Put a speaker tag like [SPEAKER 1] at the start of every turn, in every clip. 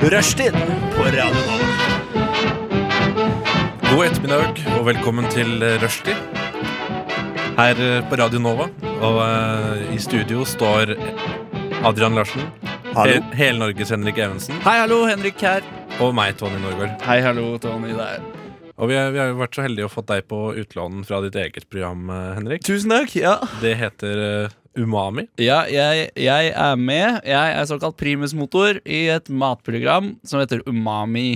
[SPEAKER 1] Rushtid på Radio Nova.
[SPEAKER 2] God ettermiddag og velkommen til eh, Rushdie her eh, på Radio Nova. Og eh, i studio står Adrian Larsen,
[SPEAKER 1] Hallo.
[SPEAKER 2] He- hele Norges Henrik Evensen
[SPEAKER 3] Hei, hallo, Henrik her.
[SPEAKER 2] og meg, Tony Norgård.
[SPEAKER 3] Hei, hallo, Tony der.
[SPEAKER 2] Og vi, er, vi har jo vært så heldige å fått deg på utlån fra ditt eget program, eh, Henrik.
[SPEAKER 3] Tusen takk. Ja,
[SPEAKER 2] Det heter eh, Umami.
[SPEAKER 3] ja jeg, jeg er med. Jeg er såkalt primusmotor i et matprogram som heter Umami.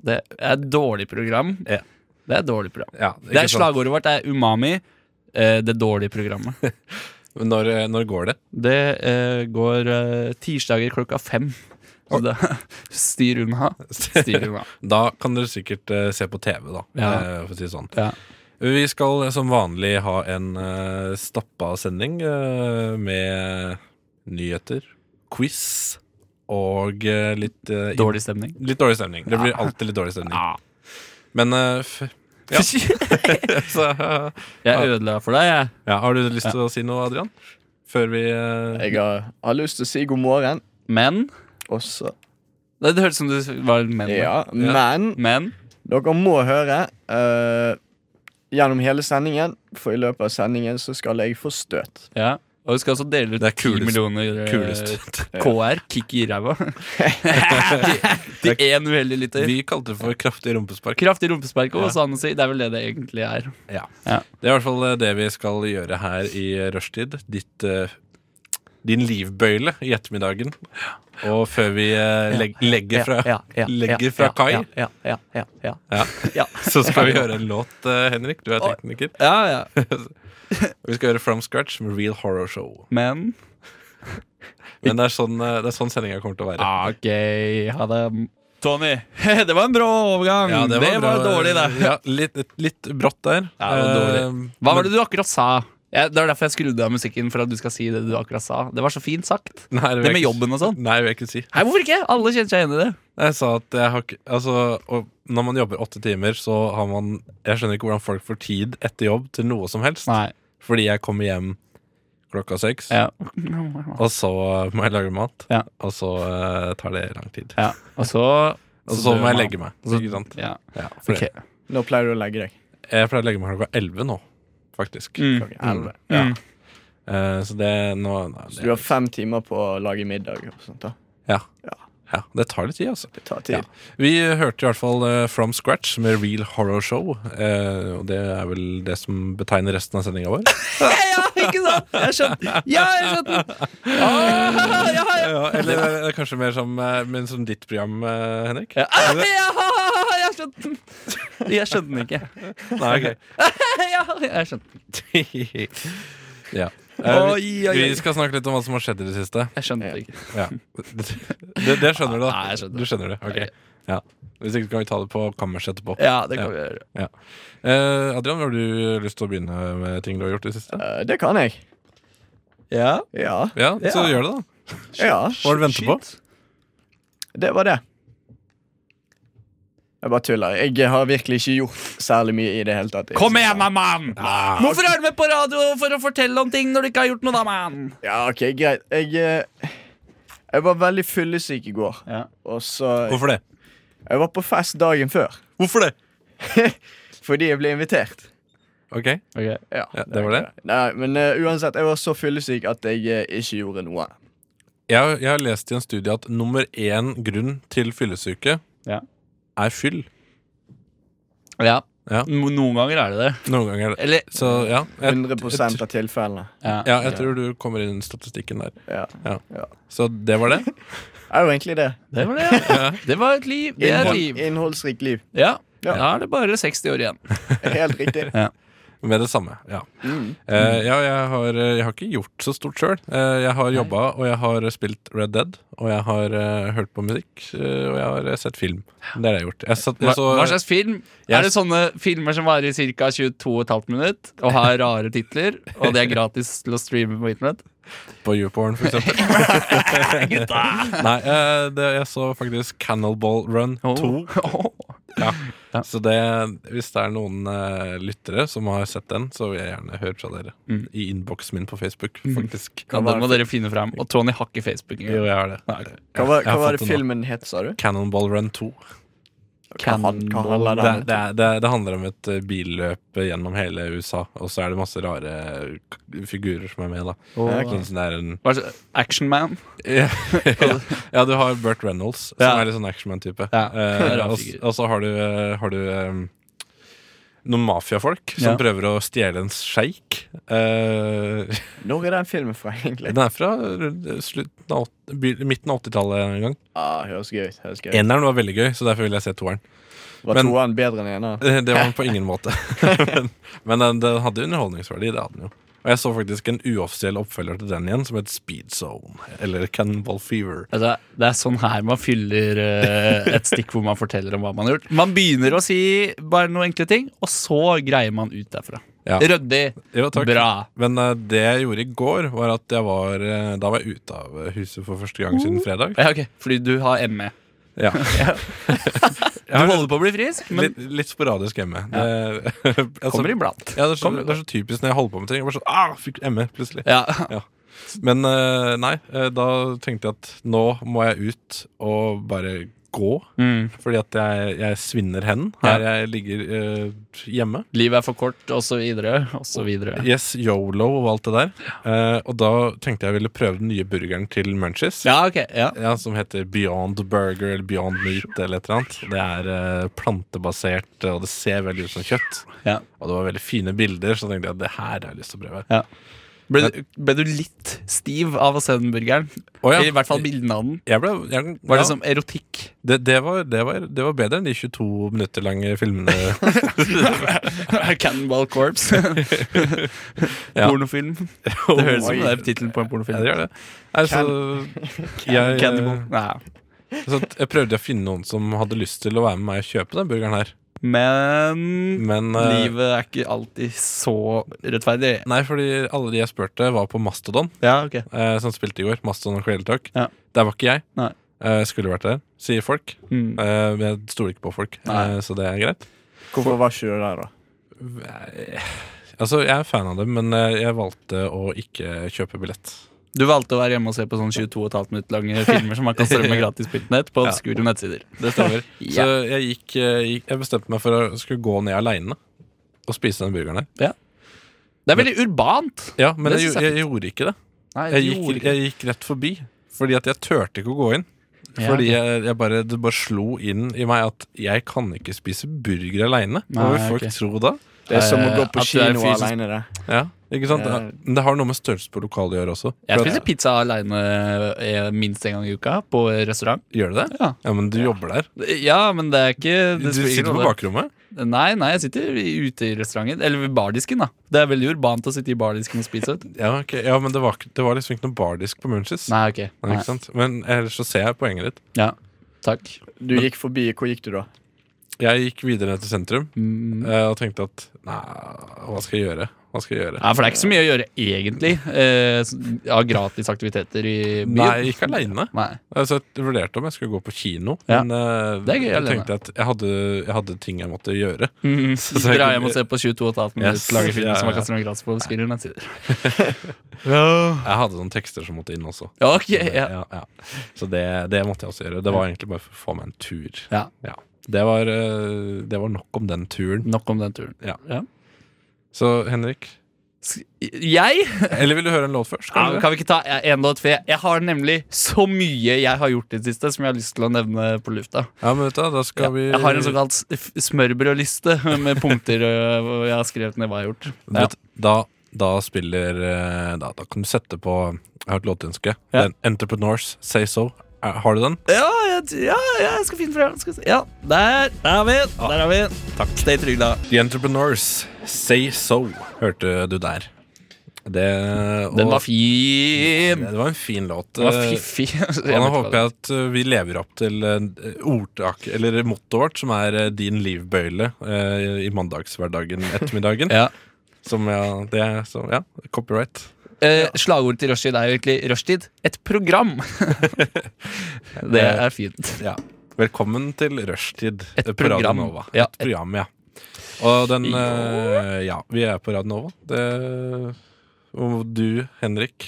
[SPEAKER 3] Det er et dårlig program.
[SPEAKER 2] Ja.
[SPEAKER 3] Det er et dårlig program.
[SPEAKER 2] Ja, ikke
[SPEAKER 3] Det er
[SPEAKER 2] sant?
[SPEAKER 3] slagordet vårt er Umami, eh, det dårlige programmet.
[SPEAKER 2] Men Når, eh, når går det?
[SPEAKER 3] Det eh, går eh, tirsdager klokka fem. Så da, styr unna. Styr unna.
[SPEAKER 2] Da kan dere sikkert eh, se på TV, da.
[SPEAKER 3] Ja.
[SPEAKER 2] eh, for å si det sånn.
[SPEAKER 3] Ja.
[SPEAKER 2] Vi skal eh, som vanlig ha en eh, stappa sending eh, med nyheter, quiz og eh, litt eh,
[SPEAKER 3] Dårlig stemning.
[SPEAKER 2] Litt dårlig stemning. Det blir alltid litt dårlig stemning. Men eh, f ja. Så, eh,
[SPEAKER 3] Jeg ødela for deg, jeg.
[SPEAKER 2] ja, har du lyst til å si noe, Adrian? Før vi eh,
[SPEAKER 4] Jeg har, har lyst til å si god morgen
[SPEAKER 3] Men
[SPEAKER 4] også.
[SPEAKER 3] Det, det hørtes ut som du var en menn.
[SPEAKER 4] Ja, men
[SPEAKER 3] Men
[SPEAKER 4] dere må høre eh, gjennom hele sendingen, for i løpet av sendingen så skal jeg få støt.
[SPEAKER 3] Ja, og vi skal også dele ut
[SPEAKER 2] Det er
[SPEAKER 3] 10
[SPEAKER 2] kulest.
[SPEAKER 3] millioner eh,
[SPEAKER 2] Kulest.
[SPEAKER 3] KR, kick i ræva. Til én uheldig lytter.
[SPEAKER 2] Vi kalte det for kraftig rumpespark.
[SPEAKER 3] Kraftig rumpespark og sånn å si. Det er vel det det egentlig er.
[SPEAKER 2] Ja.
[SPEAKER 3] Ja.
[SPEAKER 2] Det er i hvert fall eh, det vi skal gjøre her i rushtid. Ditt, eh, din livbøyle i ettermiddagen. Og før vi eh, leg legger fra, legger fra kai,
[SPEAKER 3] Ja, ja, ja, ja, ja.
[SPEAKER 2] Ja.
[SPEAKER 3] Ja.
[SPEAKER 2] så skal vi høre en låt, eh, Henrik. Du er tekniker.
[SPEAKER 3] ja, ja.
[SPEAKER 2] Vi skal gjøre From Scratch med Real Horror Show.
[SPEAKER 3] Men
[SPEAKER 2] Men det er sånn, eh, det er sånn sendinga kommer til å være.
[SPEAKER 3] OK, ha det. Tony, det var en brå overgang.
[SPEAKER 2] Ja,
[SPEAKER 3] det var,
[SPEAKER 2] bra.
[SPEAKER 3] dårlig, det.
[SPEAKER 2] Ja, litt, litt brått der.
[SPEAKER 3] Ja, det var dårlig.
[SPEAKER 2] Eh,
[SPEAKER 3] Hva var
[SPEAKER 2] men-
[SPEAKER 3] det du akkurat sa? Ja, det var derfor jeg skrudde av musikken. For at du skal si Det du akkurat sa Det var så fint sagt.
[SPEAKER 2] Nei, vil
[SPEAKER 3] Det
[SPEAKER 2] jeg
[SPEAKER 3] med
[SPEAKER 2] ikke-
[SPEAKER 3] jobben og sånn.
[SPEAKER 2] Nei, det vil jeg ikke si.
[SPEAKER 3] Nei, Hvorfor ikke? Alle kjenner seg igjen i det.
[SPEAKER 2] Jeg sa at jeg har ikke Altså, og når man jobber åtte timer, så har man Jeg skjønner ikke hvordan folk får tid etter jobb til noe som helst.
[SPEAKER 3] Nei
[SPEAKER 2] Fordi jeg kommer hjem klokka seks,
[SPEAKER 3] Ja.
[SPEAKER 2] og så må jeg lage mat.
[SPEAKER 3] Ja.
[SPEAKER 2] Og så eh, tar det lang tid.
[SPEAKER 3] ja. Og så
[SPEAKER 2] Og så
[SPEAKER 3] dør
[SPEAKER 2] må jeg
[SPEAKER 3] man.
[SPEAKER 2] legge meg.
[SPEAKER 3] Og så-
[SPEAKER 2] Ikke sant?
[SPEAKER 3] Ja.
[SPEAKER 2] Ja, for
[SPEAKER 3] Ok.
[SPEAKER 4] Nå pleier du å legge deg.
[SPEAKER 2] det- Jeg pleier å legge meg klokka elleve nå, faktisk.
[SPEAKER 3] Mm.
[SPEAKER 4] Klokken 11.
[SPEAKER 2] Ja.
[SPEAKER 3] Mm.
[SPEAKER 2] Eh, så det nå nei,
[SPEAKER 4] Så du har
[SPEAKER 2] det,
[SPEAKER 4] fem timer på å lage middag. og sånt da.
[SPEAKER 2] ja.
[SPEAKER 4] Ja.
[SPEAKER 2] ja. Det tar litt tid, altså.
[SPEAKER 4] Det tar
[SPEAKER 2] Ja.
[SPEAKER 4] tid.
[SPEAKER 2] Vi hørte i hvert fall eh, From Scratch med Real Horror Show. eh, og det er vel det som betegner resten av sendinga vår.
[SPEAKER 3] ja, ikke sant? Jeg skjønte Ja, jeg skjønte den! Ah, ja, ja.
[SPEAKER 2] Ja, eller eh, kanskje mer som, eh, men som ditt program, eh, Henrik?
[SPEAKER 3] Ja, ah, ja, jeg skjønte den! Jeg skjønte den ikke.
[SPEAKER 2] Nei, ok.
[SPEAKER 3] Ja, jeg skjønte den.
[SPEAKER 2] ja. Eh,
[SPEAKER 3] Oi, oi,
[SPEAKER 2] vi,
[SPEAKER 3] oi.
[SPEAKER 2] vi skal snakke litt om hva som har skjedd i det siste.
[SPEAKER 3] Jeg skjønte den ikke.
[SPEAKER 2] Ja. Det, det skjønner du, da.
[SPEAKER 3] Nei, jeg skjønner.
[SPEAKER 2] Du skjønner det, ok.
[SPEAKER 3] Ok.
[SPEAKER 2] Ja. Hvis ikke kan vi ta det på kammerset etterpå.
[SPEAKER 3] Ja, det kan vi gjøre.
[SPEAKER 2] Eh, Adrian, har du lyst til å begynne med ting du har gjort i det siste?
[SPEAKER 4] Eh, det kan jeg.
[SPEAKER 3] Ja.
[SPEAKER 4] Ja.
[SPEAKER 2] Ja, så
[SPEAKER 4] Ja.
[SPEAKER 2] gjør det, da.
[SPEAKER 4] ja.
[SPEAKER 2] Hva er det du venter på?
[SPEAKER 4] Det var det. Jeg bare tuller. Jeg har virkelig ikke gjort særlig mye i det hele tatt.
[SPEAKER 3] Kom igjen, da, mann!
[SPEAKER 2] Ah.
[SPEAKER 3] Hvorfor er du med på radio for å fortelle om ting når du ikke har gjort noe, da, mann?
[SPEAKER 4] Ja, ok, greit. Jeg, eh, jeg var veldig fyllesyk i går.
[SPEAKER 3] Ja.
[SPEAKER 4] Og så
[SPEAKER 2] Hvorfor det?
[SPEAKER 4] Jeg var på fest dagen før
[SPEAKER 2] Hvorfor det?
[SPEAKER 4] fordi jeg ble invitert.
[SPEAKER 2] Ok,
[SPEAKER 3] Okay.
[SPEAKER 4] Ja,
[SPEAKER 2] ja, det var det.
[SPEAKER 4] Nei, Men eh, uansett, jeg var så fyllesyk at jeg eh, ikke gjorde noe.
[SPEAKER 2] Jeg, har- jeg har lest i en studie at nummer én grunn til fyllesyke
[SPEAKER 3] Ja.
[SPEAKER 2] er fyll.
[SPEAKER 3] Ja.
[SPEAKER 2] Ja.
[SPEAKER 3] No- Noen ganger er det det.
[SPEAKER 2] Noen ganger er det
[SPEAKER 3] Eller
[SPEAKER 2] Så ja. Jeg,
[SPEAKER 4] 100 av tilfellene.
[SPEAKER 3] ja.
[SPEAKER 2] ja, jeg tror du kommer inn i statistikken der.
[SPEAKER 4] Ja.
[SPEAKER 2] Så det var det.
[SPEAKER 4] Er jo egentlig det.
[SPEAKER 3] Det var det. ja. Det var et liv. Det er et
[SPEAKER 4] Innhold,
[SPEAKER 3] liv.
[SPEAKER 4] innholdsrikt liv.
[SPEAKER 3] Ja.
[SPEAKER 4] Ja.
[SPEAKER 3] Da er det bare 60 år igjen.
[SPEAKER 4] Helt riktig.
[SPEAKER 2] Med det samme. Ja.
[SPEAKER 4] Mm.
[SPEAKER 2] Eh, ja, jeg har, eh, jeg har ikke gjort så stort sjøl. Eh, jeg har jobba, og jeg har spilt Red Dead, og jeg har eh, hørt på musikk, eh, og jeg har eh, sett film. Det har jeg gjort. Jeg satt,
[SPEAKER 3] Hva,
[SPEAKER 2] jeg så,
[SPEAKER 3] hva slags film?
[SPEAKER 2] Jeg-
[SPEAKER 3] Er det sånne filmer som varer i ca. 22,5 minutt og har rare titler, og det er gratis til å streame på internett?
[SPEAKER 2] på YouPorn, for eksempel. Nei, eh, det, jeg så faktisk Cannonball Run 2.
[SPEAKER 3] Oh.
[SPEAKER 2] Ja.
[SPEAKER 3] Ja.
[SPEAKER 2] Så det, hvis det er noen eh, lyttere som har sett den, så vil jeg gjerne høre fra dere.
[SPEAKER 3] Mm.
[SPEAKER 2] I innboksen min på Facebook,
[SPEAKER 3] Mm.
[SPEAKER 2] faktisk.
[SPEAKER 3] Ja, den må dere finne frem. Og Tony har ikke Facebook
[SPEAKER 2] Jo,
[SPEAKER 3] engang.
[SPEAKER 2] jeg har det.
[SPEAKER 3] Nei, ok.
[SPEAKER 4] Hva var, hva var
[SPEAKER 2] Jeg har fått
[SPEAKER 4] det
[SPEAKER 2] den nå.
[SPEAKER 4] filmen het, sa du?
[SPEAKER 2] Cannonball Run 2.
[SPEAKER 4] Hva han- hva handler
[SPEAKER 2] Det,
[SPEAKER 4] den om?
[SPEAKER 2] det, er- det, det handler om et eh, billøp gjennom hele USA, og så er det masse rare k- figurer som er med. da
[SPEAKER 4] Ja,
[SPEAKER 2] Sånn som det er en
[SPEAKER 3] Hva er det? Action Man?
[SPEAKER 2] ja, ja, du har Burt Reynolds, som
[SPEAKER 3] Ja.
[SPEAKER 2] er litt sånn actionman-type.
[SPEAKER 3] Ja,
[SPEAKER 2] Eh,
[SPEAKER 3] rar
[SPEAKER 2] og,
[SPEAKER 3] figur.
[SPEAKER 2] og så har du, eh, har du eh, noen mafiafolk som
[SPEAKER 3] Ja.
[SPEAKER 2] prøver å stjele en sjeik. Eh,
[SPEAKER 4] Når er den filmen fra, egentlig?
[SPEAKER 2] den er fra rundt slutten av åt- by- midten av 80-tallet en gang.
[SPEAKER 4] Ah, høres gøy ut. høres gøy ut.
[SPEAKER 2] Eneren var veldig gøy, så derfor vil jeg se toeren.
[SPEAKER 4] Var
[SPEAKER 2] men-
[SPEAKER 4] toeren bedre enn eneren?
[SPEAKER 2] Eh, Det var den på ingen måte. men men den, den hadde underholdningsverdi, det hadde den jo. Og jeg så faktisk en uoffisiell oppfølger til den igjen, som het Speed Zone. Eller Cannonball Fever.
[SPEAKER 3] Altså, det er sånn her man fyller eh, et stikk hvor man forteller om hva man har gjort. Man begynner å si bare noen enkle ting, og så greier man ut derfra.
[SPEAKER 2] Ja.
[SPEAKER 3] Ryddig.
[SPEAKER 2] Jo, takk.
[SPEAKER 3] Bra.
[SPEAKER 2] Men eh, det jeg gjorde i går, var at jeg var eh, Da var jeg ute av eh, huset for første gang
[SPEAKER 3] Oh.
[SPEAKER 2] siden fredag.
[SPEAKER 3] Ja, ok, Fordi du har E. ME.
[SPEAKER 2] Ja.
[SPEAKER 3] Du holder på å bli frisk, men
[SPEAKER 2] litt, litt sporadisk hjemme. Det, altså,
[SPEAKER 3] kommer iblant.
[SPEAKER 2] ja, det, er så,
[SPEAKER 3] Kommer
[SPEAKER 2] det er så typisk når jeg holder på med ting. Jeg bare sånn, ah, fikk ME plutselig
[SPEAKER 3] Ja.
[SPEAKER 2] Men eh, nei, eh, da tenkte jeg at nå må jeg ut og bare gå.
[SPEAKER 3] Mm.
[SPEAKER 2] Fordi at jeg, jeg svinner hen her jeg ligger eh, hjemme.
[SPEAKER 3] Livet er for kort, og så videre, og så videre.
[SPEAKER 2] Yes, yolo og alt det der. Eh, og da tenkte jeg ville prøve den nye burgeren til Munchies.
[SPEAKER 3] Ja, ok. Ja.
[SPEAKER 2] Ja, Som heter Beyond Burger eller Beyond Meat eller et eller annet. Det er eh, plantebasert, og det ser veldig ut som kjøtt.
[SPEAKER 3] Ja.
[SPEAKER 2] Og det var veldig fine bilder, så tenkte jeg at det her har jeg lyst til å prøve.
[SPEAKER 3] Ble, du, ble du litt stiv av å se den burgeren?
[SPEAKER 2] Å ja,
[SPEAKER 3] I hvert fall bildene av den.
[SPEAKER 2] Jeg ble, jeg,
[SPEAKER 3] Var
[SPEAKER 2] ja,
[SPEAKER 3] det som erotikk?
[SPEAKER 2] det, det, var, det, var, det var bedre enn de 22 minutter lange filmene.
[SPEAKER 3] Cannonball Corps.
[SPEAKER 2] Ja.
[SPEAKER 3] Pornofilm. Det høres ut som
[SPEAKER 4] Oi.
[SPEAKER 3] Oh det er tittelen på en
[SPEAKER 2] Ja,
[SPEAKER 3] pornofilm.
[SPEAKER 2] det gjør det. Nei, så jeg,
[SPEAKER 3] Cannibal.
[SPEAKER 2] eh,
[SPEAKER 3] Nei.
[SPEAKER 2] så at jeg prøvde å finne noen som hadde lyst til å være med meg og kjøpe den burgeren her.
[SPEAKER 3] Men
[SPEAKER 2] Men eh,
[SPEAKER 3] livet er ikke alltid så rettferdig.
[SPEAKER 2] Nei, fordi alle de jeg spurte, var på Mastodon.
[SPEAKER 3] Ja, ok
[SPEAKER 2] eh, som spilte i går. Mastodon og Kvelertak.
[SPEAKER 3] Ja.
[SPEAKER 2] Der var ikke jeg.
[SPEAKER 3] Nei.
[SPEAKER 2] Eh, skulle vært der, sier folk.
[SPEAKER 3] mm.
[SPEAKER 2] Eh, men jeg stoler ikke på folk,
[SPEAKER 3] Nei.
[SPEAKER 2] eh, så det er greit.
[SPEAKER 4] Hvorfor var ikke du der, da?
[SPEAKER 2] Eh, Altså, Jeg er fan av dem, men eh, jeg valgte å ikke kjøpe billett.
[SPEAKER 3] Du valgte å være hjemme og se på sånn 22,5 minutt lange filmer som man kan strømme gratis på internett på
[SPEAKER 2] Ja.
[SPEAKER 3] obskure nettsider.
[SPEAKER 2] Det stemmer.
[SPEAKER 3] Ja.
[SPEAKER 2] Så jeg, gikk, eh, gikk, jeg bestemte meg for å skulle gå ned aleine og spise den burgeren der.
[SPEAKER 3] Det er veldig urbant!
[SPEAKER 2] Ja, men
[SPEAKER 3] Det
[SPEAKER 2] jeg,
[SPEAKER 3] synes jeg er
[SPEAKER 2] jeg, gjorde ikke det.
[SPEAKER 3] Nei,
[SPEAKER 2] Jeg gikk, jeg gikk rett forbi, fordi at jeg turte ikke å gå inn.
[SPEAKER 3] Ja,
[SPEAKER 2] Fordi
[SPEAKER 3] ok.
[SPEAKER 2] jeg, jeg bare, det bare slo inn i meg at jeg kan ikke spise burger aleine. Hva
[SPEAKER 3] Nei,
[SPEAKER 2] vil folk
[SPEAKER 3] ok.
[SPEAKER 2] tro da?
[SPEAKER 4] Det er som å gå
[SPEAKER 3] Eh,
[SPEAKER 4] på
[SPEAKER 3] at du er
[SPEAKER 4] kino
[SPEAKER 3] fysisk-
[SPEAKER 4] alene, det.
[SPEAKER 2] Ja, ikke sant?
[SPEAKER 3] Eh.
[SPEAKER 4] Ja.
[SPEAKER 2] Men Det har noe med størrelse på lokalet å gjøre også. For
[SPEAKER 3] jeg
[SPEAKER 2] at-
[SPEAKER 3] spiser pizza aleine eh, minst en gang i uka på restaurant.
[SPEAKER 2] Gjør du det?
[SPEAKER 3] Ja.
[SPEAKER 2] Ja, men du jobber der.
[SPEAKER 3] Ja, men det er ikke
[SPEAKER 2] Du
[SPEAKER 3] det spiller ingen
[SPEAKER 2] sitter på
[SPEAKER 3] rolle.
[SPEAKER 2] bakrommet.
[SPEAKER 3] Nei, nei, jeg sitter i- ute i restauranten. Eller ved bardisken, da. Det er veldig urbant å sitte i bardisken og spise. vet du.
[SPEAKER 2] Ja, ok. ja men det var, ikke- det var liksom ikke noe bardisk på Munchies.
[SPEAKER 3] Nei, ok.
[SPEAKER 2] Nei,
[SPEAKER 3] Nei.
[SPEAKER 2] Ikke sant? Men ellers så ser jeg poenget ditt.
[SPEAKER 3] Ja, takk.
[SPEAKER 4] Du gikk forbi. Hvor gikk du, da?
[SPEAKER 2] Jeg gikk videre ned til sentrum
[SPEAKER 3] Mm.
[SPEAKER 2] eh, og tenkte at nei, hva skal jeg gjøre? Hva skal jeg gjøre?
[SPEAKER 3] Ja, for det er ikke så mye å gjøre egentlig. Eh, s- Av gratis aktiviteter i byen.
[SPEAKER 2] Nei, ikke aleine.
[SPEAKER 3] Nei.
[SPEAKER 2] Altså, jeg vurderte om jeg skulle gå på kino,
[SPEAKER 3] Ja.
[SPEAKER 2] men eh,
[SPEAKER 3] Det er gøy
[SPEAKER 2] jeg
[SPEAKER 3] alene. Mm.
[SPEAKER 2] tenkte at jeg hadde, jeg hadde ting jeg måtte gjøre. Så- så jeg
[SPEAKER 3] Dra
[SPEAKER 2] kunne-
[SPEAKER 3] hjem og se på 22,5 minutter
[SPEAKER 2] Yes.
[SPEAKER 3] lage film
[SPEAKER 2] Ja,
[SPEAKER 3] som man
[SPEAKER 2] ja.
[SPEAKER 3] kaster noen gratis på obskure nettsider.
[SPEAKER 2] Jeg hadde noen tekster som måtte inn også.
[SPEAKER 3] Ja, ok,
[SPEAKER 2] Så det-
[SPEAKER 3] ja.
[SPEAKER 2] ja, ja. Så det, det måtte jeg også gjøre. Det var egentlig bare for å få meg en tur.
[SPEAKER 3] Ja.
[SPEAKER 2] Det, var, eh, det var nok om den turen.
[SPEAKER 3] Nok om den turen.
[SPEAKER 2] Ja. Så Henrik
[SPEAKER 3] S- Jeg?
[SPEAKER 2] Eller vil du høre en låt først?
[SPEAKER 3] Ja,
[SPEAKER 2] kanskje?
[SPEAKER 3] kan vi ikke ta en låt? For jeg, jeg har nemlig så mye jeg har gjort i det siste som jeg har lyst til å nevne på lufta.
[SPEAKER 2] Ja, men vet du, hva, da skal
[SPEAKER 3] Ja,
[SPEAKER 2] vi
[SPEAKER 3] Jeg har en sånn- såkalt s- f- smørbrødliste med punkter øh, hvor jeg har skrevet ned hva jeg har gjort.
[SPEAKER 2] Du vet, da, da spiller eh, da, da kan du sette på Jeg har et låtønske.
[SPEAKER 3] Ja.
[SPEAKER 2] Den Entrepreneurs Say So. Eh, Har du den?
[SPEAKER 3] Ja, jeg, ja, ja, jeg skal finne frem. Skal se. Ja, der, der har vi den. Der har vi den. Stay trygg, da.
[SPEAKER 2] The Entrepreneurs Say So hørte du der. Det,
[SPEAKER 3] Den
[SPEAKER 2] og-
[SPEAKER 3] var fin.
[SPEAKER 2] Det var en fin låt. Eh,
[SPEAKER 3] Den var fiffig.
[SPEAKER 2] Og nå håper jeg at uh, vi lever opp til uh, ordtak, eller mottoet vårt, som er uh, 'din livbøyle' uh, i mandagshverdagen ettermiddagen.
[SPEAKER 3] ja.
[SPEAKER 2] Som ja, det er så, ja, copyright.
[SPEAKER 3] eh, Slagordet til rushtid er jo egentlig 'Rushtid et program'. det er fint.
[SPEAKER 2] Ja. Velkommen til Rushtid eh,
[SPEAKER 3] Et
[SPEAKER 2] på
[SPEAKER 3] program.
[SPEAKER 2] Radio Nova.
[SPEAKER 3] Ja.
[SPEAKER 2] Et program, ja. Og den eh, Ja, vi er på Radio Nova. Det, og du, Henrik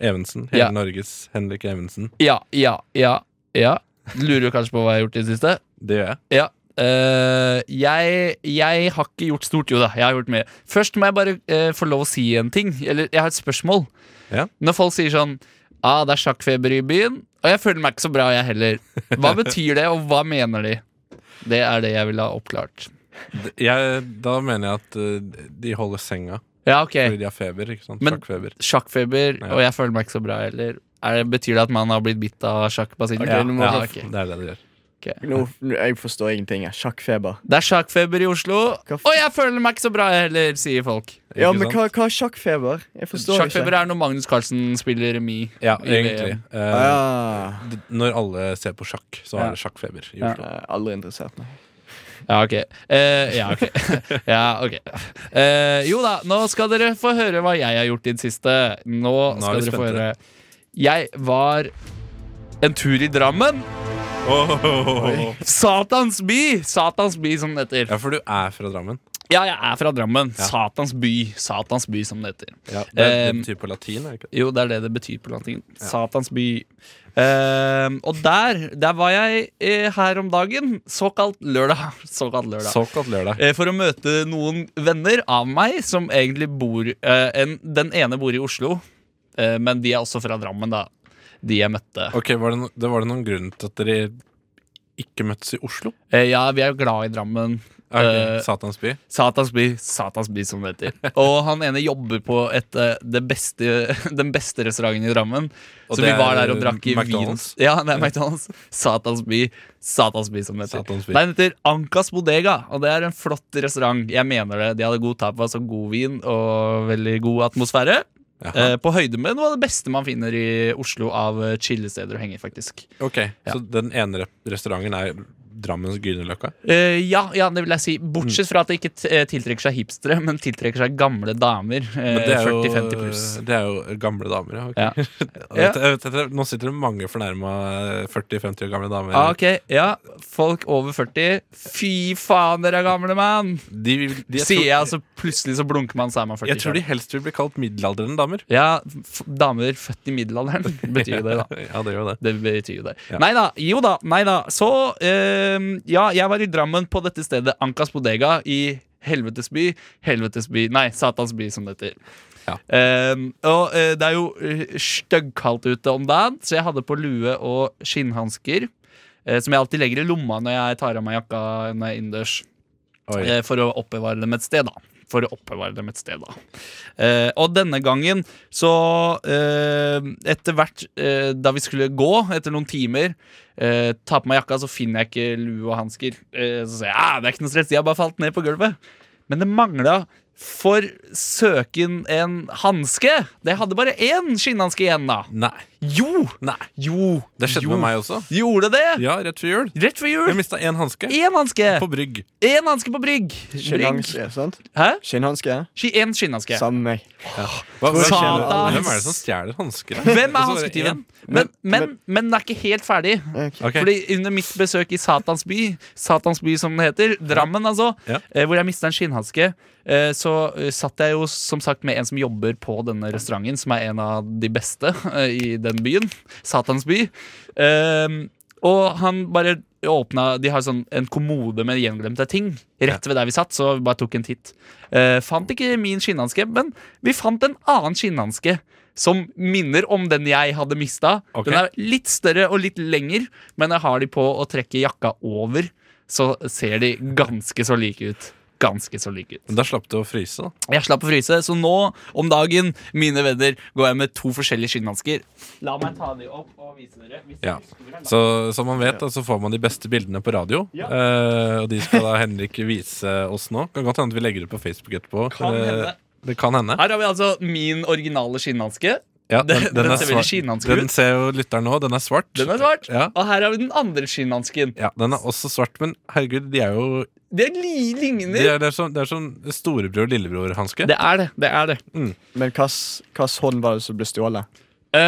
[SPEAKER 2] Evensen. Hele
[SPEAKER 3] Ja.
[SPEAKER 2] Norges Henrik Evensen.
[SPEAKER 3] Ja, ja, ja, ja. Lurer jo kanskje på hva jeg har gjort i det siste.
[SPEAKER 2] Det gjør jeg.
[SPEAKER 3] Ja. eh, jeg, jeg har ikke gjort stort, jo da. Jeg har gjort mye. Først må jeg bare eh, få lov å si en ting. Eller jeg har et spørsmål.
[SPEAKER 2] Ja.
[SPEAKER 3] Når folk sier sånn ah, 'Det er sjakkfeber i byen', og jeg føler meg ikke så bra, jeg heller. Hva betyr det, og hva mener de? Det er det jeg vil ha oppklart.
[SPEAKER 2] D- jeg da mener jeg at eh, de holder senga
[SPEAKER 3] Ja, ok.
[SPEAKER 2] fordi de har feber. ikke sant?
[SPEAKER 3] Eh. Men-
[SPEAKER 2] Sjakkfeber.
[SPEAKER 3] Sjakkfeber,
[SPEAKER 2] Ja.
[SPEAKER 3] og jeg føler meg ikke så bra, jeg heller. Er det, betyr det at man har blitt bitt av sjakkbasillen?
[SPEAKER 4] Ok, nå må
[SPEAKER 3] ja,
[SPEAKER 4] vi-
[SPEAKER 3] ok.
[SPEAKER 2] Det er det de gjør.
[SPEAKER 4] Nå, nå- jeg forstår ingenting. jeg. Sjakkfeber.
[SPEAKER 3] Det er sjakkfeber i Oslo,
[SPEAKER 4] Hva f-
[SPEAKER 3] og jeg føler meg ikke så bra, jeg heller, sier folk.
[SPEAKER 2] Ikke
[SPEAKER 4] Ja, men
[SPEAKER 2] sant?
[SPEAKER 4] hva, hva er sjakkfeber? Jeg forstår
[SPEAKER 3] Sjakkfeber er når Magnus Carlsen spiller remis.
[SPEAKER 2] Ja,
[SPEAKER 3] i
[SPEAKER 2] egentlig.
[SPEAKER 3] VM.
[SPEAKER 2] Eh,
[SPEAKER 4] Ah,
[SPEAKER 2] d- Når alle ser på sjakk, så
[SPEAKER 3] Ja.
[SPEAKER 2] er det sjakkfeber i
[SPEAKER 3] Ja.
[SPEAKER 2] Oslo.
[SPEAKER 4] jeg er aldri interessert, nei.
[SPEAKER 3] Ja, ok. Eh, ja, ok. ja, ok. Eh, jo da, nå skal dere få høre hva jeg har gjort i det siste. Nå,
[SPEAKER 2] Nå er
[SPEAKER 3] skal
[SPEAKER 2] vi
[SPEAKER 3] dere få
[SPEAKER 2] spente.
[SPEAKER 3] høre. Jeg var en tur i Drammen.
[SPEAKER 2] Åh.
[SPEAKER 3] Satans by! Satans by, som det heter.
[SPEAKER 2] Ja, for du er fra Drammen.
[SPEAKER 3] Ja, jeg er fra Drammen.
[SPEAKER 2] Ja.
[SPEAKER 3] Satans by. Satans by, som det heter.
[SPEAKER 2] Ja, det, det
[SPEAKER 3] Ehm,
[SPEAKER 2] betyr på latin, er det ikke?
[SPEAKER 3] Jo, det er det det betyr på latin. Satans by. Eh, og der, der var jeg eh, her om dagen. Såkalt lørdag. Såkalt lørdag.
[SPEAKER 2] Såkalt lørdag.
[SPEAKER 3] Eh, For å møte noen venner av meg som egentlig bor eh, en, Den ene bor i Oslo, eh, men de er også fra Drammen, da. De jeg møtte.
[SPEAKER 2] Ok, var det, no, det Var det noen grunn til at dere ikke møttes i Oslo?
[SPEAKER 3] Eh, ja, vi er jo glad i Drammen.
[SPEAKER 2] Er det
[SPEAKER 3] Eh,
[SPEAKER 2] ikke Satans by?
[SPEAKER 3] Satans by, Satans by, som det heter. Og han ene jobber på et, eh, det beste, den beste restauranten i Drammen.
[SPEAKER 2] Og
[SPEAKER 3] så
[SPEAKER 2] det
[SPEAKER 3] vi var
[SPEAKER 2] er
[SPEAKER 3] der og drakk i
[SPEAKER 2] McDonald's?
[SPEAKER 3] vin. Ja, det er McDonald's. Satans by, Satans by, som det heter.
[SPEAKER 2] Satans by.
[SPEAKER 3] Nei, Den heter Ankas Bodega, og det er en flott restaurant. Jeg mener det. De hadde god tapas og god vin og veldig god atmosfære.
[SPEAKER 2] Jaha.
[SPEAKER 3] Eh, på høyde med noe av det beste man finner i Oslo av eh, chillesteder å henge i, faktisk.
[SPEAKER 2] ok, Så den ene rep- restauranten er Drammens Grünerløkka?
[SPEAKER 3] Eh, ja, ja, det vil jeg si. Bortsett
[SPEAKER 2] Mm.
[SPEAKER 3] fra at det ikke t- eh, tiltrekker seg hipstere, men tiltrekker seg gamle damer.
[SPEAKER 2] Men
[SPEAKER 3] Eh,
[SPEAKER 2] det er,
[SPEAKER 3] 40-50
[SPEAKER 2] jo,
[SPEAKER 3] pluss.
[SPEAKER 2] det er jo gamle damer, ja. ok.
[SPEAKER 3] Ja.
[SPEAKER 2] Jeg vet- jeg vet- jeg vet- Nå sitter det mange fornærma 40-50 år gamle damer.
[SPEAKER 3] Ah, ok, ja. Folk over 40. Fy faen, dere er gamle, mann!
[SPEAKER 2] de, vil- de, jeg,
[SPEAKER 3] Sier jeg,
[SPEAKER 2] tror,
[SPEAKER 3] altså plutselig så blunker man, så er man 40.
[SPEAKER 2] jeg tror de helst vil bli kalt middelaldrende damer.
[SPEAKER 3] Ja, f damer født i middelalderen, betyr jo det, da.
[SPEAKER 2] ja, det gjør det.
[SPEAKER 3] Det betyr jo det.
[SPEAKER 2] Ja.
[SPEAKER 3] Nei da, jo da, nei da. Så ehm, ja, jeg var i Drammen på dette stedet, Ankas Bodega, i Helvetes by. Helvetes by, nei, Satans by, som det heter.
[SPEAKER 2] Ja.
[SPEAKER 3] Ehm, og eh, det er jo eh, styggkaldt ute om dagen, så jeg hadde på lue og skinnhansker. eh, som jeg alltid legger i lomma når jeg tar av meg jakka når jeg er innendørs.
[SPEAKER 2] Oi.
[SPEAKER 3] Eh, for å oppbevare dem et sted, da. For å oppbevare dem et sted, da. Eh, og denne gangen, så eh, Etter hvert eh, da vi skulle gå, etter noen timer, eh, ta på meg jakka, så finner jeg ikke lue og hansker. Eh, så sier jeg ah, det er ikke noe stress, de har bare falt ned på gulvet. Men det mangla for søken en hanske! Det hadde bare én skinnhanske igjen, da.
[SPEAKER 2] Nei.
[SPEAKER 3] Jo!
[SPEAKER 2] Nei.
[SPEAKER 3] Jo!
[SPEAKER 2] Det skjedde
[SPEAKER 3] jo.
[SPEAKER 2] med meg også.
[SPEAKER 3] Gjorde det!
[SPEAKER 2] Ja, rett før jul.
[SPEAKER 3] Rett før
[SPEAKER 2] Jeg
[SPEAKER 3] jul!
[SPEAKER 2] mista én hanske
[SPEAKER 3] Én hanske!
[SPEAKER 2] på Brygg.
[SPEAKER 3] Én hanske på brygg! brygg.
[SPEAKER 4] Skinnhanske, sant?
[SPEAKER 3] Hæ?
[SPEAKER 4] Skinnhanske?
[SPEAKER 3] Ski- En skinnhanske.
[SPEAKER 4] Samme meg.
[SPEAKER 2] Hva,
[SPEAKER 4] Tror jeg
[SPEAKER 2] hvem-
[SPEAKER 4] kjenner alle.
[SPEAKER 2] Hvem er det som stjeler hansker?
[SPEAKER 3] Hvem
[SPEAKER 2] Og
[SPEAKER 3] er
[SPEAKER 2] så det
[SPEAKER 3] hansketyven?
[SPEAKER 2] en.
[SPEAKER 3] Men, men,
[SPEAKER 4] men-
[SPEAKER 3] men den er ikke helt ferdig.
[SPEAKER 4] Ok.
[SPEAKER 2] Ok.
[SPEAKER 3] Fordi under mitt besøk i Satans by, Satans by som den heter, Drammen altså,
[SPEAKER 2] Ja.
[SPEAKER 3] eh, hvor jeg mista en skinnhanske, eh, så eh, satt jeg jo som sagt med en som jobber på denne restauranten, som er en av de beste eh, i den byen. Satans by. Ehm, og han bare åpna De har sånn en kommode med gjenglemte ting rett ved der vi satt, så vi bare tok en titt. Eh, fant ikke min skinnhanske, men vi fant en annen skinnhanske. Som minner om den jeg hadde mista.
[SPEAKER 2] Ok.
[SPEAKER 3] Den er litt større og litt lenger, men jeg har de på å trekke jakka over, så ser de ganske så like ut. Ganske så like ut.
[SPEAKER 2] Da slapp du å fryse, da.
[SPEAKER 3] Jeg slapp å fryse, så nå om dagen, mine venner, går jeg med to forskjellige skinnhansker. La meg ta de opp og vise dere. Hvis
[SPEAKER 2] Ja.
[SPEAKER 3] dere husker hvor jeg la-
[SPEAKER 2] Så som man vet, da, så får man de beste bildene på radio. Eh, og de skal da Henrik vise oss nå. Kan godt hende at vi legger ut på Facebook etterpå.
[SPEAKER 3] Kan
[SPEAKER 2] Eh,
[SPEAKER 3] hende.
[SPEAKER 2] det kan hende.
[SPEAKER 3] Her har vi altså min originale skinnhanske.
[SPEAKER 2] Ja,
[SPEAKER 3] Den- den
[SPEAKER 2] er
[SPEAKER 3] ser
[SPEAKER 2] svart.
[SPEAKER 3] veldig skinnhanske ut.
[SPEAKER 2] Den ser jo lytteren nå. Den er svart.
[SPEAKER 3] Den er svart.
[SPEAKER 2] Ja.
[SPEAKER 3] Og her har vi den andre skinnhansken.
[SPEAKER 2] Ja, Den er også svart, men herregud, de er jo
[SPEAKER 3] De er li ligner.
[SPEAKER 2] de er, Det er sånn, det er sånn storebror-lillebror-hanske.
[SPEAKER 3] Det er det. det er det
[SPEAKER 4] Men hvilken hånd var det som ble stjålet?
[SPEAKER 3] Eh,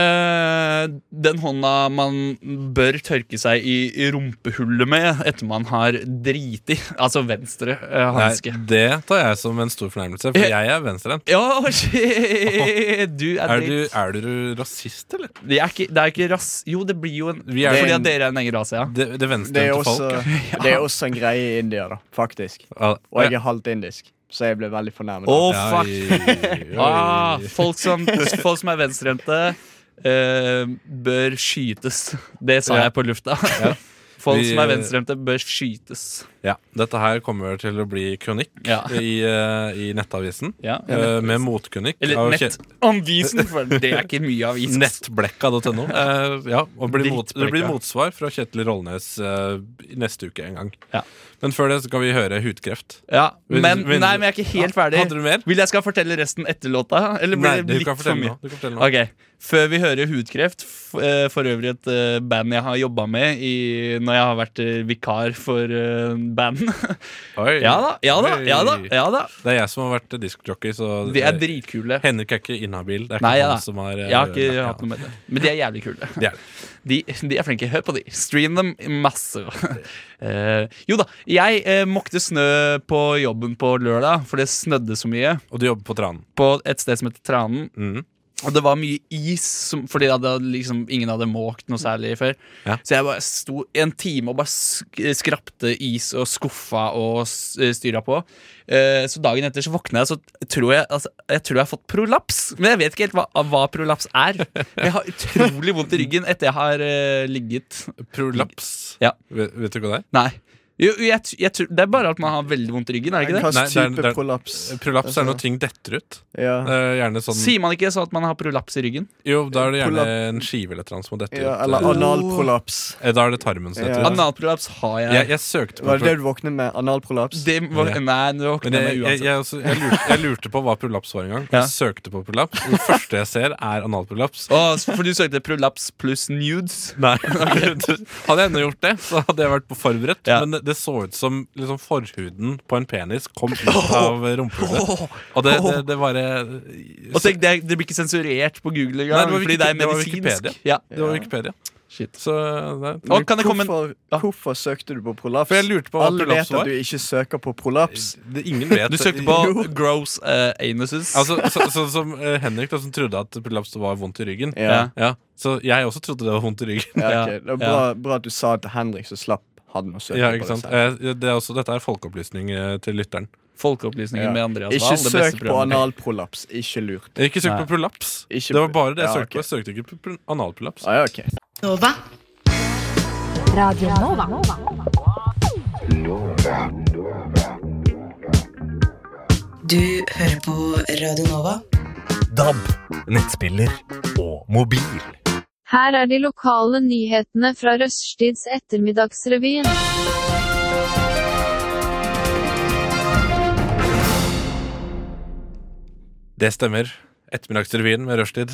[SPEAKER 3] den hånda man bør tørke seg i, i rumpehullet med etter man har driti. Altså venstre eh, hanske.
[SPEAKER 2] Nei, det tar jeg som en stor fornærmelse, for jeg er venstrehendt.
[SPEAKER 3] Ja, shit! Du er,
[SPEAKER 2] Er, du-
[SPEAKER 3] dritt.
[SPEAKER 2] er du rasist, eller?
[SPEAKER 3] Det er ikke, det er ikke ras... Jo, det blir jo en
[SPEAKER 2] Vi er-
[SPEAKER 3] Fordi at dere er en egen rase, ja.
[SPEAKER 2] Det, det
[SPEAKER 4] Det er,
[SPEAKER 2] venstrehendte folk.
[SPEAKER 4] også, det er også en greie i India, da, faktisk.
[SPEAKER 2] Ja.
[SPEAKER 4] Og jeg er halvt indisk, så jeg ble veldig fornærmet.
[SPEAKER 3] Å,
[SPEAKER 2] Oi,
[SPEAKER 3] fuck!
[SPEAKER 2] oi, oi.
[SPEAKER 3] Ah, folk, som, folk som er venstrehendte, eh, bør skytes. Det sa
[SPEAKER 2] Ja.
[SPEAKER 3] jeg på lufta. Folk
[SPEAKER 2] Vi-
[SPEAKER 3] som er venstrehendte, bør skytes.
[SPEAKER 2] Ja, Dette her kommer til å bli kronikk
[SPEAKER 3] Ja.
[SPEAKER 2] i, eh, i Nettavisen.
[SPEAKER 3] Ja.
[SPEAKER 2] eh, med motkronikk. av
[SPEAKER 3] Eller
[SPEAKER 2] Kje-
[SPEAKER 3] Nettavisen, for det er ikke mye avis.
[SPEAKER 2] Nettblekka.no. Eh, ja, og blir mot, det blir
[SPEAKER 3] Drittblekka.
[SPEAKER 2] motsvar fra Kjetil Rollnes eh, i neste uke en gang.
[SPEAKER 3] Ja.
[SPEAKER 2] Men før det så skal vi høre hudkreft.
[SPEAKER 3] Ja,
[SPEAKER 2] Vil-
[SPEAKER 3] men,
[SPEAKER 2] vil-
[SPEAKER 3] nei, men jeg er ikke helt ferdig.
[SPEAKER 2] Hadde du mer?
[SPEAKER 3] Vil jeg skal fortelle resten etter låta? Eller blir
[SPEAKER 2] Nei,
[SPEAKER 3] det
[SPEAKER 2] du
[SPEAKER 3] litt
[SPEAKER 2] kan
[SPEAKER 3] for
[SPEAKER 2] fortelle
[SPEAKER 3] mye?
[SPEAKER 2] nå. Du kan fortelle nå.
[SPEAKER 3] Ok, Før vi hører Hudkreft, f eh, for øvrig et eh, band jeg har jobba med i, når jeg har vært eh, vikar for eh, band.
[SPEAKER 2] Oi.
[SPEAKER 3] ja da, ja da, ja da,
[SPEAKER 2] Oi.
[SPEAKER 3] ja da.
[SPEAKER 2] Det er jeg som har vært diskjockey, så
[SPEAKER 3] De er dritkule.
[SPEAKER 2] Henrik er ikke inhabil. Det er ikke
[SPEAKER 3] Nei, ja.
[SPEAKER 2] han som er eh,
[SPEAKER 3] Jeg har
[SPEAKER 2] ja.
[SPEAKER 3] ikke hatt noe med det. Men de er jævlig kule.
[SPEAKER 2] Det er det.
[SPEAKER 3] De, de er flinke. Hør på de. Stream dem masse. Eh, jo da, jeg eh, måkte snø på jobben på lørdag, for det snødde så mye.
[SPEAKER 2] Og du jobber på Tranen.
[SPEAKER 3] På et sted som heter Tranen.
[SPEAKER 2] Mm.
[SPEAKER 3] Og det var mye is, som, fordi jeg hadde liksom, ingen hadde måkt noe særlig før.
[SPEAKER 2] Ja.
[SPEAKER 3] Så jeg bare sto i en time og bare sk skrapte is og skuffa og s- styra på. Eh, så dagen etter så våkna jeg, så tror jeg altså, Jeg tror jeg har fått prolaps. Men jeg vet ikke helt hva, hva prolaps er. Jeg har utrolig vondt i ryggen etter jeg har eh, ligget.
[SPEAKER 2] Prolaps.
[SPEAKER 3] Ja.
[SPEAKER 2] Vet, vet du hva det er?
[SPEAKER 3] Nei. Jo, jo, jeg, tr- jeg tror, det er bare at man har veldig vondt i ryggen, er det ikke
[SPEAKER 4] Hva
[SPEAKER 3] det?
[SPEAKER 2] Nei,
[SPEAKER 4] slags
[SPEAKER 2] det er- det
[SPEAKER 4] type
[SPEAKER 2] er-
[SPEAKER 4] prolaps?
[SPEAKER 2] Prolaps er når ting detter ut.
[SPEAKER 4] Ja.
[SPEAKER 2] Eh, gjerne sånn
[SPEAKER 3] Sier man ikke sånn at man har prolaps i ryggen?
[SPEAKER 2] Jo, da er det gjerne
[SPEAKER 4] Prolap-
[SPEAKER 2] en skive eller et eller annet som har dettet
[SPEAKER 4] ja,
[SPEAKER 2] ut.
[SPEAKER 4] eller
[SPEAKER 2] Eh,
[SPEAKER 4] analprolaps.
[SPEAKER 2] eh, Da er det tarmen som detter
[SPEAKER 4] Ja.
[SPEAKER 3] Ah,
[SPEAKER 2] ut.
[SPEAKER 3] Analprolaps har jeg.
[SPEAKER 2] Jeg, jeg søkte på
[SPEAKER 4] Var det det du våknet med? Analprolaps?
[SPEAKER 3] Det var,
[SPEAKER 2] Ja.
[SPEAKER 3] Nei, nå
[SPEAKER 2] Men
[SPEAKER 3] våkner
[SPEAKER 2] jeg,
[SPEAKER 3] jeg meg
[SPEAKER 2] jeg,
[SPEAKER 3] uansett.
[SPEAKER 2] jeg, også, jeg, lurte, jeg lurte på hva prolaps var en gang.
[SPEAKER 3] Ja.
[SPEAKER 2] Jeg søkte på prolaps. og Det første jeg ser, er analprolaps.
[SPEAKER 3] Å, s- for du søkte prolaps pluss nudes?
[SPEAKER 2] Nei, Hadde jeg ennå gjort det, så hadde jeg vært på forberedt.
[SPEAKER 3] Ja.
[SPEAKER 2] Men det, det så ut som liksom, forhuden på en penis kom ut av rumpehullet. Og det, det, eh, det bare
[SPEAKER 3] Og tenk, det, det blir ikke sensurert på Google
[SPEAKER 2] Nei, det
[SPEAKER 3] engang,
[SPEAKER 2] var
[SPEAKER 3] fordi det er
[SPEAKER 2] Wikipedia- det var
[SPEAKER 3] medisinsk.
[SPEAKER 2] Wikipedia.
[SPEAKER 3] Ja.
[SPEAKER 2] Det var Wikipedia.
[SPEAKER 3] Shit.
[SPEAKER 2] Så det,
[SPEAKER 3] Å, kan det komme en
[SPEAKER 4] hvorfor,
[SPEAKER 3] Ja.
[SPEAKER 4] hvorfor søkte du på prolaps?
[SPEAKER 2] For jeg lurte på hva
[SPEAKER 4] Alle
[SPEAKER 2] prolaps
[SPEAKER 4] vet
[SPEAKER 2] var.
[SPEAKER 4] at du ikke søker på prolaps.
[SPEAKER 2] det, ingen vet
[SPEAKER 3] Du søkte
[SPEAKER 2] Jo.
[SPEAKER 3] på gross eh, anuses.
[SPEAKER 2] Altså, så, så, som eh, Henrik, da, som trodde at prolaps var vondt i ryggen.
[SPEAKER 4] Ja, ja.
[SPEAKER 2] Ja, Så jeg også trodde det var vondt i ryggen.
[SPEAKER 3] Ja,
[SPEAKER 4] ok. Det var
[SPEAKER 3] ja.
[SPEAKER 4] bra, bra at du sa det til Henrik, så slapp han å søke
[SPEAKER 2] Ja,
[SPEAKER 4] på
[SPEAKER 2] ikke sant?
[SPEAKER 4] det. selv.
[SPEAKER 2] Eh, Det er også, dette er folkeopplysning eh, til lytteren.
[SPEAKER 3] Folkeopplysningen
[SPEAKER 4] Ja.
[SPEAKER 3] med Andreas
[SPEAKER 4] Ikke
[SPEAKER 3] Wahl. Det beste
[SPEAKER 4] søk på
[SPEAKER 3] programmet.
[SPEAKER 4] analprolaps. Ikke lurt.
[SPEAKER 2] Ikke søk
[SPEAKER 3] Nei.
[SPEAKER 2] på prolaps.
[SPEAKER 4] Ikke-
[SPEAKER 2] det var bare det jeg
[SPEAKER 4] ja,
[SPEAKER 2] søkte
[SPEAKER 4] ok.
[SPEAKER 2] på. Jeg søkte ikke på pr- analprolaps.
[SPEAKER 4] Ah, ja, ok.
[SPEAKER 5] Nova.
[SPEAKER 6] Radio Nova.
[SPEAKER 5] Du hører på Radio Nova.
[SPEAKER 7] DAB, nettspiller og mobil.
[SPEAKER 8] Her er de lokale nyhetene fra Røststids ettermiddagsrevyen.
[SPEAKER 2] Det stemmer. Ettermiddagsrevyen med rushtid.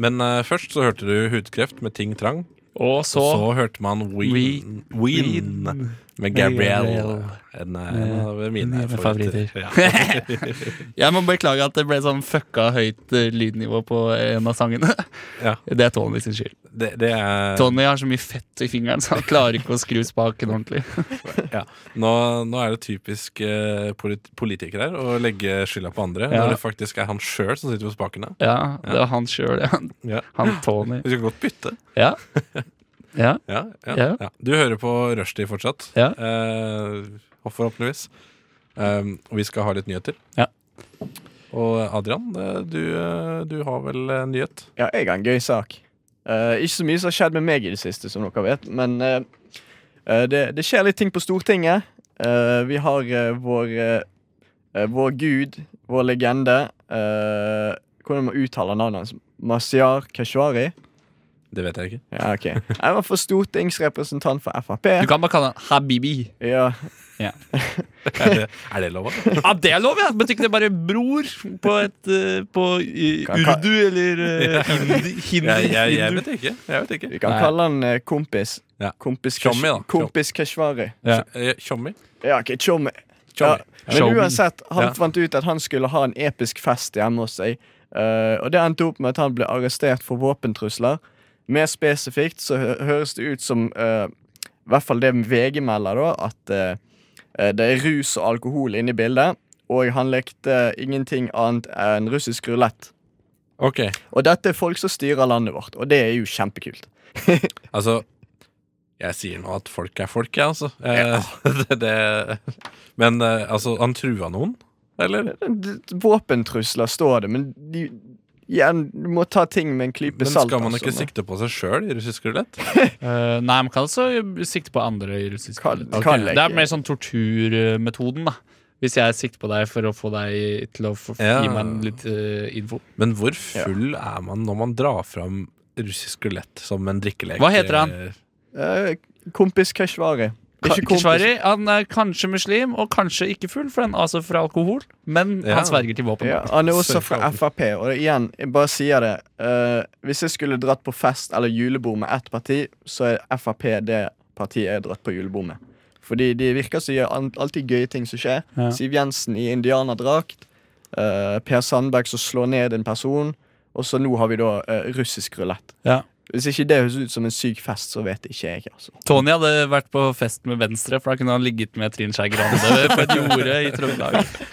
[SPEAKER 2] Men eh, først så hørte du Hudkreft med Ting Trang.
[SPEAKER 3] Og
[SPEAKER 2] Så,
[SPEAKER 3] så
[SPEAKER 2] så hørte man Ween, Ween, med Gabrielle.
[SPEAKER 3] Gabrielle.
[SPEAKER 2] En, eh, en av mine
[SPEAKER 3] Mine
[SPEAKER 2] favoritter.
[SPEAKER 3] favoritter.
[SPEAKER 2] Ja.
[SPEAKER 3] Jeg må beklage at det ble sånn fucka høyt eh, lydnivå på en av sangene.
[SPEAKER 2] Ja.
[SPEAKER 3] Det er Tony sin skyld.
[SPEAKER 2] Det, det er,
[SPEAKER 3] Tony har så mye fett i fingeren, så han klarer ikke å skru spaken ordentlig.
[SPEAKER 2] ja. nå, nå er det typisk eh, polit politikere her å legge skylda på andre,
[SPEAKER 3] Ja.
[SPEAKER 2] når det faktisk er han sjøl som sitter på spakene.
[SPEAKER 3] Ja, det var han sjøl, han,
[SPEAKER 2] Ja.
[SPEAKER 3] han Tony.
[SPEAKER 2] Vi skal godt bytte.
[SPEAKER 3] Ja. Ja.
[SPEAKER 2] Ja, ja, ja.
[SPEAKER 3] Ja.
[SPEAKER 2] Du hører på Rushdie fortsatt.
[SPEAKER 3] Ja.
[SPEAKER 2] Eh, forhåpentligvis. Um, og vi skal ha litt nyheter.
[SPEAKER 3] Ja.
[SPEAKER 2] Og Adrian, eh, du, eh, du har vel en nyhet?
[SPEAKER 4] Ja, jeg har en gøy sak. Eh, ikke så mye som har skjedd med meg i det siste, som dere vet, men eh, eh, det, det skjer litt ting på Stortinget. Eh, vi har eh, vår eh, eh, Vår gud, vår legende eh, Hvordan man uttaler navnet hans? Mazyar Keshvari?
[SPEAKER 2] Det vet jeg ikke.
[SPEAKER 4] Ja, ok. Jeg var for stortingsrepresentant for Frp.
[SPEAKER 3] Du kan bare kalle han Habibi.
[SPEAKER 4] Ja,
[SPEAKER 2] Er det, er det lov? da?
[SPEAKER 3] Ja, det er lov, ja! Betyr ikke det bare bror på, et, eh, på eh,
[SPEAKER 4] Kan- kan-
[SPEAKER 3] urdu eller eh, hindi? hindi
[SPEAKER 2] Jeg, jeg, jeg
[SPEAKER 3] hindu?
[SPEAKER 2] vet ikke. Jeg vet ikke.
[SPEAKER 4] vi kan
[SPEAKER 3] Nei.
[SPEAKER 4] kalle han eh, kompis.
[SPEAKER 2] Ja.
[SPEAKER 4] Kompis, Kesh
[SPEAKER 2] Tjommi, da.
[SPEAKER 4] kompis Keshvari.
[SPEAKER 3] Ja.
[SPEAKER 2] Eh, Tjommi?
[SPEAKER 4] Ja, ok, Tjommi.
[SPEAKER 2] Tjommi.
[SPEAKER 4] Ja. Men
[SPEAKER 3] Showman.
[SPEAKER 4] uansett, han
[SPEAKER 2] Ja.
[SPEAKER 4] fant ut at han skulle ha en episk fest hjemme hos seg. Eh, og det endte opp med at han ble arrestert for våpentrusler. Mer spesifikt så hø høres det ut som, eh, i hvert fall det VG melder, da, at eh, eh, det er rus og alkohol inne i bildet. Og han lekte ingenting annet enn russisk rulett.
[SPEAKER 2] Ok,
[SPEAKER 4] Og dette er folk som styrer landet vårt, og det er jo kjempekult.
[SPEAKER 2] altså Jeg sier nå at folk er folk, jeg, altså. Eh, det, det, men eh, altså, han trua noen, eller?
[SPEAKER 4] D- d- Våpentrusler står det, men de, igjen, du må ta ting med en klype
[SPEAKER 2] Men
[SPEAKER 4] salt.
[SPEAKER 2] skal man ikke
[SPEAKER 4] altså.
[SPEAKER 2] sikte på seg sjøl i russisk rulett?
[SPEAKER 3] Eh, nei, man kan altså sikte på andre i russisk
[SPEAKER 4] Kan-
[SPEAKER 3] politikk.
[SPEAKER 4] kan jeg
[SPEAKER 3] Det er
[SPEAKER 4] ikke.
[SPEAKER 3] mer sånn torturmetoden, da. Hvis jeg sikter på deg for å få deg til å få,
[SPEAKER 2] Ja.
[SPEAKER 3] gi meg litt eh, info.
[SPEAKER 2] Men hvor full er man når man drar fram russisk rulett som en drikkelek?
[SPEAKER 3] Hva heter han?
[SPEAKER 4] Eh, kompis Keshvari. Ikke kompis-
[SPEAKER 3] Keshvari, han er kanskje muslim, og kanskje ikke full, for han er altså fra alkohol, men
[SPEAKER 2] Ja.
[SPEAKER 3] han sverger til våpen.
[SPEAKER 4] Ja, han er også
[SPEAKER 2] Sørg for
[SPEAKER 4] fra
[SPEAKER 2] det.
[SPEAKER 4] Frp, og igjen, jeg bare sier det. eh, hvis jeg skulle dratt på fest eller julebord med ett parti, så er Frp det partiet jeg har dratt på julebord med. Fordi de virker som de gjør an- alltid gøye ting som skjer.
[SPEAKER 3] Ja.
[SPEAKER 4] Siv Jensen i indianerdrakt. eh, per Sandberg som slår ned en person. Og så nå har vi da eh, russisk rulett.
[SPEAKER 3] Ja.
[SPEAKER 4] Hvis ikke det høres ut som en syk fest, så vet ikke jeg. altså
[SPEAKER 3] Tony hadde vært på fest med Venstre, for da kunne han ligget med Trine Skei Grande på et jorde i Trøndelag.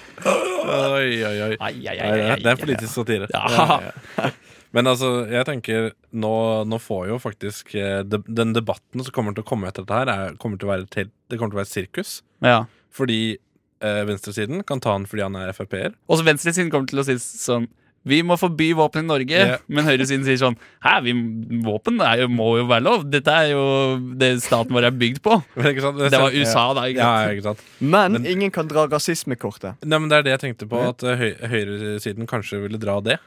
[SPEAKER 2] Oi, oi, oi.
[SPEAKER 3] Ai, ai, ai,
[SPEAKER 2] Nei, det
[SPEAKER 3] ai,
[SPEAKER 2] er- det er
[SPEAKER 3] ai.
[SPEAKER 2] politisk satire.
[SPEAKER 3] Ja.
[SPEAKER 2] Men altså, jeg tenker nå, nå får jo faktisk eh, de, Den debatten som kommer til å komme etter dette her, er, kommer til å være et helt- det kommer til å være et sirkus.
[SPEAKER 3] Ja.
[SPEAKER 2] Fordi eh, venstresiden kan ta han fordi han er Frp-er.
[SPEAKER 3] Og så venstresiden kommer til å si sånn Vi må forby våpen i Norge,
[SPEAKER 2] Ja.
[SPEAKER 3] men høyresiden sier sånn Hæ, vi, våpen er jo, må jo være lov. Dette er jo det staten vår er bygd på.
[SPEAKER 2] Men ikke sant?
[SPEAKER 3] Det var USA, da. Ikke
[SPEAKER 2] Ja,
[SPEAKER 3] sant?
[SPEAKER 2] ikke sant?
[SPEAKER 4] Men,
[SPEAKER 2] Men-
[SPEAKER 4] ingen kan dra rasismekortet.
[SPEAKER 2] Nei, men Det er det jeg tenkte på, at eh, høy, høyresiden kanskje ville dra det.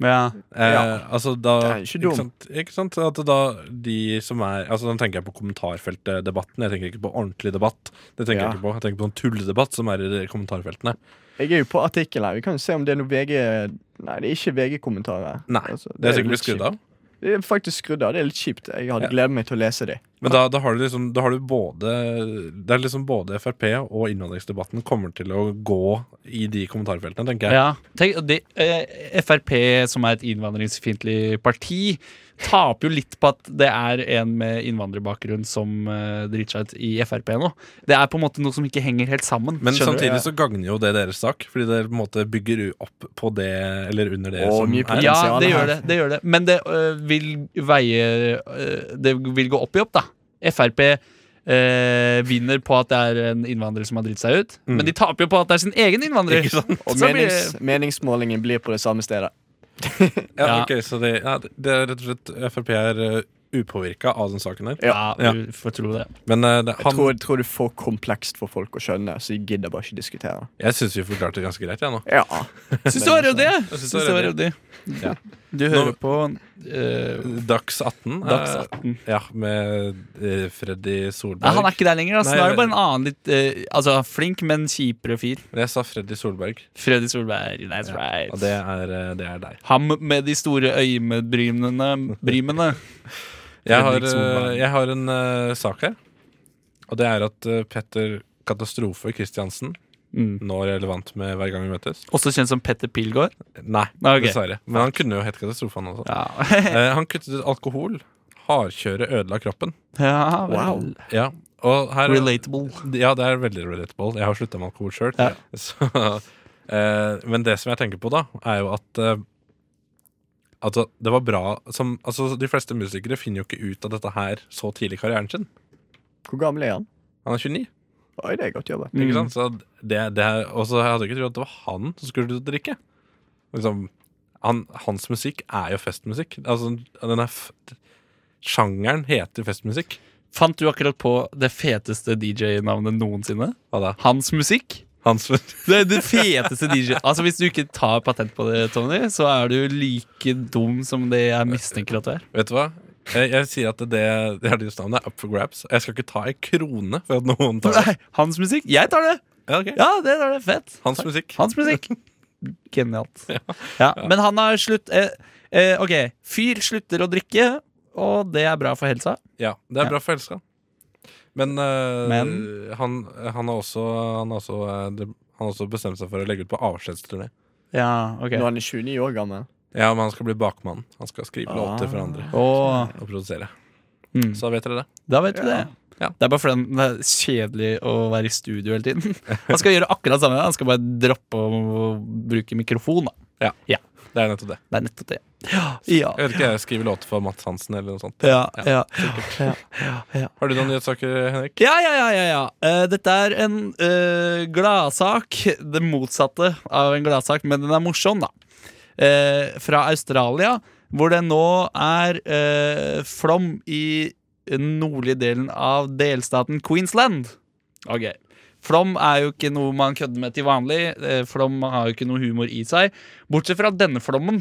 [SPEAKER 3] Ja.
[SPEAKER 2] Eh,
[SPEAKER 4] Ja.
[SPEAKER 2] Altså da
[SPEAKER 4] Det er ikke dum.
[SPEAKER 2] sant? ikke sant? At da de som er Altså Da tenker jeg på kommentarfeltdebatten. Jeg tenker ikke på ordentlig debatt. Det tenker
[SPEAKER 4] Ja.
[SPEAKER 2] Jeg ikke på Jeg tenker på sånn tulledebatt som er i de kommentarfeltene.
[SPEAKER 4] Jeg er jo på artikkel her. Vi kan jo se om det er noe VG Nei, det er ikke VG-kommentarer.
[SPEAKER 2] Nei,
[SPEAKER 4] Altså,
[SPEAKER 2] Det er
[SPEAKER 4] litt
[SPEAKER 2] sikkert blitt skrudd
[SPEAKER 4] kjipt.
[SPEAKER 2] av.
[SPEAKER 4] Det er faktisk skrudd av. Det er litt kjipt. Jeg hadde
[SPEAKER 2] Ja.
[SPEAKER 4] gledet meg til å lese det.
[SPEAKER 2] Men da, da har du liksom Da har du både Det er liksom både Frp og innvandringsdebatten kommer til å gå i de kommentarfeltene, tenker jeg.
[SPEAKER 3] ja. Tenk, det, eh, Frp, som er et innvandringsfiendtlig parti, taper jo litt på at det er en med innvandrerbakgrunn som eh, driter seg ut i Frp nå. Det er på en måte noe som ikke henger helt sammen.
[SPEAKER 2] Men
[SPEAKER 3] skjønner du?
[SPEAKER 2] samtidig så gagner jo det deres sak, fordi det på en måte bygger u- opp på det eller under det
[SPEAKER 4] Å,
[SPEAKER 2] som
[SPEAKER 4] mye
[SPEAKER 2] er.
[SPEAKER 4] politikk.
[SPEAKER 3] Ja,
[SPEAKER 4] potensialet
[SPEAKER 3] det
[SPEAKER 4] her.
[SPEAKER 3] gjør det, det gjør det. Men det øh, vil veie øh, Det vil gå opp i opp, da. Frp øh, vinner på at det er en innvandrer som har dritt seg ut.
[SPEAKER 2] Mm.
[SPEAKER 3] Men de taper jo på at det er sin egen innvandrer.
[SPEAKER 2] Ikke sant?
[SPEAKER 4] Og
[SPEAKER 3] Så blir-
[SPEAKER 4] menings, meningsmålingen blir på det samme stedet.
[SPEAKER 2] Ja,
[SPEAKER 3] Ja.
[SPEAKER 2] ok, så det, ja, det er rett og slett Frp er uh, upåvirka av den saken her.
[SPEAKER 3] Ja,
[SPEAKER 2] Ja.
[SPEAKER 3] du får tro det.
[SPEAKER 2] Men uh, det,
[SPEAKER 4] Jeg
[SPEAKER 2] han
[SPEAKER 4] tror, jeg tror det er for komplekst for folk å skjønne, så jeg gidder bare ikke diskutere det.
[SPEAKER 2] Jeg syns vi forklarte det ganske greit, jeg nå.
[SPEAKER 4] Ja.
[SPEAKER 3] Syns du var ryddig?
[SPEAKER 2] Jeg synes
[SPEAKER 3] Syns
[SPEAKER 2] det
[SPEAKER 3] du
[SPEAKER 2] var
[SPEAKER 3] var ryddig?
[SPEAKER 2] Ja.
[SPEAKER 3] Du hører
[SPEAKER 2] Nå-
[SPEAKER 3] på øh,
[SPEAKER 2] Dags 18. er-
[SPEAKER 3] Dags 18.
[SPEAKER 2] Ja, med eh, Freddy Solberg.
[SPEAKER 3] Nei, han er ikke der lenger. Altså,
[SPEAKER 2] Nei,
[SPEAKER 3] nå er det bare en annen litt øh, Altså, flink, men kjipere fyr.
[SPEAKER 2] Jeg sa Freddy Solberg,
[SPEAKER 3] Freddy Solberg. That's right.
[SPEAKER 2] og det er, eh, det er deg.
[SPEAKER 3] Ham med de store øyebrynene. Brymene.
[SPEAKER 2] Jeg har,
[SPEAKER 3] Fredrik Solberg.
[SPEAKER 2] eh, jeg har en eh, sak her. Og det er at eh, Petter Katastrofe Kristiansen,
[SPEAKER 3] Mm.
[SPEAKER 2] nå relevant med Hver gang vi møtes
[SPEAKER 3] Også kjent som Petter Pilgaard.
[SPEAKER 2] Nei,
[SPEAKER 3] Nei, ok.
[SPEAKER 2] dessverre. Men han kunne jo hett Katastrofe, han også.
[SPEAKER 3] Ja.
[SPEAKER 2] Eh, han kuttet ut alkohol. Hardkjøret ødela kroppen.
[SPEAKER 3] ja vel.
[SPEAKER 4] Wow.
[SPEAKER 2] Ja, og her
[SPEAKER 3] Relatable.
[SPEAKER 2] Ja, det er veldig relatable. Jeg har slutta med alkohol sjøl.
[SPEAKER 3] Ja.
[SPEAKER 2] Eh, men det som jeg tenker på, da, er jo at eh, Altså, det var bra som, altså, De fleste musikere finner jo ikke ut av dette her så tidlig i karrieren sin.
[SPEAKER 4] Hvor gammel er han?
[SPEAKER 2] Han er 29.
[SPEAKER 4] Oi, det er godt jobba.
[SPEAKER 2] Ikke
[SPEAKER 3] Mm.
[SPEAKER 2] sant? Så det, det er, og så hadde jeg ikke trodd at det var han som skulle ut og drikke. Liksom, han, hans musikk er jo festmusikk. Altså, den er f Sjangeren heter festmusikk.
[SPEAKER 3] Fant du akkurat på det feteste DJ-navnet noensinne?
[SPEAKER 2] Hva da?
[SPEAKER 3] Hans musikk?
[SPEAKER 2] Hans
[SPEAKER 3] Det er det feteste DJ Altså Hvis du ikke tar patent på det, Tony, så er du like dum som det jeg mistenker at du er.
[SPEAKER 2] Vet du hva? Jeg, jeg sier at det, det er deres navn. Det er up for grabs. Jeg skal ikke ta ei krone for at noen tar det.
[SPEAKER 3] Nei, Hans musikk? Jeg tar det!
[SPEAKER 2] Ja, ok.
[SPEAKER 3] Ja, det tar det. Fett.
[SPEAKER 2] Hans musikk.
[SPEAKER 3] Hans musikk. Genialt. Ja, men han har slutt eh, eh, Ok, fyr slutter å drikke, og det er bra for helsa.
[SPEAKER 2] Ja, det er
[SPEAKER 3] Ja.
[SPEAKER 2] bra for helsa. Men, eh,
[SPEAKER 3] Men?
[SPEAKER 2] han, han har også, han har også, eh, det- han har også bestemt seg for å legge ut på avskjedsturné.
[SPEAKER 3] Ja, ok
[SPEAKER 4] Nå er han 29 år gammel.
[SPEAKER 2] Ja, men han skal bli bakmann. Han skal skrive låter for andre
[SPEAKER 3] Ah. Åh,
[SPEAKER 2] og produsere.
[SPEAKER 3] mm.
[SPEAKER 2] Så da vet dere det.
[SPEAKER 3] Da vet du
[SPEAKER 4] Ja.
[SPEAKER 3] det Det er bare fordi han- det er kjedelig å være i studio hele tiden Han skal gjøre akkurat det samme Han skal bare droppe å bruke mikrofon da.
[SPEAKER 2] Det er nettopp det.
[SPEAKER 3] Det er nettopp det Ja, ja,
[SPEAKER 2] Jeg vet ikke, jeg skriver låter for Mats Hansen eller noe sånt.
[SPEAKER 3] ja, ja, ja, ja.
[SPEAKER 2] Har du noen nyhetssaker, Henrik?
[SPEAKER 3] Ja, ja, ja, ja, ja. Eh, dette er en eh, gladsak. Det motsatte av en gladsak, men den er morsom, da. Eh, fra Australia, hvor det nå er eh, flom i den nordlige delen av delstaten Queensland. Ok. Flom er jo ikke noe man kødder med til vanlig. Eh, Flom har jo ikke noe humor i seg. Bortsett fra denne flommen.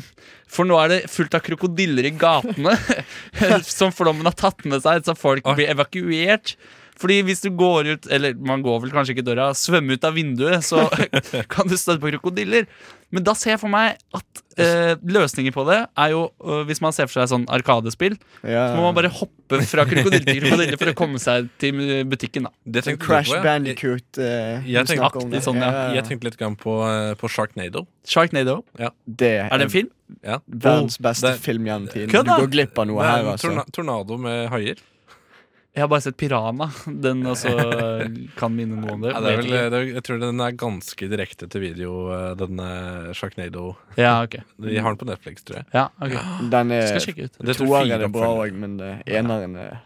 [SPEAKER 3] For nå er det fullt av krokodiller i gatene som flommen har tatt med seg, så folk blir evakuert. Fordi hvis du går ut, eller man går vel kanskje ikke døra, svømmer ut av vinduet, så kan du støtte på krokodiller. Men da ser jeg for meg at eh, løsninger på det er jo eh, Hvis man ser for seg sånn Arkadespill,
[SPEAKER 4] Ja.
[SPEAKER 3] så må man bare hoppe fra krokodille til krokodille for å komme seg til butikken, da.
[SPEAKER 2] Det
[SPEAKER 4] Sånn
[SPEAKER 2] tenkte jeg
[SPEAKER 4] Crash
[SPEAKER 2] på, ja.
[SPEAKER 4] Bandicoot. Eh,
[SPEAKER 2] Jeg
[SPEAKER 4] du
[SPEAKER 2] tenkte
[SPEAKER 4] snakker om
[SPEAKER 3] aktig
[SPEAKER 4] det.
[SPEAKER 3] sånn, ja.
[SPEAKER 2] Jeg tenkte litt grann på, eh, på Sharknado.
[SPEAKER 3] Sharknado.
[SPEAKER 4] Det er,
[SPEAKER 3] Er det en film? Oh,
[SPEAKER 2] Ja.
[SPEAKER 4] verdens beste
[SPEAKER 2] Oh, Det-
[SPEAKER 4] film gjennom tiden.
[SPEAKER 3] Kødda!
[SPEAKER 4] Du går glipp av noe
[SPEAKER 2] Det er
[SPEAKER 4] her,
[SPEAKER 2] en
[SPEAKER 4] altså.
[SPEAKER 2] torna tornado med haier.
[SPEAKER 3] Jeg har bare sett Piranha. Den også kan minne noe om det.
[SPEAKER 2] Ja, det er vel,
[SPEAKER 4] eh,
[SPEAKER 2] det er, jeg tror den er ganske direkte til video, eh, denne Sharknado.
[SPEAKER 3] Ja, ok.
[SPEAKER 2] De har den på Netflix, tror jeg.
[SPEAKER 3] Ja, ok.
[SPEAKER 4] Den
[SPEAKER 3] Skal
[SPEAKER 4] er
[SPEAKER 3] sjekke
[SPEAKER 2] Det
[SPEAKER 3] ut.
[SPEAKER 2] tror jeg
[SPEAKER 4] Toeren
[SPEAKER 2] fire
[SPEAKER 4] er bra
[SPEAKER 2] oppfølgere.
[SPEAKER 4] òg, men eh, eneren er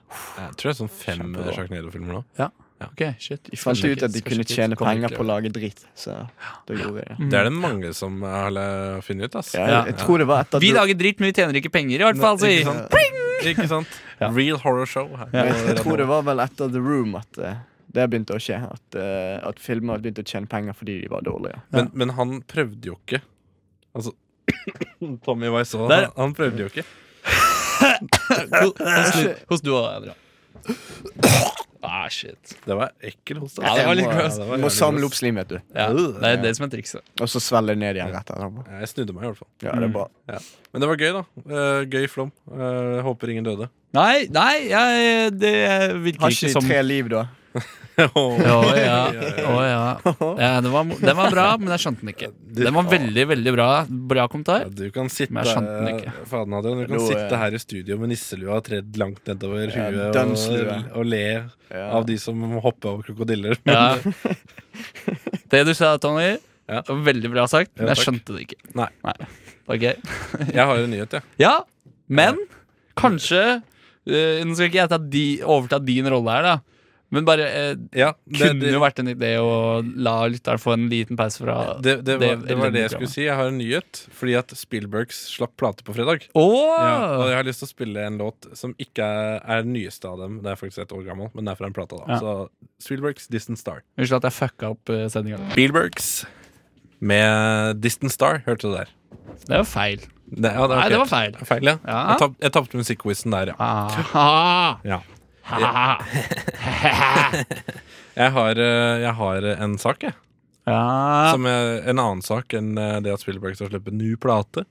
[SPEAKER 2] Jeg tror det er sånn fem
[SPEAKER 4] Kjempebra.
[SPEAKER 2] eh, Sharknado-filmer nå.
[SPEAKER 3] Ok, shit.
[SPEAKER 4] De fant ut at de kunne tjene penger på å lage dritt, så da gjorde de det.
[SPEAKER 2] Det er det mange som har eh, funnet ut, ass.
[SPEAKER 4] Ja, jeg, jeg tror det var etter
[SPEAKER 3] Vi
[SPEAKER 4] at
[SPEAKER 3] lager dritt, men vi tjener ikke penger, i hvert fall.
[SPEAKER 2] Ikke
[SPEAKER 3] sier
[SPEAKER 2] sant? Ikke sant? Real horror show. Her.
[SPEAKER 4] Ja, Jeg tror det var vel etter The Room at eh, det begynte å skje. At, eh, at filmer begynte å tjene penger fordi de var dårlige.
[SPEAKER 2] Men, men han prøvde jo ikke. Altså Tommy Wiseau,
[SPEAKER 3] Der.
[SPEAKER 2] han, han prøvde jo ikke.
[SPEAKER 3] Hos- Hos du og Adrian. Ah, shit.
[SPEAKER 2] Det var ekkel hos deg.
[SPEAKER 3] Ja, det var litt
[SPEAKER 2] Jeg må-
[SPEAKER 3] gross.
[SPEAKER 2] ja, det var
[SPEAKER 4] Du må
[SPEAKER 2] jævlig
[SPEAKER 4] samle opp
[SPEAKER 2] gross.
[SPEAKER 4] slim, vet du.
[SPEAKER 3] Ja, det er det som er trikset.
[SPEAKER 4] Og så svelge ned igjen rett etterpå.
[SPEAKER 2] Ja, Jeg snudde meg, i hvert fall.
[SPEAKER 4] Ja, det er bra.
[SPEAKER 2] Men det var gøy, da. Eh, gøy flom. Eh, håper ingen døde.
[SPEAKER 3] Nei, nei, jeg, det virker
[SPEAKER 4] Har ikke
[SPEAKER 3] ikke
[SPEAKER 4] de
[SPEAKER 3] som
[SPEAKER 4] tre liv, da?
[SPEAKER 3] Å
[SPEAKER 2] Åh.
[SPEAKER 3] ja. Å, ja. ja den, var, den var bra, men jeg skjønte den ikke. Den var veldig, veldig bra. Bra
[SPEAKER 2] Ja,
[SPEAKER 3] kommentar.
[SPEAKER 2] du kan sitte
[SPEAKER 3] Men jeg skjønte den ikke.
[SPEAKER 2] Faden, Adrian, du kan
[SPEAKER 4] Nå, eh,
[SPEAKER 2] sitte her i studio med nisselua tredd langt nedover
[SPEAKER 4] Ja,
[SPEAKER 2] huet og,
[SPEAKER 4] dønnslue.
[SPEAKER 2] og le
[SPEAKER 4] Ja.
[SPEAKER 2] av de som hopper over krokodiller. Men
[SPEAKER 3] Ja. Det du sa, Tony,
[SPEAKER 2] Ja.
[SPEAKER 3] var veldig bra sagt, men
[SPEAKER 2] Ja,
[SPEAKER 3] jeg
[SPEAKER 2] takk.
[SPEAKER 3] skjønte det ikke.
[SPEAKER 2] Nei.
[SPEAKER 3] Ok.
[SPEAKER 2] jeg har en nyhet, jeg.
[SPEAKER 3] Ja, men kanskje eh, Nå skal ikke jeg ta di, overta din rolle her, da. Men bare eh,
[SPEAKER 2] Ja,
[SPEAKER 3] kunne jo vært en idé å la lytteren få en liten pause fra
[SPEAKER 2] det, det, var, det var det jeg
[SPEAKER 3] programmet.
[SPEAKER 2] skulle si. Jeg har en nyhet. Fordi at Spielbergs slapp plate på fredag.
[SPEAKER 3] Å!
[SPEAKER 2] Ja, og jeg har lyst til å spille en låt som ikke er, er den nyeste av dem. Den er faktisk et år gammel, men den er fra en plate. da
[SPEAKER 3] Ja.
[SPEAKER 2] Så Spielbergs Distant Star.
[SPEAKER 3] Unnskyld at jeg fucka opp uh, sendinga.
[SPEAKER 2] Spielbergs med Distant Star, hørte du der?
[SPEAKER 3] Det var feil.
[SPEAKER 2] Det, ja,
[SPEAKER 3] Nei, det
[SPEAKER 2] ok.
[SPEAKER 3] var feil.
[SPEAKER 2] Feil, ja.
[SPEAKER 3] Ja.
[SPEAKER 2] Jeg tap- Jeg tapte musikkquizen der, ja.
[SPEAKER 3] Ah.
[SPEAKER 2] ja.
[SPEAKER 3] Ah.
[SPEAKER 2] Jeg, har, eh, jeg har en sak, jeg.
[SPEAKER 3] Ja.
[SPEAKER 2] Som er en annen sak enn eh, det at Spielberg skal slippe ny plate.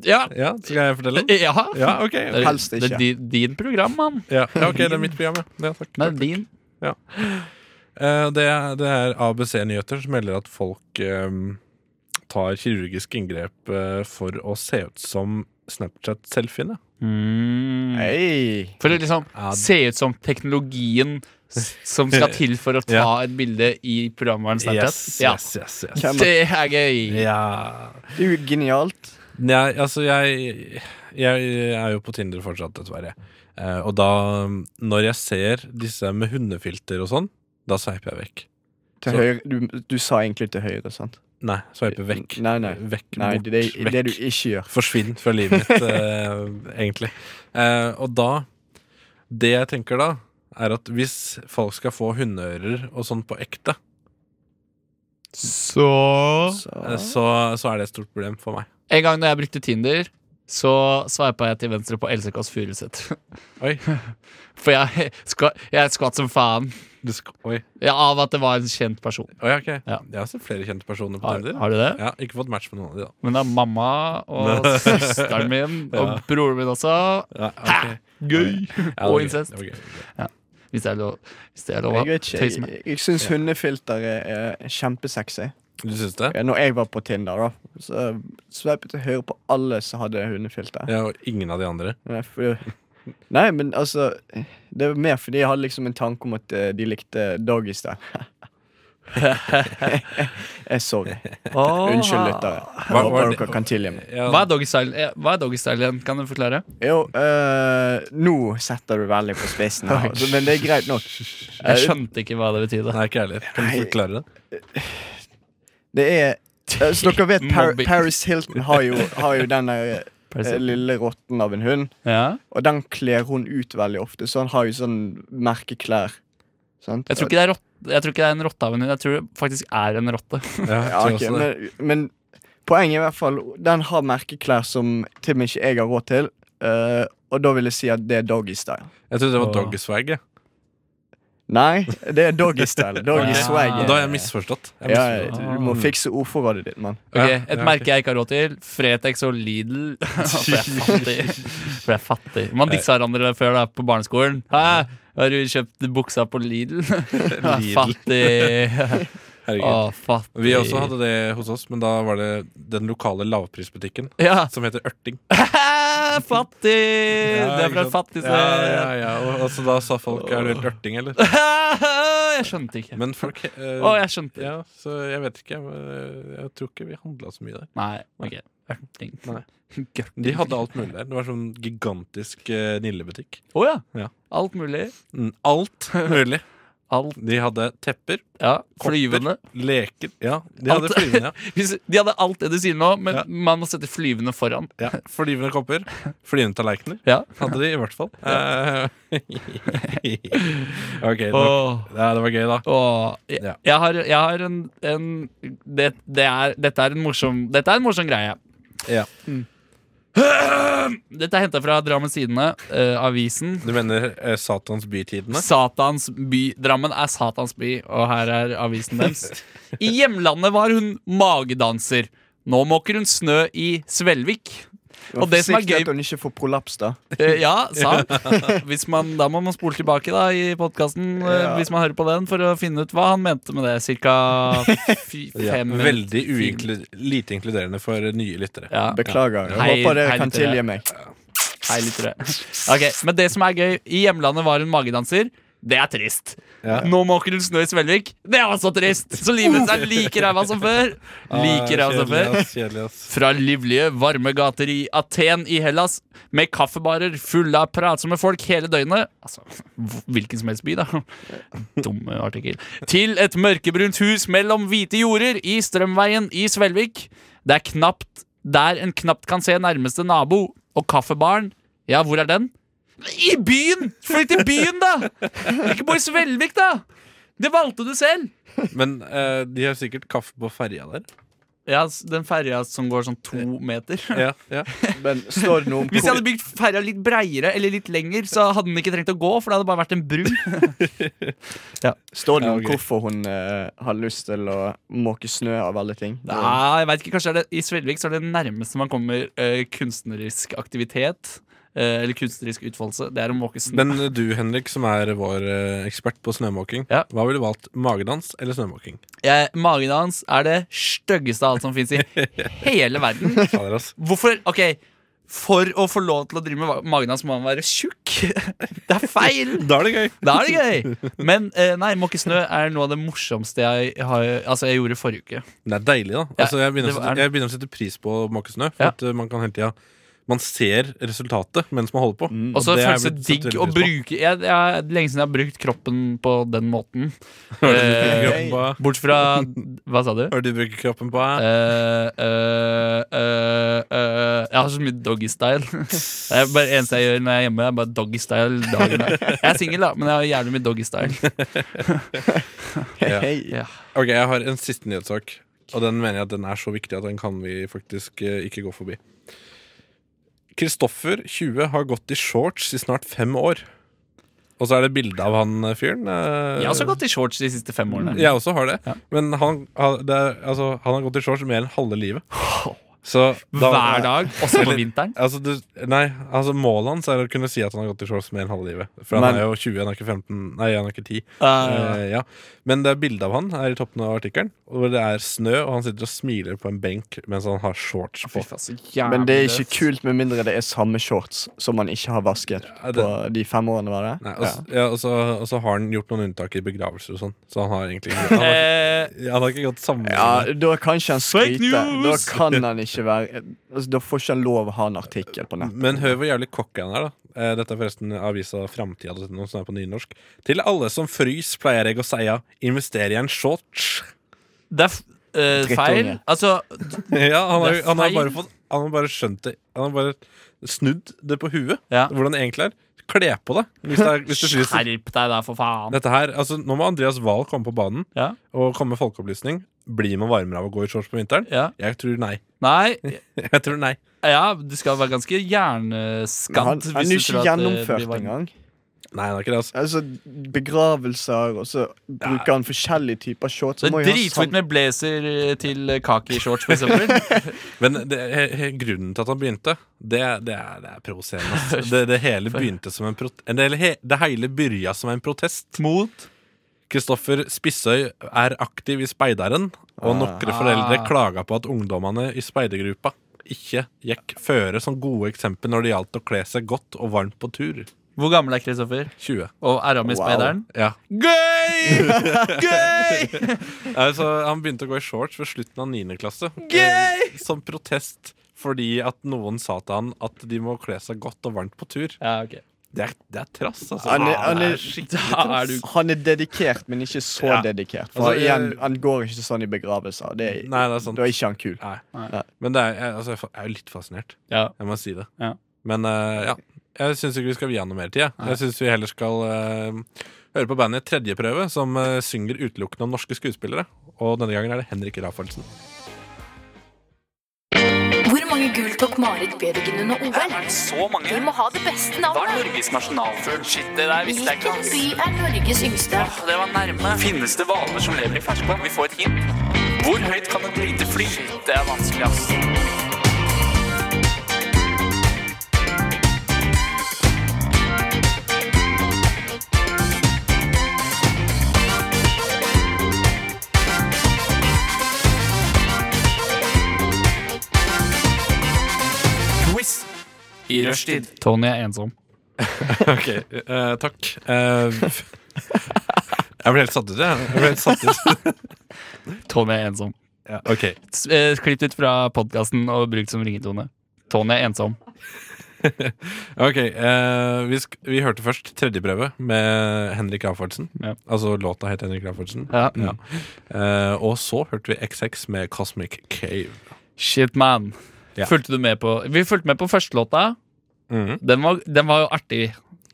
[SPEAKER 3] Ja.
[SPEAKER 2] Ja, Skal jeg fortelle den?
[SPEAKER 3] ja.
[SPEAKER 2] Ja, ok.
[SPEAKER 3] Det er-
[SPEAKER 4] Helst ikke.
[SPEAKER 3] Det er din, din program, mann.
[SPEAKER 2] Ja, ja, ok, det er mitt program, ja. ja takk,
[SPEAKER 3] Det er
[SPEAKER 2] takk.
[SPEAKER 3] din.
[SPEAKER 2] Eh, Det, er- det er ABC Nyheter som melder at folk eh, tar kirurgiske inngrep eh, for å se ut som Snapchat-selfiene.
[SPEAKER 4] Hei!
[SPEAKER 3] Mm. For å liksom
[SPEAKER 2] Ja, d-
[SPEAKER 3] se ut som teknologien s- som skal til for å ta
[SPEAKER 2] Ja.
[SPEAKER 3] et bilde i programvaren Snapchat. ja.
[SPEAKER 2] yes,
[SPEAKER 4] Hvem-
[SPEAKER 3] Det er gøy!
[SPEAKER 2] Ja.
[SPEAKER 4] Det er jo genialt.
[SPEAKER 2] Nei, altså jeg, jeg er jo på Tinder fortsatt, dessverre. Eh, og da, når jeg ser disse med hundefilter og sånn, da sveiper jeg vekk.
[SPEAKER 4] Til
[SPEAKER 2] Så-
[SPEAKER 4] høyre, du, du sa egentlig til høyre, sant?
[SPEAKER 2] Nei, sveiper vekk.
[SPEAKER 4] Nei, nei.
[SPEAKER 2] Vekk,
[SPEAKER 4] Nei,
[SPEAKER 2] bort,
[SPEAKER 4] det, det,
[SPEAKER 2] vekk.
[SPEAKER 4] det du ikke gjør.
[SPEAKER 2] Forsvinn fra livet mitt, eh, egentlig. Eh, og da Det jeg tenker da, er at hvis folk skal få hundeører og sånn på ekte,
[SPEAKER 3] Så
[SPEAKER 2] eh,
[SPEAKER 4] Så.
[SPEAKER 2] så, så er det et stort problem for meg.
[SPEAKER 3] En gang da jeg brukte Tinder, så sveipa jeg til venstre på Else Kåss Furuseth.
[SPEAKER 2] Oi.
[SPEAKER 3] For jeg, skva, jeg skvatt som faen
[SPEAKER 2] Du skal, oi.
[SPEAKER 3] ja, av at det var en kjent person.
[SPEAKER 2] Oi, ok.
[SPEAKER 3] Ja.
[SPEAKER 2] Jeg har sett flere kjente personer på
[SPEAKER 3] Har,
[SPEAKER 2] Tinder.
[SPEAKER 3] har du det?
[SPEAKER 2] Jeg har ikke fått match med noen av de, da.
[SPEAKER 3] Men det er mamma og søsteren min og broren min også.
[SPEAKER 2] Ja, ok.
[SPEAKER 3] Gøy!
[SPEAKER 2] Ja,
[SPEAKER 3] og
[SPEAKER 2] det var gøy.
[SPEAKER 3] incest.
[SPEAKER 2] Det var gøy.
[SPEAKER 3] Hvis det er lov, hvis det er lov å
[SPEAKER 4] Jeg vet ikke.
[SPEAKER 3] tøyse med.
[SPEAKER 4] Jeg, jeg syns hundefilter er, er kjempesexy.
[SPEAKER 2] Du syns det?
[SPEAKER 4] Ja, Når jeg var på Tinder, da, så sveipet jeg høyre på alle som hadde hundefilter.
[SPEAKER 2] Ja, og ingen av de andre.
[SPEAKER 4] Nei, fordi, nei, men altså Det var mer fordi jeg hadde liksom en tanke om at eh, de likte doggystyle. Eh, Sorry. Unnskyld, lyttere. Jeg
[SPEAKER 2] Hva- hva
[SPEAKER 4] Håper
[SPEAKER 2] er det-
[SPEAKER 4] dere kan tilgi meg.
[SPEAKER 2] Ja,
[SPEAKER 3] Hva er doggystyle eh, hva er doggystyle igjen? Kan du forklare?
[SPEAKER 4] Jo, eh, nå setter du veldig på spissen her, altså, men det er greit nok. Eh,
[SPEAKER 3] Jeg skjønte ikke hva det betydde.
[SPEAKER 2] Nei, ikke jeg heller. Kan du
[SPEAKER 4] Nei.
[SPEAKER 2] forklare det?
[SPEAKER 4] Det er eh, Så dere vet, Par
[SPEAKER 3] Mobbing.
[SPEAKER 4] Paris Hilton har jo, har jo den der eh,
[SPEAKER 3] Person.
[SPEAKER 4] lille rotten av en hund.
[SPEAKER 3] Ja.
[SPEAKER 4] Og den kler hun ut veldig ofte, så han har jo sånn merkeklær. Sant?
[SPEAKER 3] Jeg tror ikke det er, rott, jeg tror ikke det er en rotte av en hund. Jeg tror det faktisk er en rotte.
[SPEAKER 2] Ja, jeg
[SPEAKER 4] ja,
[SPEAKER 2] tror
[SPEAKER 4] ok,
[SPEAKER 2] også det.
[SPEAKER 4] men, men poenget er i hvert fall den har merkeklær som til og med ikke jeg har råd til. eh, og da vil jeg si at det er doggystyle.
[SPEAKER 2] Jeg trodde det var
[SPEAKER 3] Åh.
[SPEAKER 2] doggyswag. jeg.
[SPEAKER 4] Nei, det er doggystyle. Doggy
[SPEAKER 3] Ja.
[SPEAKER 4] swag.
[SPEAKER 2] Da har jeg misforstått. Jeg
[SPEAKER 4] Ja,
[SPEAKER 2] misforstått.
[SPEAKER 4] du må fikse ordforrådet ditt, mann.
[SPEAKER 3] Ok,
[SPEAKER 2] Ja,
[SPEAKER 3] Et
[SPEAKER 2] ja,
[SPEAKER 3] merke jeg ikke har råd til. Fretex og Lidl. For jeg er fattig. For jeg er fattig Man dissa hverandre før da på barneskolen. Hæ? Har du kjøpt buksa på Lidl?
[SPEAKER 2] Lidl.
[SPEAKER 3] Fattig. Å,
[SPEAKER 2] Herregud.
[SPEAKER 3] fattig.
[SPEAKER 2] Vi også hadde det hos oss, men da var det den lokale lavprisbutikken
[SPEAKER 3] Ja.
[SPEAKER 2] som heter Ørting.
[SPEAKER 3] Hæ? Fattig!
[SPEAKER 2] Ja,
[SPEAKER 3] det er fra
[SPEAKER 2] ikke
[SPEAKER 3] et
[SPEAKER 2] sant?
[SPEAKER 3] fattig sted.
[SPEAKER 2] Ja, ja, ja. Og, og så da sa folk Er du helt ørting, eller?
[SPEAKER 3] Hæ? Jeg skjønte ikke.
[SPEAKER 2] Men folk eh,
[SPEAKER 3] Å, jeg skjønte.
[SPEAKER 2] Ja, så jeg vet ikke. men, eh, Jeg tror ikke vi handla så mye der.
[SPEAKER 3] Nei, ok. Ørting.
[SPEAKER 2] Nei.
[SPEAKER 3] Gørting.
[SPEAKER 2] De hadde alt mulig der. Det var sånn gigantisk eh, nillebutikk.
[SPEAKER 3] Å ja.
[SPEAKER 2] Ja.
[SPEAKER 3] Alt mulig.
[SPEAKER 2] Mm, alt mulig.
[SPEAKER 3] Alt.
[SPEAKER 2] De hadde tepper,
[SPEAKER 3] Ja.
[SPEAKER 2] Kopper.
[SPEAKER 3] Flyvende.
[SPEAKER 2] leker Ja, de hadde
[SPEAKER 3] Alt.
[SPEAKER 2] flyvende, ja.
[SPEAKER 3] Hvis, de hadde alt det du sier nå, men
[SPEAKER 2] Ja.
[SPEAKER 3] man må sette flyvende foran.
[SPEAKER 2] ja. Flyvende kopper. Flyvende tallerkener
[SPEAKER 3] Ja.
[SPEAKER 2] hadde de i hvert fall. Eh, ok, det var,
[SPEAKER 3] Åh.
[SPEAKER 2] ja, det var gøy, da.
[SPEAKER 3] Åh. Jeg,
[SPEAKER 2] Ja.
[SPEAKER 3] jeg, har, jeg har en, en det, det er, dette, er en morsom, dette er en morsom greie. Mm.
[SPEAKER 2] Ja.
[SPEAKER 3] Dette er henta fra Drammens Tidende, eh, avisen.
[SPEAKER 2] Du mener eh, Satans bytidene?
[SPEAKER 3] Satans by. Drammen er Satans by, og her er avisen deres. I hjemlandet var hun magedanser. Nå måker hun snø i Svelvik.
[SPEAKER 4] Og
[SPEAKER 3] Og det som er
[SPEAKER 4] Forsiktig
[SPEAKER 3] gøy-
[SPEAKER 4] at hun ikke får prolaps, da.
[SPEAKER 3] Eh, ja, sant. Hvis man, da må man spole tilbake da i podkasten
[SPEAKER 4] Ja.
[SPEAKER 3] hvis man hører på den, for å finne ut hva han mente med det. Cirka fy,
[SPEAKER 2] Ja,
[SPEAKER 3] fem
[SPEAKER 2] veldig uinklu- lite inkluderende for nye lyttere.
[SPEAKER 3] Ja.
[SPEAKER 4] Beklager. Jeg
[SPEAKER 3] Hei-
[SPEAKER 4] håper dere
[SPEAKER 3] hei,
[SPEAKER 4] kan
[SPEAKER 3] lyttere.
[SPEAKER 4] tilgi meg.
[SPEAKER 3] Hei, litt rød. Ok, Men det som er gøy, i hjemlandet var hun magedanser. Det er trist.
[SPEAKER 2] Ja. Uh.
[SPEAKER 3] Nå måker hun snø i Svelvik. Det var så trist! Så livet hennes er like ræva som før. Like ræva som
[SPEAKER 2] Kjedelig, altså.
[SPEAKER 3] før.
[SPEAKER 2] ass, kjedelig, ass.
[SPEAKER 3] Fra livlige, varme gater i Aten i Hellas, med kaffebarer fulle av pratsomme folk hele døgnet Altså, hv- hvilken som helst by, da. Dum artikkel. Til et mørkebrunt hus mellom hvite jorder i Strømveien i Svelvik. Det er knapt der en knapt kan se nærmeste nabo. Og kaffebaren, ja, hvor er den? I byen! Flytt til byen, da! Ikke bo i Svelvik, da! Det valgte du selv.
[SPEAKER 2] Men eh, de har sikkert kaffe på ferja der.
[SPEAKER 3] Ja, s- den ferja som går sånn to meter.
[SPEAKER 2] Ja, ja.
[SPEAKER 4] Men står det noe om
[SPEAKER 3] Hvis jeg hadde bygd ferja litt breiere eller litt lenger, så hadde den ikke trengt å gå, for det hadde bare vært en bru.
[SPEAKER 4] Står det
[SPEAKER 2] Ja,
[SPEAKER 4] noe om
[SPEAKER 2] ok.
[SPEAKER 4] hvorfor hun eh, har lyst til å måke snø av alle ting?
[SPEAKER 3] Nei, Ah, jeg vet ikke, kanskje er det, I Svelvik så er det nærmeste man kommer eh, kunstnerisk aktivitet. eh, eller kunstnerisk utfoldelse. Det er å måke snø.
[SPEAKER 2] Men du, Henrik, som er vår eh, ekspert på snømåking,
[SPEAKER 3] Ja.
[SPEAKER 2] hva ville du valgt? Magedans eller snømåking?
[SPEAKER 3] Eh, magen hans er det styggeste av alt som fins i hele verden.
[SPEAKER 2] Fader, ass.
[SPEAKER 3] Hvorfor? Ok, for å få lov til å drive med ma- magen hans må han være tjukk. Det er feil!
[SPEAKER 2] Da er det gøy!
[SPEAKER 3] Da er det gøy! Men eh, nei, måke snø er noe av det morsomste jeg, har, altså, jeg gjorde forrige uke.
[SPEAKER 2] Det er deilig, da.
[SPEAKER 3] Ja,
[SPEAKER 2] Altså, jeg, begynner å
[SPEAKER 3] det
[SPEAKER 2] sette,
[SPEAKER 3] er-
[SPEAKER 2] jeg begynner å sette pris på å måke snø. For
[SPEAKER 3] Ja.
[SPEAKER 2] at eh, man kan hele tida Man ser resultatet mens man holder på.
[SPEAKER 3] Og så
[SPEAKER 2] det
[SPEAKER 3] føles
[SPEAKER 2] er
[SPEAKER 3] det
[SPEAKER 2] blitt
[SPEAKER 3] digg
[SPEAKER 2] satt
[SPEAKER 3] å
[SPEAKER 2] veldig pris
[SPEAKER 3] bruke jeg, jeg, Lenge siden jeg har brukt kroppen på den måten.
[SPEAKER 2] Hva er det du bruker
[SPEAKER 3] Eh,
[SPEAKER 2] kroppen på?
[SPEAKER 3] bort fra Hva sa du?
[SPEAKER 2] Hva er det du bruker kroppen på?
[SPEAKER 3] Eh, eh, eh, eh, jeg har så mye doggystyle. Det er bare det eneste jeg gjør når jeg er hjemme. Det er bare doggystyle dagen lang. Jeg er singel, da, men jeg har jævlig mye doggystyle.
[SPEAKER 2] Ja.
[SPEAKER 4] Hei.
[SPEAKER 3] Ja.
[SPEAKER 2] Ok, jeg har en siste nyhetssak. Og den mener jeg at den er så viktig at den kan vi faktisk eh, ikke gå forbi. Kristoffer, 20, har gått i shorts i snart fem år. Og så er det bilde av han eh, fyren. eh,
[SPEAKER 3] Jeg har også gått i shorts de siste fem årene.
[SPEAKER 2] Jeg også har det. Men han, han- det er, altså, han har gått i shorts mer enn halve livet. Så
[SPEAKER 3] Hver dag, også på vinteren.
[SPEAKER 2] Altså, du, nei, altså Målet hans er å kunne si at han har gått i shorts mer enn halve livet. For han
[SPEAKER 4] Men-
[SPEAKER 2] er jo 20, han er ikke 15, nei, han er ikke 10. Eh, ja. Men det er bilde av han her i toppen av artikkelen, hvor det er snø, og han sitter og smiler på en benk mens han har shorts på.
[SPEAKER 4] Men det er ikke kult med mindre det er samme shorts som man ikke har vasket
[SPEAKER 2] Ja, det-
[SPEAKER 4] på de fem årene. var det?
[SPEAKER 2] Nei, og,
[SPEAKER 4] Ja.
[SPEAKER 3] altså-
[SPEAKER 2] s- ja, og, så, og så har han gjort noen unntak i begravelser og sånn, så han har egentlig Han har,
[SPEAKER 3] Eh,
[SPEAKER 2] ja, han har ikke gått sammen.
[SPEAKER 4] Ja, da kan ikke han
[SPEAKER 3] Fake
[SPEAKER 4] skryte. Da
[SPEAKER 3] news!
[SPEAKER 4] kan han ikke være altså, Da får ikke han lov å ha en artikkel på nett.
[SPEAKER 2] Men hør hvor jævlig kokk han er, da. Eh, Dette er forresten avisa Framtida, det er noe som er på nynorsk. Til alle som frys, pleier jeg å seia, invester i en shorts.
[SPEAKER 3] det er f eh, feil.
[SPEAKER 4] Drittunge.
[SPEAKER 3] Altså,
[SPEAKER 2] Ja, han har,
[SPEAKER 3] Det er
[SPEAKER 2] han har
[SPEAKER 3] feil.
[SPEAKER 2] bare fått Han har bare skjønt det. Han har bare snudd det på huet,
[SPEAKER 3] Ja.
[SPEAKER 2] hvordan det egentlig er. Kle på det, hvis det, er, hvis det fryser.
[SPEAKER 3] skjerp deg der, for faen.
[SPEAKER 2] Dette her, altså Nå må Andreas Wahl komme på banen
[SPEAKER 3] Ja.
[SPEAKER 2] og komme med folkeopplysning. Blir man varmere av å gå i shorts på vinteren?
[SPEAKER 3] Ja.
[SPEAKER 2] Jeg tror nei.
[SPEAKER 3] Nei,
[SPEAKER 2] Jeg tror nei.
[SPEAKER 3] ja, du skal være ganske
[SPEAKER 4] Men Han,
[SPEAKER 3] hjerneskadd.
[SPEAKER 4] han er jo
[SPEAKER 3] hvis du
[SPEAKER 4] ikke
[SPEAKER 3] tror at eh, det blir
[SPEAKER 4] gjennomført
[SPEAKER 3] varmt.
[SPEAKER 4] engang.
[SPEAKER 2] Nei, det er ikke det, altså.
[SPEAKER 4] Altså, begravelser, og så bruker han forskjellige typer shorts.
[SPEAKER 3] Det
[SPEAKER 4] Han må
[SPEAKER 3] er
[SPEAKER 4] jo ha
[SPEAKER 3] dritfint
[SPEAKER 4] sam-
[SPEAKER 3] med blazer eh, til kaki-shorts, for eksempel.
[SPEAKER 2] Men det, he- he- grunnen til at han begynte, det, det er, det er provoserende. ass. Det, det hele begynte som en prot en del he Det hele byrja som en protest.
[SPEAKER 3] Mot
[SPEAKER 2] Kristoffer Spissøy er aktiv i Speideren, og noen foreldre klaga på at ungdommene i speidergruppa ikke gikk føre som gode eksempel når det gjaldt å kle seg godt og varmt på tur.
[SPEAKER 3] Hvor gammel er Kristoffer?
[SPEAKER 2] 20.
[SPEAKER 3] Og er han med i
[SPEAKER 4] Wow.
[SPEAKER 3] speideren?
[SPEAKER 2] Ja.
[SPEAKER 3] Gøy! Gøy!
[SPEAKER 2] Altså, han begynte å gå i shorts ved slutten av 9. klasse.
[SPEAKER 3] Gøy!
[SPEAKER 2] Eh, Som protest fordi at noen sa til han at de må kle seg godt og varmt på tur.
[SPEAKER 3] Ja, ok
[SPEAKER 2] Det er, det er trass, altså.
[SPEAKER 4] Han er, han,
[SPEAKER 3] Det
[SPEAKER 4] er,
[SPEAKER 3] er skikkelig
[SPEAKER 4] han, er, han er dedikert, men ikke så
[SPEAKER 2] Ja.
[SPEAKER 4] dedikert. For
[SPEAKER 2] Altså,
[SPEAKER 4] igjen,
[SPEAKER 2] jeg-
[SPEAKER 4] han går ikke sånn i begravelser. Det er,
[SPEAKER 2] Nei, det er sant.
[SPEAKER 4] Da er ikke han kul.
[SPEAKER 2] Nei.
[SPEAKER 4] Nei.
[SPEAKER 2] Men det er, jeg, altså, jeg fa- jeg er jo litt fascinert.
[SPEAKER 3] Ja.
[SPEAKER 2] Jeg må si det.
[SPEAKER 3] Ja.
[SPEAKER 2] Men eh, ja. Jeg syns ikke vi skal vie han noe mer tid. Jeg, jeg syns vi heller skal eh, høre på bandet Tredjeprøve, som eh, synger utelukkende om norske skuespillere. Og denne gangen er det Henrik Rafaelsen.
[SPEAKER 6] Hvor mange gull tok Marit Bjørgen under OL?
[SPEAKER 3] Så mange
[SPEAKER 6] Vi må ha det beste navnet.
[SPEAKER 3] Norges nasjonalfugl? Shit, det der
[SPEAKER 6] Hvilken by er Norges yngste?
[SPEAKER 3] Det var nærme Finnes det hvaler som lever i ferskvann? Vi får et hint Hvor høyt kan et lite fly? Shit, det er vanskelig ass Quiz I røstid Tony er ensom
[SPEAKER 2] Ok, eh, takk. Eh, jeg ble helt satt ut, jeg. jeg ble helt satt ut.
[SPEAKER 3] Tony er ensom
[SPEAKER 2] ja, ok,
[SPEAKER 3] S- eh, Klipp ut fra podcasten og brukt som ringetone Tony er ensom
[SPEAKER 2] Ok, eh, vi, sk vi hørte først Tredjeprøve med Henrik Rafaelsen.
[SPEAKER 3] Ja.
[SPEAKER 2] Altså låta het Henrik Rafaelsen.
[SPEAKER 3] Ja.
[SPEAKER 2] Ja. Eh, og så hørte vi XX med Cosmic Cave.
[SPEAKER 3] Shit, man.
[SPEAKER 2] Ja.
[SPEAKER 3] Fulgte du med på Vi fulgte med på førstelåta. Den var, den var jo artig.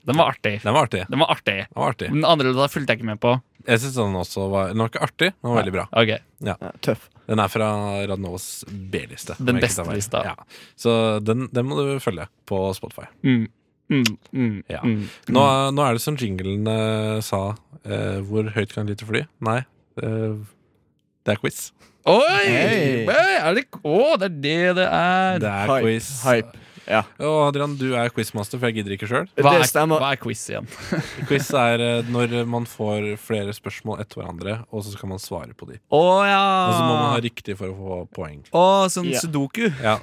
[SPEAKER 3] Den var artig.
[SPEAKER 2] Mhm, Den var artig.
[SPEAKER 3] Den var artig.
[SPEAKER 2] Den var artig.
[SPEAKER 3] Den andre låta fulgte jeg ikke med på.
[SPEAKER 2] Jeg synes den også var Den var ikke artig, men den var veldig bra.
[SPEAKER 3] Ok,
[SPEAKER 4] Ja, tøff.
[SPEAKER 2] Den er fra Radnovas B-liste. om
[SPEAKER 3] Den
[SPEAKER 2] jeg ikke tar
[SPEAKER 3] beste
[SPEAKER 2] feil.
[SPEAKER 3] lista.
[SPEAKER 2] Ja. Så den, den må du følge på Spotify.
[SPEAKER 3] mm. Mm, mm,
[SPEAKER 2] Ja.
[SPEAKER 3] mm.
[SPEAKER 2] Nå, er- nå er det som jinglen eh, sa. eh, hvor høyt kan et lite fly? Nei, eh, det er quiz.
[SPEAKER 3] Oi!
[SPEAKER 4] Hey.
[SPEAKER 3] Oi, Er det Å, det er det det er.
[SPEAKER 2] Det er
[SPEAKER 4] Hype.
[SPEAKER 2] quiz.
[SPEAKER 4] Hype. Ja.
[SPEAKER 2] Og Adrian, du er quizmaster, for jeg gidder ikke sjøl.
[SPEAKER 3] Hva,
[SPEAKER 4] Det
[SPEAKER 3] er,
[SPEAKER 4] stemmer.
[SPEAKER 3] hva er quiz igjen?
[SPEAKER 2] Quiz er eh, når man får flere spørsmål etter hverandre, og så skal man svare på de.
[SPEAKER 3] Å
[SPEAKER 2] Og så må man
[SPEAKER 3] ja!
[SPEAKER 2] ha riktig for å få poeng.
[SPEAKER 3] Å, sånn
[SPEAKER 4] Ja.
[SPEAKER 3] sudoku.
[SPEAKER 2] Ja,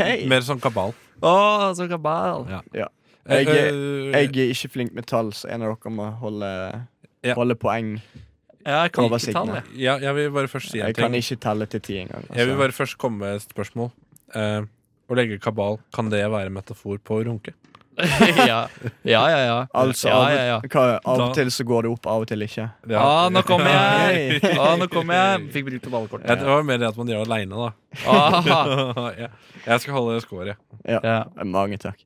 [SPEAKER 4] Hei.
[SPEAKER 2] Mer sånn kabal.
[SPEAKER 3] Å, så kabal.
[SPEAKER 2] Ja.
[SPEAKER 4] Jeg-
[SPEAKER 2] Eh,
[SPEAKER 4] Jeg er ikke flink med tall, så en av dere må holde,
[SPEAKER 2] Ja.
[SPEAKER 4] holde poeng.
[SPEAKER 3] Ja, jeg kan ikke
[SPEAKER 4] Oversikten,
[SPEAKER 3] tall,
[SPEAKER 4] ja.
[SPEAKER 3] jeg.
[SPEAKER 2] ja, jeg vil bare først si en
[SPEAKER 4] Jeg
[SPEAKER 2] ting.
[SPEAKER 4] kan ikke telle til ti engang.
[SPEAKER 2] Jeg vil
[SPEAKER 4] altså.
[SPEAKER 2] bare først komme med et spørsmål. Eh, å legge kabal, kan det være metafor på å runke?
[SPEAKER 3] ja. ja, ja, ja.
[SPEAKER 4] Altså,
[SPEAKER 3] ja,
[SPEAKER 4] av,
[SPEAKER 3] ja, ja.
[SPEAKER 4] Hva, av
[SPEAKER 2] Da-
[SPEAKER 4] og til så går det opp, av og til ikke.
[SPEAKER 2] Det,
[SPEAKER 3] Å,
[SPEAKER 9] Ah,
[SPEAKER 3] nå kommer jeg!
[SPEAKER 4] Hei.
[SPEAKER 3] Å, nå kommer jeg! Fikk brukt opp alle kortene.
[SPEAKER 2] Ja, det var mer det at man gjør det aleine, da.
[SPEAKER 3] Ah,
[SPEAKER 2] Ja. jeg skal holde score, jeg.
[SPEAKER 3] ja.
[SPEAKER 4] Mange takk.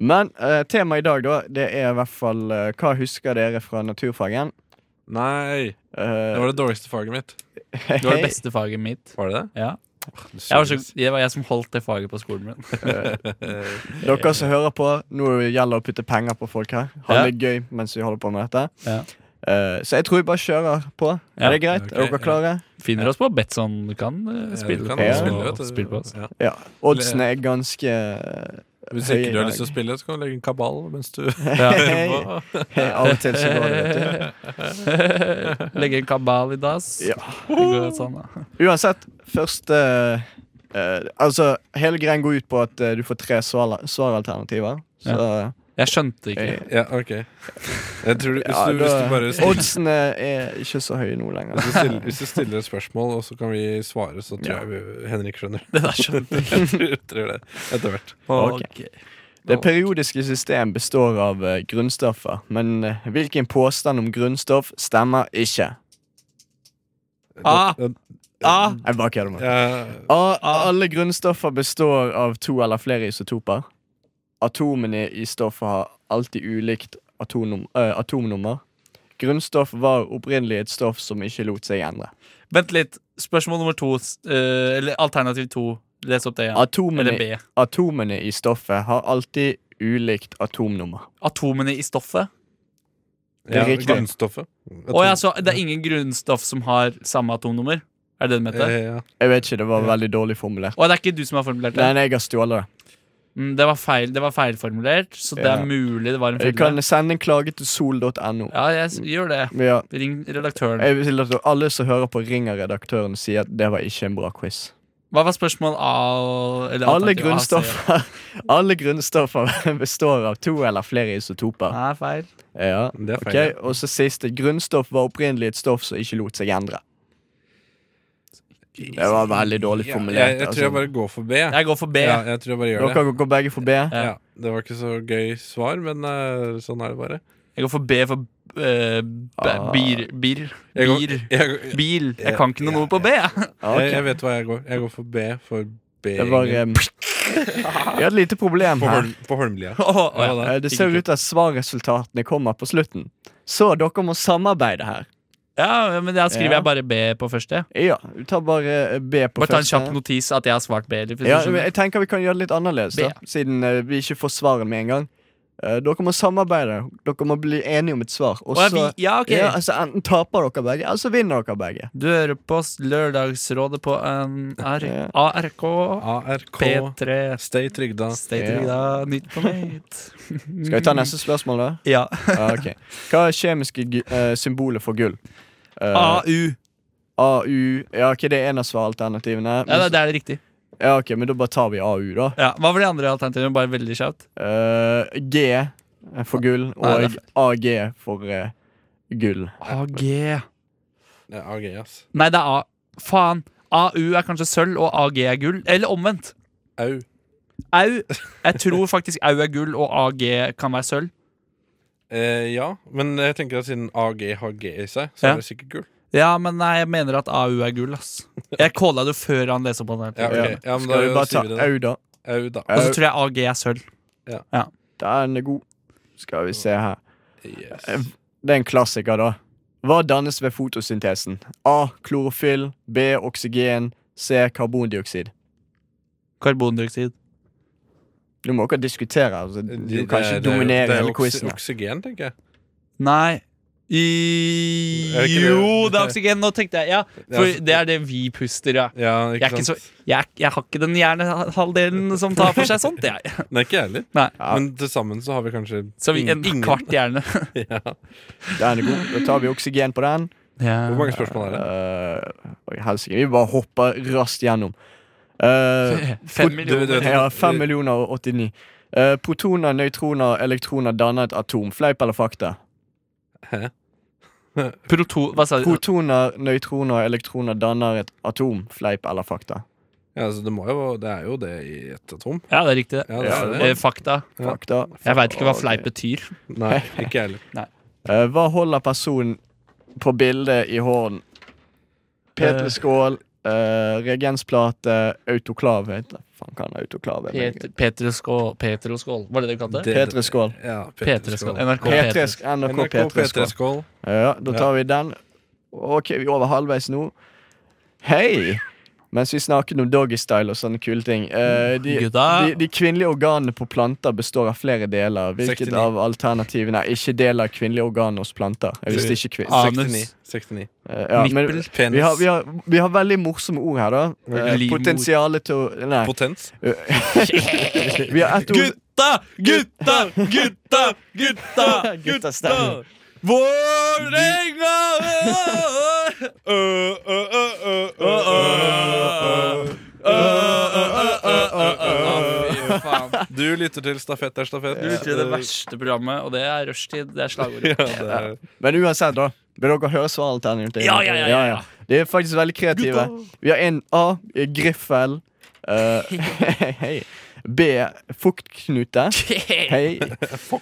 [SPEAKER 4] Men eh, temaet i dag, da, det er i hvert fall eh, Hva husker dere fra naturfagen? Eh,
[SPEAKER 2] Nei! Det var det dårligste faget mitt.
[SPEAKER 3] Det var det beste faget mitt.
[SPEAKER 2] Var det det?
[SPEAKER 3] Ja.
[SPEAKER 2] Du
[SPEAKER 3] Jeg var så,
[SPEAKER 2] suger.
[SPEAKER 3] det var jeg som holdt det faget på skolen min.
[SPEAKER 4] Dere som hører på, nå gjelder det å putte penger på folk her. Ha det gøy mens vi holder på med dette.
[SPEAKER 3] Ja.
[SPEAKER 4] Eh, så jeg tror vi bare kjører på.
[SPEAKER 9] Ja,
[SPEAKER 4] Er det greit?
[SPEAKER 2] ok,
[SPEAKER 4] er dere
[SPEAKER 2] ja.
[SPEAKER 4] klare?
[SPEAKER 9] Finner oss på Betson. Du kan eh, spille,
[SPEAKER 2] kan
[SPEAKER 9] på,
[SPEAKER 4] ja.
[SPEAKER 2] du spille, vet
[SPEAKER 9] og
[SPEAKER 2] du.
[SPEAKER 9] spille på oss.
[SPEAKER 2] Ja.
[SPEAKER 4] Ja. Oddsene er ganske
[SPEAKER 2] Hvis
[SPEAKER 4] Høy
[SPEAKER 2] ikke du har
[SPEAKER 4] dag.
[SPEAKER 2] lyst til å spille, så kan du legge en kabal mens du
[SPEAKER 4] Hei. Av og til så går det, vet du.
[SPEAKER 9] Legge en kabal i dass.
[SPEAKER 4] Ja.
[SPEAKER 9] Det går sånn, da.
[SPEAKER 4] Uansett, første eh, Altså, hele greien går ut på at eh, du får tre svar- svaralternativer. Så
[SPEAKER 9] Jeg skjønte ikke.
[SPEAKER 4] eh,
[SPEAKER 2] Ja, ok. Jeg tror, du- hvis,
[SPEAKER 4] ja,
[SPEAKER 2] du, hvis du
[SPEAKER 4] da-
[SPEAKER 2] bare stiller,
[SPEAKER 4] Oddsene er ikke så høye nå lenger.
[SPEAKER 2] hvis du stiller, hvis du stiller et spørsmål, og så kan vi svare, så tror jeg vi, Henrik skjønner.
[SPEAKER 9] Det der skjønte jeg.
[SPEAKER 2] Jeg tror, tror det etter hvert.
[SPEAKER 4] Ok.
[SPEAKER 9] Ok.
[SPEAKER 4] Det periodiske system består av eh, grunnstoffer, men eh, hvilken påstand om grunnstoff stemmer ikke?
[SPEAKER 9] Ah!
[SPEAKER 2] Den-
[SPEAKER 9] Ah!
[SPEAKER 4] Jeg bare kødder med det.
[SPEAKER 2] Ja,
[SPEAKER 4] A- Alle grunnstoffer består av to eller flere isotoper. Atomene i stoffet har alltid ulikt atomnum eh, atomnummer. Grunnstoff var opprinnelig et stoff som ikke lot seg endre.
[SPEAKER 9] Vent litt. Spørsmål nummer to, s- eh, eller alternativ to. Les opp det igjen. Eller
[SPEAKER 4] Atomene,
[SPEAKER 9] B.
[SPEAKER 4] atomene i stoffet har alltid ulikt atomnummer.
[SPEAKER 9] Atomene i stoffet.
[SPEAKER 4] Det er
[SPEAKER 2] ja,
[SPEAKER 4] riktig.
[SPEAKER 2] grunnstoffet.
[SPEAKER 9] Å ja, så det er ingen grunnstoff som har samme atomnummer? Er det det du mente?
[SPEAKER 2] Eh, ja.
[SPEAKER 4] Jeg vet ikke, det var veldig dårlig formulert.
[SPEAKER 9] Å, det er ikke du som har formulert det?
[SPEAKER 4] Nei, nei, jeg har stjålet det.
[SPEAKER 9] Mm, det var feil, det var feilformulert, så det
[SPEAKER 4] Ja.
[SPEAKER 9] er mulig det var en
[SPEAKER 4] Du
[SPEAKER 9] feil.
[SPEAKER 4] kan sende en klage til sol.no.
[SPEAKER 9] Ja, jeg s- gjør det.
[SPEAKER 4] Ja,
[SPEAKER 9] Ring redaktøren.
[SPEAKER 4] jeg vil at alle som hører på ringer redaktøren, sier at det var ikke en bra quiz.
[SPEAKER 9] Hva var spørsmål A eller
[SPEAKER 4] Alle
[SPEAKER 9] alternativ A, C?
[SPEAKER 4] grunnstoffer, alle grunnstoffer består av to eller flere isotoper.
[SPEAKER 9] Nei, feil.
[SPEAKER 4] Ja,
[SPEAKER 2] Det er
[SPEAKER 4] ok.
[SPEAKER 2] feil. ja.
[SPEAKER 4] Og så siste. Grunnstoff var opprinnelig et stoff som ikke lot seg endre. Det var veldig dårlig
[SPEAKER 2] Ja,
[SPEAKER 4] formulert.
[SPEAKER 2] jeg, jeg tror jeg bare går for B.
[SPEAKER 9] Jeg går for B.
[SPEAKER 2] Ja, jeg tror jeg bare
[SPEAKER 4] altså.
[SPEAKER 2] gjør det.
[SPEAKER 4] Dere går begge for B.
[SPEAKER 9] Ja.
[SPEAKER 2] Ja, det var ikke så gøy svar, men eh, sånn er det bare.
[SPEAKER 9] Jeg går for B for eh,
[SPEAKER 4] Ah,
[SPEAKER 9] b- bir, bir,
[SPEAKER 2] Jeg går,
[SPEAKER 9] bir,
[SPEAKER 2] jeg, går-
[SPEAKER 9] bil. Jeg
[SPEAKER 2] Ja,
[SPEAKER 9] kan ikke
[SPEAKER 2] ja,
[SPEAKER 9] noe på B. jeg.
[SPEAKER 4] Ja, ah, ok.
[SPEAKER 2] jeg,
[SPEAKER 9] Eh,
[SPEAKER 2] jeg vet hva jeg går. Jeg går for B for B.
[SPEAKER 4] Det var
[SPEAKER 2] egentlig.
[SPEAKER 4] um, Vi hadde et lite problem
[SPEAKER 2] på,
[SPEAKER 4] her.
[SPEAKER 2] Holm, på Holmlia.
[SPEAKER 9] Å, å, ja.
[SPEAKER 2] Ja,
[SPEAKER 4] Eh, Det ser ut til at svarresultatene kommer på slutten. Så dere må samarbeide her.
[SPEAKER 9] ja, men da skriver
[SPEAKER 4] Ja.
[SPEAKER 9] jeg bare B på første.
[SPEAKER 4] Ja, du tar bare eh, B på
[SPEAKER 9] Bare ta en
[SPEAKER 4] første.
[SPEAKER 9] kjapp notis at jeg har svart B. eller hvis du
[SPEAKER 4] Ja, men
[SPEAKER 9] skjønner.
[SPEAKER 4] jeg tenker vi kan gjøre det litt annerledes, da,
[SPEAKER 9] B.
[SPEAKER 4] siden eh, vi ikke får svaret med en gang. Eh, dere må samarbeide. Dere må bli enige om et svar. Og
[SPEAKER 9] Å, ja,
[SPEAKER 4] så-
[SPEAKER 9] vi, ja, ok
[SPEAKER 4] ja, altså, enten taper dere begge, eller så vinner dere begge.
[SPEAKER 9] Du hører på s- Lørdagsrådet på um, NR
[SPEAKER 4] Ja.
[SPEAKER 9] ARK
[SPEAKER 2] ARK.
[SPEAKER 9] P3
[SPEAKER 2] Stay trygda.
[SPEAKER 9] Stay
[SPEAKER 4] Ja.
[SPEAKER 9] trygg, da. Nytt på nytt.
[SPEAKER 4] Skal vi ta neste spørsmål, da?
[SPEAKER 9] Mhm. Ja.
[SPEAKER 4] Ja, ok. Hva er kjemiske gu- eh, symbolet for gull? Eh,
[SPEAKER 9] AU.
[SPEAKER 4] AU Ja, ok, det er en av svaralternativene.
[SPEAKER 9] Ja, det,
[SPEAKER 4] Men,
[SPEAKER 9] det er det riktig.
[SPEAKER 4] ja, ok, men da bare tar vi AU, da.
[SPEAKER 9] Ja. Hva var de andre alternativene? Bare veldig kjapt.
[SPEAKER 4] Eh, G for gull
[SPEAKER 9] Nei, det
[SPEAKER 4] og AG for eh, gull.
[SPEAKER 9] AG.
[SPEAKER 2] Ja, AG, ass.
[SPEAKER 9] Nei, det er A. Faen. AU er kanskje sølv, og AG er gull. Eller omvendt.
[SPEAKER 2] Au.
[SPEAKER 9] Au. Jeg tror faktisk au er gull, og AG kan være sølv.
[SPEAKER 2] Eh, ja, men jeg tenker at siden AG har G i seg, så
[SPEAKER 9] Ja.
[SPEAKER 2] er det sikkert gull.
[SPEAKER 9] Ja, men nei, jeg mener at AU er gull, ass. Jeg calla det jo før han leste på den.
[SPEAKER 2] Ja,
[SPEAKER 9] her.
[SPEAKER 2] ok. ja, men da
[SPEAKER 4] Skal vi bare ta
[SPEAKER 2] sier vi det.
[SPEAKER 4] AU, da?
[SPEAKER 2] da. Au, da.
[SPEAKER 9] Og så
[SPEAKER 4] Au.
[SPEAKER 9] tror jeg AG er sølv.
[SPEAKER 4] Den er god. Skal vi se her.
[SPEAKER 2] Yes.
[SPEAKER 4] Det er en klassiker, da. Hva dannes ved fotosyntesen? A. Klorofyll. B. Oksygen. C. Karbondioksid.
[SPEAKER 9] Karbondioksid.
[SPEAKER 4] Du må ikke diskutere. Altså. Du kan ikke
[SPEAKER 2] Det- det-
[SPEAKER 4] dominere
[SPEAKER 2] det er
[SPEAKER 4] hele
[SPEAKER 2] oksy-
[SPEAKER 4] quizen.
[SPEAKER 2] Oksygen, tenker jeg.
[SPEAKER 9] Nei I...
[SPEAKER 2] Er det ikke det?
[SPEAKER 9] Jo, det er oksygen! Nå tenkte jeg Ja, for
[SPEAKER 2] Ja, så-
[SPEAKER 9] det er det vi puster, ja.
[SPEAKER 2] Ja, ikke
[SPEAKER 9] Jeg er ikke
[SPEAKER 2] sant?
[SPEAKER 9] Jeg, jeg har ikke den hjernehalvdelen som tar for seg sånt, jeg.
[SPEAKER 2] Nei, ikke jeg heller.
[SPEAKER 9] Nei.
[SPEAKER 2] Men til sammen så har vi kanskje
[SPEAKER 9] Så vi, en
[SPEAKER 2] ingen- ingen-
[SPEAKER 9] kvart hjerne.
[SPEAKER 2] Ja.
[SPEAKER 4] Den er god. Da tar vi oksygen på den.
[SPEAKER 2] Hvor mange spørsmål er det?
[SPEAKER 4] Uh, oi, helsike. Vi bare hopper raskt gjennom. Eh,
[SPEAKER 9] Fem
[SPEAKER 2] Du- du
[SPEAKER 9] millioner.
[SPEAKER 2] vet-
[SPEAKER 4] ja, 5 millioner og 89. Eh, protoner, nøytroner og elektroner danner et atom. Fleip eller fakta?
[SPEAKER 2] Hæ?
[SPEAKER 9] Proto... Hva sa du?
[SPEAKER 4] Protoner, nøytroner og elektroner danner et atom. Fleip eller fakta?
[SPEAKER 2] Ja, altså, det, må jo, det er jo det i et atom.
[SPEAKER 9] Ja, det er riktig, det.
[SPEAKER 2] Ja, det
[SPEAKER 4] Ja,
[SPEAKER 2] er
[SPEAKER 9] Eh,
[SPEAKER 2] det.
[SPEAKER 9] Fakta.
[SPEAKER 2] Ja.
[SPEAKER 4] Fakta.
[SPEAKER 9] Jeg veit ikke
[SPEAKER 4] Ok.
[SPEAKER 9] hva fleip betyr.
[SPEAKER 2] Nei, ikke jeg heller.
[SPEAKER 4] Eh, hva holder personen på bildet i hånden? Petreskål, uh, reagensplate, autoklav heter det. Faen, hva er en autoklav? Jeg vet
[SPEAKER 9] Pet- Petroskål Petroskål, var det det du kalte det?
[SPEAKER 2] Det-
[SPEAKER 4] ikke. Petreskål.
[SPEAKER 2] Ja,
[SPEAKER 9] Petroskål. NRK
[SPEAKER 4] P3,
[SPEAKER 9] Petroskål.
[SPEAKER 4] NRK
[SPEAKER 2] NRK
[SPEAKER 4] Petreskål.
[SPEAKER 2] P3-skål.
[SPEAKER 4] Ja, da tar vi den. Ok, vi er over halvveis nå. Hei! Mens vi snakket om doggystyle og sånne kule ting. Eh, de,
[SPEAKER 9] Gutta.
[SPEAKER 4] de, de kvinnelige organene på planter består av flere deler. Hvilket
[SPEAKER 2] 69.
[SPEAKER 4] av alternativene er ikke del av kvinnelige organer hos planter? Jeg visste ikke kvin
[SPEAKER 9] Anus.
[SPEAKER 2] 69. 69.
[SPEAKER 4] Eh, ja, men
[SPEAKER 2] Nippel, Ah, penis,
[SPEAKER 4] vi har, vi, har, vi har veldig morsomme ord her, da. Eh,
[SPEAKER 9] Livmor.
[SPEAKER 4] Potensialet til å Nei.
[SPEAKER 2] potens.
[SPEAKER 4] Vi har ett ord
[SPEAKER 9] Gutta, gutta, gutta, gutta,
[SPEAKER 4] Gutta stemmer.
[SPEAKER 9] Vålerenga!
[SPEAKER 4] Eh,
[SPEAKER 9] Fy faen.
[SPEAKER 2] Du lytter til Stafett er stafett.
[SPEAKER 9] Du utgjør det verste programmet, og det er rushtid. Det er slagordet.
[SPEAKER 2] Ja, det er-
[SPEAKER 4] Men uansett, da. Vil dere høre svaralternativet?
[SPEAKER 9] Ja, ja, ja, ja, ja.
[SPEAKER 4] De er faktisk veldig kreative. Vi har en A. Griffel. Eh, hei. B. Fuktknute. Hei.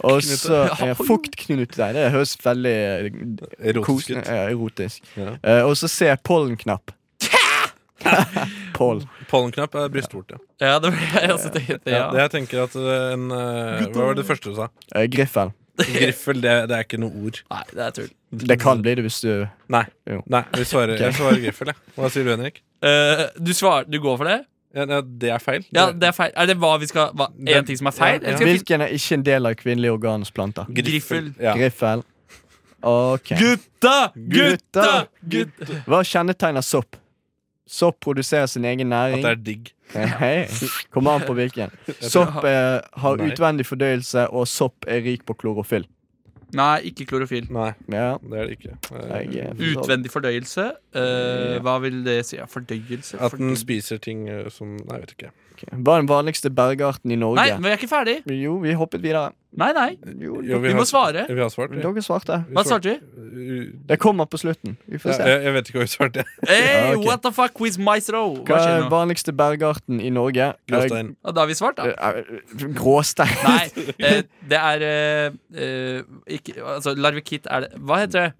[SPEAKER 4] Og så eh, Fuktknute. Det høres veldig eh,
[SPEAKER 2] Erotisk
[SPEAKER 4] kosende
[SPEAKER 2] ut.
[SPEAKER 4] ja, erotisk.
[SPEAKER 2] Ja.
[SPEAKER 4] Eh, og så C. Pollenknapp. Poll.
[SPEAKER 2] Pollenknapp er brystvorte.
[SPEAKER 9] Ja, det var jeg også tenkte.
[SPEAKER 2] Ja. Det
[SPEAKER 9] Ja.
[SPEAKER 2] jeg tenker at eh, en eh, Hva var det første du sa?
[SPEAKER 4] Eh, griffel.
[SPEAKER 2] Griffel, det, det er ikke noe ord.
[SPEAKER 9] Nei, det er tull.
[SPEAKER 4] Det kan bli det hvis du
[SPEAKER 2] Nei.
[SPEAKER 4] Jo.
[SPEAKER 2] Nei vi svarer, Jeg svarer griffel, jeg. Hva sier du, Henrik?
[SPEAKER 9] Eh, du, svar, du går for det?
[SPEAKER 2] Ja, ja, det er feil.
[SPEAKER 9] Ja, det er feil. Er det hva vi skal hva, En ting som er feil? Eller skal vi-
[SPEAKER 4] Hvilken er ikke en del av kvinnelige organers planter?
[SPEAKER 2] Griffel.
[SPEAKER 9] Griffel.
[SPEAKER 2] Ja.
[SPEAKER 4] Griffel. OK.
[SPEAKER 9] Gutta! Gutta! Gutta!
[SPEAKER 4] Hva kjennetegner sopp? Sopp produserer sin egen
[SPEAKER 2] At
[SPEAKER 4] næring.
[SPEAKER 2] det er digg.
[SPEAKER 4] Hei. Kommer an på hvilken. Sopp eh, har
[SPEAKER 2] Nei.
[SPEAKER 4] utvendig fordøyelse, og sopp er rik på klorofyll.
[SPEAKER 9] Nei, ikke klorofil.
[SPEAKER 2] Nei,
[SPEAKER 4] Ja.
[SPEAKER 2] det er det ikke. Eh,
[SPEAKER 4] Jeg, eh, forstår.
[SPEAKER 9] Utvendig fordøyelse. Eh, hva vil det si? Ja, Fordøyelse?
[SPEAKER 2] Eh, At den
[SPEAKER 9] fordøy-
[SPEAKER 2] spiser ting eh, som Nei, jeg vet ikke.
[SPEAKER 4] Hva er den vanligste bergarten i Norge?
[SPEAKER 9] Nei, men vi er ikke ferdig.
[SPEAKER 4] Jo, vi hoppet videre.
[SPEAKER 9] Nei, nei.
[SPEAKER 4] Jo,
[SPEAKER 2] Jo,
[SPEAKER 9] Vi
[SPEAKER 2] har-
[SPEAKER 9] må svare.
[SPEAKER 2] Vi har svart. vi.
[SPEAKER 4] dere svarte.
[SPEAKER 2] Vi
[SPEAKER 9] Hva
[SPEAKER 2] svarte.
[SPEAKER 9] svarte du?
[SPEAKER 2] U-
[SPEAKER 4] Det kommer på slutten. Vi får se.
[SPEAKER 2] Jeg, jeg vet ikke hva vi svarte.
[SPEAKER 9] Hey,
[SPEAKER 4] Ja, ok.
[SPEAKER 9] what the fuck with maestro?
[SPEAKER 4] Hva
[SPEAKER 9] Hva
[SPEAKER 4] er
[SPEAKER 9] skjer
[SPEAKER 4] den
[SPEAKER 9] nå?
[SPEAKER 4] vanligste bergarten i Norge?
[SPEAKER 2] Gråstein.
[SPEAKER 9] Ja, Da har vi svart, da.
[SPEAKER 4] Eh, eh, Gråstein.
[SPEAKER 9] Nei, eh, det er eh, eh, ikke, altså, Larvikitt er det Hva heter det?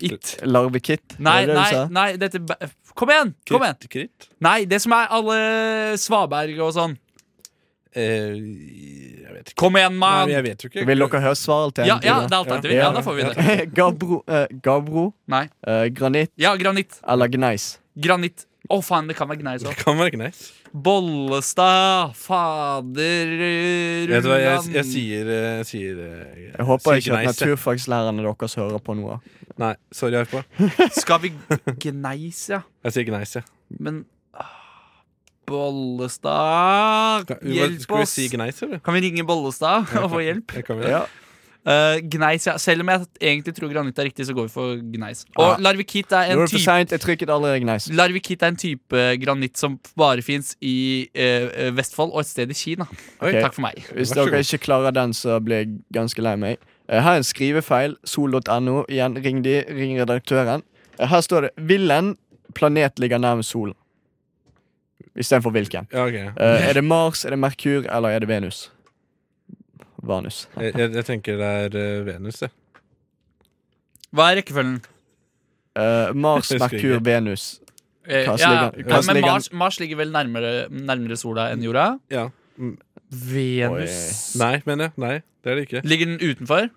[SPEAKER 9] It.
[SPEAKER 4] Larvekitt.
[SPEAKER 9] Nei,
[SPEAKER 4] var det det du
[SPEAKER 9] nei,
[SPEAKER 4] sa?
[SPEAKER 9] nei dette, ba- Kom igjen! kom igjen
[SPEAKER 2] Kritt. kritt.
[SPEAKER 9] Nei, det som er alle svaberg og sånn.
[SPEAKER 2] Eh, jeg vet ikke.
[SPEAKER 9] Kom igjen, mann!
[SPEAKER 2] Nei, jeg vet jo ikke.
[SPEAKER 4] Vil dere høre svaret til
[SPEAKER 9] Ja,
[SPEAKER 4] en
[SPEAKER 9] ja,
[SPEAKER 4] til?
[SPEAKER 9] det er alternativet. Ja, da får vi det.
[SPEAKER 4] Gabro, eh, Gabro
[SPEAKER 9] Nei.
[SPEAKER 4] eh, granitt
[SPEAKER 9] Ja, granitt.
[SPEAKER 4] eller gneis?
[SPEAKER 9] Granitt. Å, faen, det kan være gneis
[SPEAKER 2] Det
[SPEAKER 9] òg.
[SPEAKER 2] kan være nice.
[SPEAKER 9] Bollestad, fader
[SPEAKER 2] Vet du hva, jeg,
[SPEAKER 9] Rulland.
[SPEAKER 2] jeg sier eh, Jeg sier eh,
[SPEAKER 4] Jeg håper
[SPEAKER 2] sier
[SPEAKER 4] ikke at
[SPEAKER 2] nice, jeg.
[SPEAKER 4] naturfagslærerne deres hører på noe.
[SPEAKER 2] Nei, sorry, Arpa.
[SPEAKER 9] Skal vi Gneis, ja.
[SPEAKER 2] Jeg sier gneis, jeg.
[SPEAKER 9] Men ah, Bollestad,
[SPEAKER 2] Skal,
[SPEAKER 9] hjelp
[SPEAKER 2] skal vi
[SPEAKER 9] oss!
[SPEAKER 2] si gneis, eller?
[SPEAKER 9] Kan vi ringe Bollestad og få hjelp?
[SPEAKER 2] Jeg kan vi det?
[SPEAKER 4] Ja.
[SPEAKER 9] Eh, gneis, ja. Selv om jeg egentlig tror granitt er riktig, så går vi for gneis. Og
[SPEAKER 2] Ah.
[SPEAKER 4] Ja.
[SPEAKER 9] larvikitt
[SPEAKER 4] Nå
[SPEAKER 9] er en
[SPEAKER 4] er det for
[SPEAKER 9] type
[SPEAKER 4] seint. Jeg trykket allerede gneis.
[SPEAKER 9] Larvikitt er en type granitt som bare fins i eh, eh, Vestfold og et sted i Kina.
[SPEAKER 4] Ok.
[SPEAKER 9] Takk for meg.
[SPEAKER 4] Hvis
[SPEAKER 2] Vær så
[SPEAKER 4] dere
[SPEAKER 2] god.
[SPEAKER 4] ikke klarer den, så blir jeg ganske lei meg. Eh, Her er en skrivefeil. Sol.no. Igjen, ring de. Ring redaktøren. Eh, Her står det 'Hvilken planet ligger nærmest solen?' Istedenfor hvilken.
[SPEAKER 2] Ja, ok.
[SPEAKER 4] Eh, Er det Mars, er det Merkur eller er det Venus? Vanus.
[SPEAKER 2] Jeg, jeg, jeg tenker det er eh, Venus, jeg.
[SPEAKER 9] Hva er rekkefølgen?
[SPEAKER 4] Eh, Mars,
[SPEAKER 2] Jeg husker
[SPEAKER 4] Merkur,
[SPEAKER 2] ikke.
[SPEAKER 4] Venus.
[SPEAKER 9] Eh,
[SPEAKER 4] Hva
[SPEAKER 9] ja,
[SPEAKER 4] ligger- hva
[SPEAKER 9] ja, men
[SPEAKER 4] ligger-
[SPEAKER 9] Mars, Mars ligger vel nærmere, nærmere sola enn jorda.
[SPEAKER 2] Ja.
[SPEAKER 9] Venus
[SPEAKER 2] Nei, mener jeg. Nei, det er det ikke.
[SPEAKER 9] Ligger den utenfor?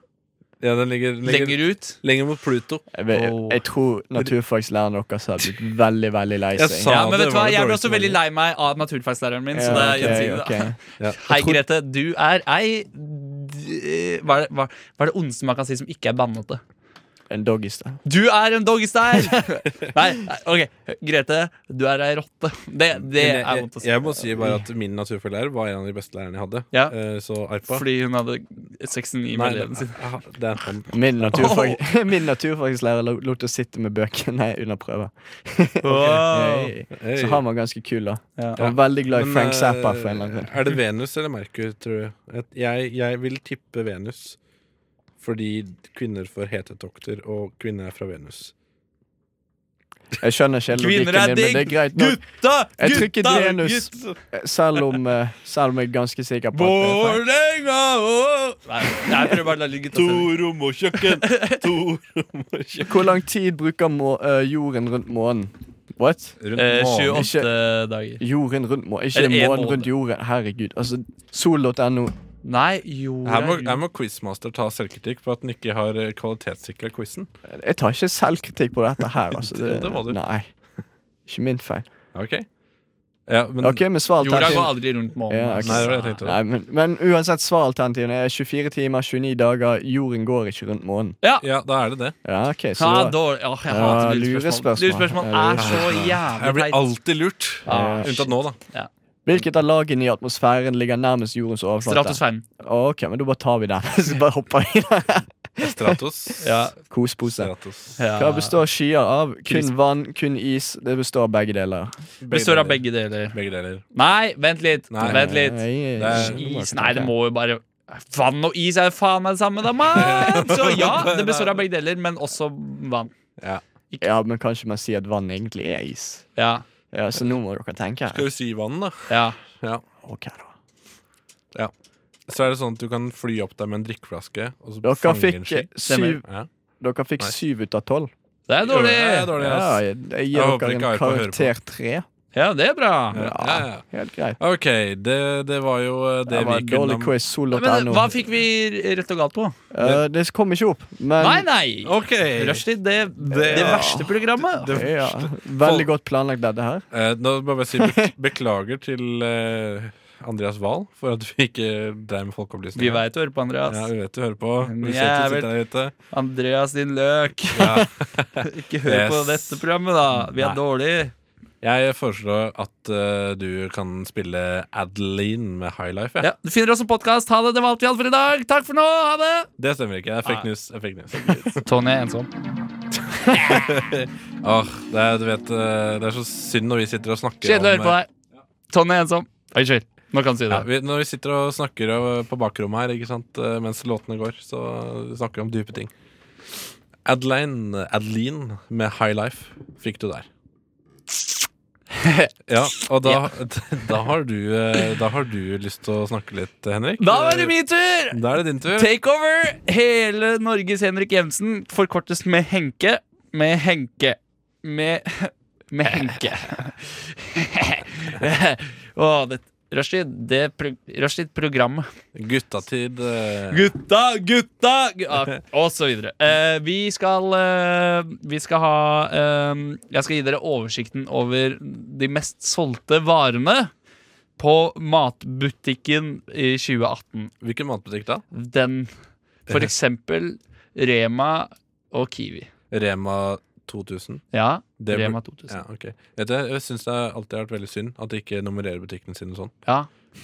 [SPEAKER 2] Ja, den ligger, ligger lenger.
[SPEAKER 9] Lenger ut?
[SPEAKER 2] mot Pluto.
[SPEAKER 4] Jeg, vet- jeg,
[SPEAKER 9] Åh.
[SPEAKER 4] jeg tror naturfagslæreren deres har blitt veldig veldig lei
[SPEAKER 2] Jeg
[SPEAKER 4] seg.
[SPEAKER 2] sa
[SPEAKER 9] Ja, men
[SPEAKER 2] det
[SPEAKER 9] vet du
[SPEAKER 2] var
[SPEAKER 9] hva,
[SPEAKER 2] det
[SPEAKER 9] Jeg ble
[SPEAKER 2] dårligste
[SPEAKER 9] også veldig
[SPEAKER 2] valget.
[SPEAKER 9] lei meg av naturfaglæreren min. Så det
[SPEAKER 4] Ja,
[SPEAKER 9] er gjensidig
[SPEAKER 4] ok,
[SPEAKER 9] da.
[SPEAKER 4] ok.
[SPEAKER 9] Hei, Grete. Du er ei d- hva er, det, hva, hva er det ondeste man kan si som ikke er bannete?
[SPEAKER 4] En doggystyle.
[SPEAKER 9] Du er en doggystyle! nei, nei, OK. Grete, du er ei rotte. Det, det
[SPEAKER 2] Men
[SPEAKER 9] er
[SPEAKER 2] jeg,
[SPEAKER 9] vondt
[SPEAKER 2] jeg,
[SPEAKER 9] å si.
[SPEAKER 2] jeg må si bare at min naturfaglærer var en av de beste lærerne jeg hadde.
[SPEAKER 9] Ja.
[SPEAKER 2] Eh, Så Arpa
[SPEAKER 9] Fordi hun hadde
[SPEAKER 2] Nei,
[SPEAKER 9] 69 i
[SPEAKER 2] det,
[SPEAKER 9] medleven sin.
[SPEAKER 2] ah, det er han.
[SPEAKER 4] Min, naturfag, min naturfagslærer lo- lot oss sitte med bøkene under prøven.
[SPEAKER 9] Wow.
[SPEAKER 4] Hey.
[SPEAKER 2] Hey.
[SPEAKER 4] Så han var ganske kul, da.
[SPEAKER 9] Ja.
[SPEAKER 4] Han var veldig glad i
[SPEAKER 2] Men,
[SPEAKER 4] Frank
[SPEAKER 2] eh,
[SPEAKER 4] Zappa. For en eller annen grunn.
[SPEAKER 2] Er det Venus eller Merkur, tror du? Et- Jeg, jeg vil tippe Venus. Fordi kvinner får hetetokter, og kvinner er fra Venus.
[SPEAKER 4] Jeg skjønner ikke helt
[SPEAKER 9] Kvinner
[SPEAKER 4] logikken din, men
[SPEAKER 9] er
[SPEAKER 4] det er
[SPEAKER 9] digg!
[SPEAKER 4] greit nok.
[SPEAKER 9] Gutta!
[SPEAKER 4] Jeg tror ikke
[SPEAKER 9] Gutta!
[SPEAKER 4] Drenus-
[SPEAKER 9] gutta.
[SPEAKER 4] Selv om, eh, selv om jeg er ganske sikker på at det er feil.
[SPEAKER 9] Vålerenga! åh! Nei, nei, jeg prøver bare å la det ligge. til-
[SPEAKER 2] rom og kjøkken! To rom og kjøkken.
[SPEAKER 4] Hvor lang tid bruker må, eh, jorden rundt månen? What?
[SPEAKER 9] Eh,
[SPEAKER 2] månen.
[SPEAKER 9] 28 dager.
[SPEAKER 4] Jorden rundt månen? Ikke
[SPEAKER 9] Er det en
[SPEAKER 4] månen
[SPEAKER 9] måned?
[SPEAKER 4] rundt jorden. Herregud. Altså, sol.no.
[SPEAKER 9] Nei, jorda
[SPEAKER 2] Her må, her må Quizmaster ta selvkritikk på at den ikke har kvalitetssikra quizen.
[SPEAKER 4] Jeg tar ikke selvkritikk på dette her, altså.
[SPEAKER 2] Det må du.
[SPEAKER 4] Nei. Ikke min feil.
[SPEAKER 2] Ok. Ja, men
[SPEAKER 4] OK, men
[SPEAKER 9] Jorda går
[SPEAKER 4] svaralternativet
[SPEAKER 9] aldri rundt månen.
[SPEAKER 4] Ja,
[SPEAKER 9] altså.
[SPEAKER 2] Nei, det var det jeg tenkte.
[SPEAKER 4] Nei, men, men uansett, svaralternativene er 24 timer, 29 dager, jorden går ikke rundt månen.
[SPEAKER 2] Ja, da er det det.
[SPEAKER 4] Ja, OK, så
[SPEAKER 9] Ta
[SPEAKER 4] da
[SPEAKER 9] dår- Åh, jeg
[SPEAKER 4] Ja,
[SPEAKER 9] hater
[SPEAKER 4] lurespørsmål.
[SPEAKER 9] lurespørsmål. Lurespørsmål er så
[SPEAKER 2] Jeg
[SPEAKER 9] jævlig
[SPEAKER 2] blir
[SPEAKER 9] teit.
[SPEAKER 2] alltid lurt.
[SPEAKER 4] Ja.
[SPEAKER 2] Unntatt nå, da.
[SPEAKER 4] Hvilket av lagene i atmosfæren ligger nærmest jordens overflate?
[SPEAKER 9] Stratosfæren.
[SPEAKER 4] OK, men da bare tar vi den. Så bare hopper vi i den.
[SPEAKER 2] Stratos.
[SPEAKER 9] Ja.
[SPEAKER 4] Kospose.
[SPEAKER 2] Stratos.
[SPEAKER 9] Ja.
[SPEAKER 4] Hva består skyer av?
[SPEAKER 9] Kris-
[SPEAKER 4] Kun vann, kun is. Det består av begge deler.
[SPEAKER 9] Består av begge deler.
[SPEAKER 2] Begge deler.
[SPEAKER 9] Nei, vent litt.
[SPEAKER 2] Nei. Eh,
[SPEAKER 9] vent litt.
[SPEAKER 4] Nei,
[SPEAKER 2] Det er-
[SPEAKER 9] Is Nei, det må jo bare Vann og is er jo faen meg det samme, da, mann! Så ja, det består av begge deler, men også vann.
[SPEAKER 4] Ja, men kanskje man sier at vann egentlig er is.
[SPEAKER 9] Ja,
[SPEAKER 4] Ja, Så nå må dere tenke.
[SPEAKER 2] Skal vi si vann, da?
[SPEAKER 9] ja.
[SPEAKER 2] Ja.
[SPEAKER 4] Ok, da.
[SPEAKER 2] Så er det sånn at du kan fly opp der med en drikkeflaske, og så
[SPEAKER 4] Dere
[SPEAKER 2] fange en
[SPEAKER 4] fikk
[SPEAKER 2] ski.
[SPEAKER 4] syv,
[SPEAKER 2] Ja.
[SPEAKER 4] dere fikk
[SPEAKER 2] Nei.
[SPEAKER 4] syv ut av tolv.
[SPEAKER 9] Det er dårlig.
[SPEAKER 2] Ja, det er dårlig,
[SPEAKER 4] Ja,
[SPEAKER 2] ass.
[SPEAKER 4] jeg jeg
[SPEAKER 2] Jeg
[SPEAKER 4] gir
[SPEAKER 2] håper
[SPEAKER 4] dere
[SPEAKER 2] ikke
[SPEAKER 4] en
[SPEAKER 2] Arpa hører på.
[SPEAKER 4] karakter tre.
[SPEAKER 9] Ja, det er bra.
[SPEAKER 2] Ja, ja.
[SPEAKER 4] Helt greit.
[SPEAKER 2] OK, det, det var jo eh, det,
[SPEAKER 4] Det var
[SPEAKER 2] vi
[SPEAKER 4] en
[SPEAKER 2] kunne
[SPEAKER 4] dårlig
[SPEAKER 2] om
[SPEAKER 4] quiz. Sol.no.
[SPEAKER 9] Men hva fikk vi rett og galt på?
[SPEAKER 4] Eh, det kom ikke opp, men
[SPEAKER 9] Nei, nei!
[SPEAKER 2] OK!
[SPEAKER 9] Rushtid, det, det, verste programmet.
[SPEAKER 2] Det-
[SPEAKER 4] ja, Veldig godt planlagt, dette her.
[SPEAKER 2] Eh, nå må jeg bare si bek- beklager til eh, Andreas Wahl for at vi ikke dreiv med folkeopplysning.
[SPEAKER 9] Vi veit du hører på, Andreas.
[SPEAKER 2] Ja, vi vet du hører på.
[SPEAKER 9] Men
[SPEAKER 2] Vi ser du
[SPEAKER 9] jævel.
[SPEAKER 2] sitter der ute.
[SPEAKER 9] Andreas, din løk.
[SPEAKER 2] Ja.
[SPEAKER 9] Ikke hør på
[SPEAKER 2] Yes.
[SPEAKER 9] dette programmet, da. Vi
[SPEAKER 2] Nei.
[SPEAKER 9] er dårlige.
[SPEAKER 2] Jeg foreslår at eh, du kan spille Adeline med High Life. Ja.
[SPEAKER 9] Ja, du finner oss som podkast. Ha det. Det var alt vi hadde for i dag. Takk for nå. Ha det.
[SPEAKER 2] Det stemmer ikke. Det er fake
[SPEAKER 9] Nei.
[SPEAKER 2] news. Det er fake news.
[SPEAKER 9] Tony er ensom.
[SPEAKER 2] Åh, det, er, du vet, eh, det er så synd når vi sitter og snakker
[SPEAKER 9] Kjedelig å høre på
[SPEAKER 2] eh,
[SPEAKER 9] deg. Tony er ensom. Unnskyld. Nå kan du si
[SPEAKER 2] ja,
[SPEAKER 9] det.
[SPEAKER 2] vi, Når vi sitter og snakker eh, på bakrommet her ikke sant? eh, mens låtene går, så snakker vi om dype ting. Adeline, Adeline med High Life fikk du der. Ja, og da, da, har du, eh, da har du lyst til å snakke litt, Henrik.
[SPEAKER 9] Da var det min tur!
[SPEAKER 2] Da er det din tur.
[SPEAKER 9] Take over! Hele Norges Henrik Jensen forkortes med Henke. Med Henke. Med Med Henke. Åh, det Rushtid, det pro- Rushtid-programmet.
[SPEAKER 2] Guttatid. eh,
[SPEAKER 9] Gutta, gutta! gu- ah, Og så videre. Eh, vi skal eh, Vi skal ha eh, Jeg skal gi dere oversikten over de mest solgte varene på matbutikken i 2018
[SPEAKER 2] Hvilken matbutikk da?
[SPEAKER 9] den For eksempel Rema og Kiwi.
[SPEAKER 2] Rema 2000.
[SPEAKER 9] Ja,
[SPEAKER 2] Det bur-
[SPEAKER 9] Rema 2000. Ja.
[SPEAKER 2] Ja, ok Vet du, Jeg syns det har alltid har vært veldig synd at de ikke nummererer butikkene sine sånn.
[SPEAKER 9] Ja.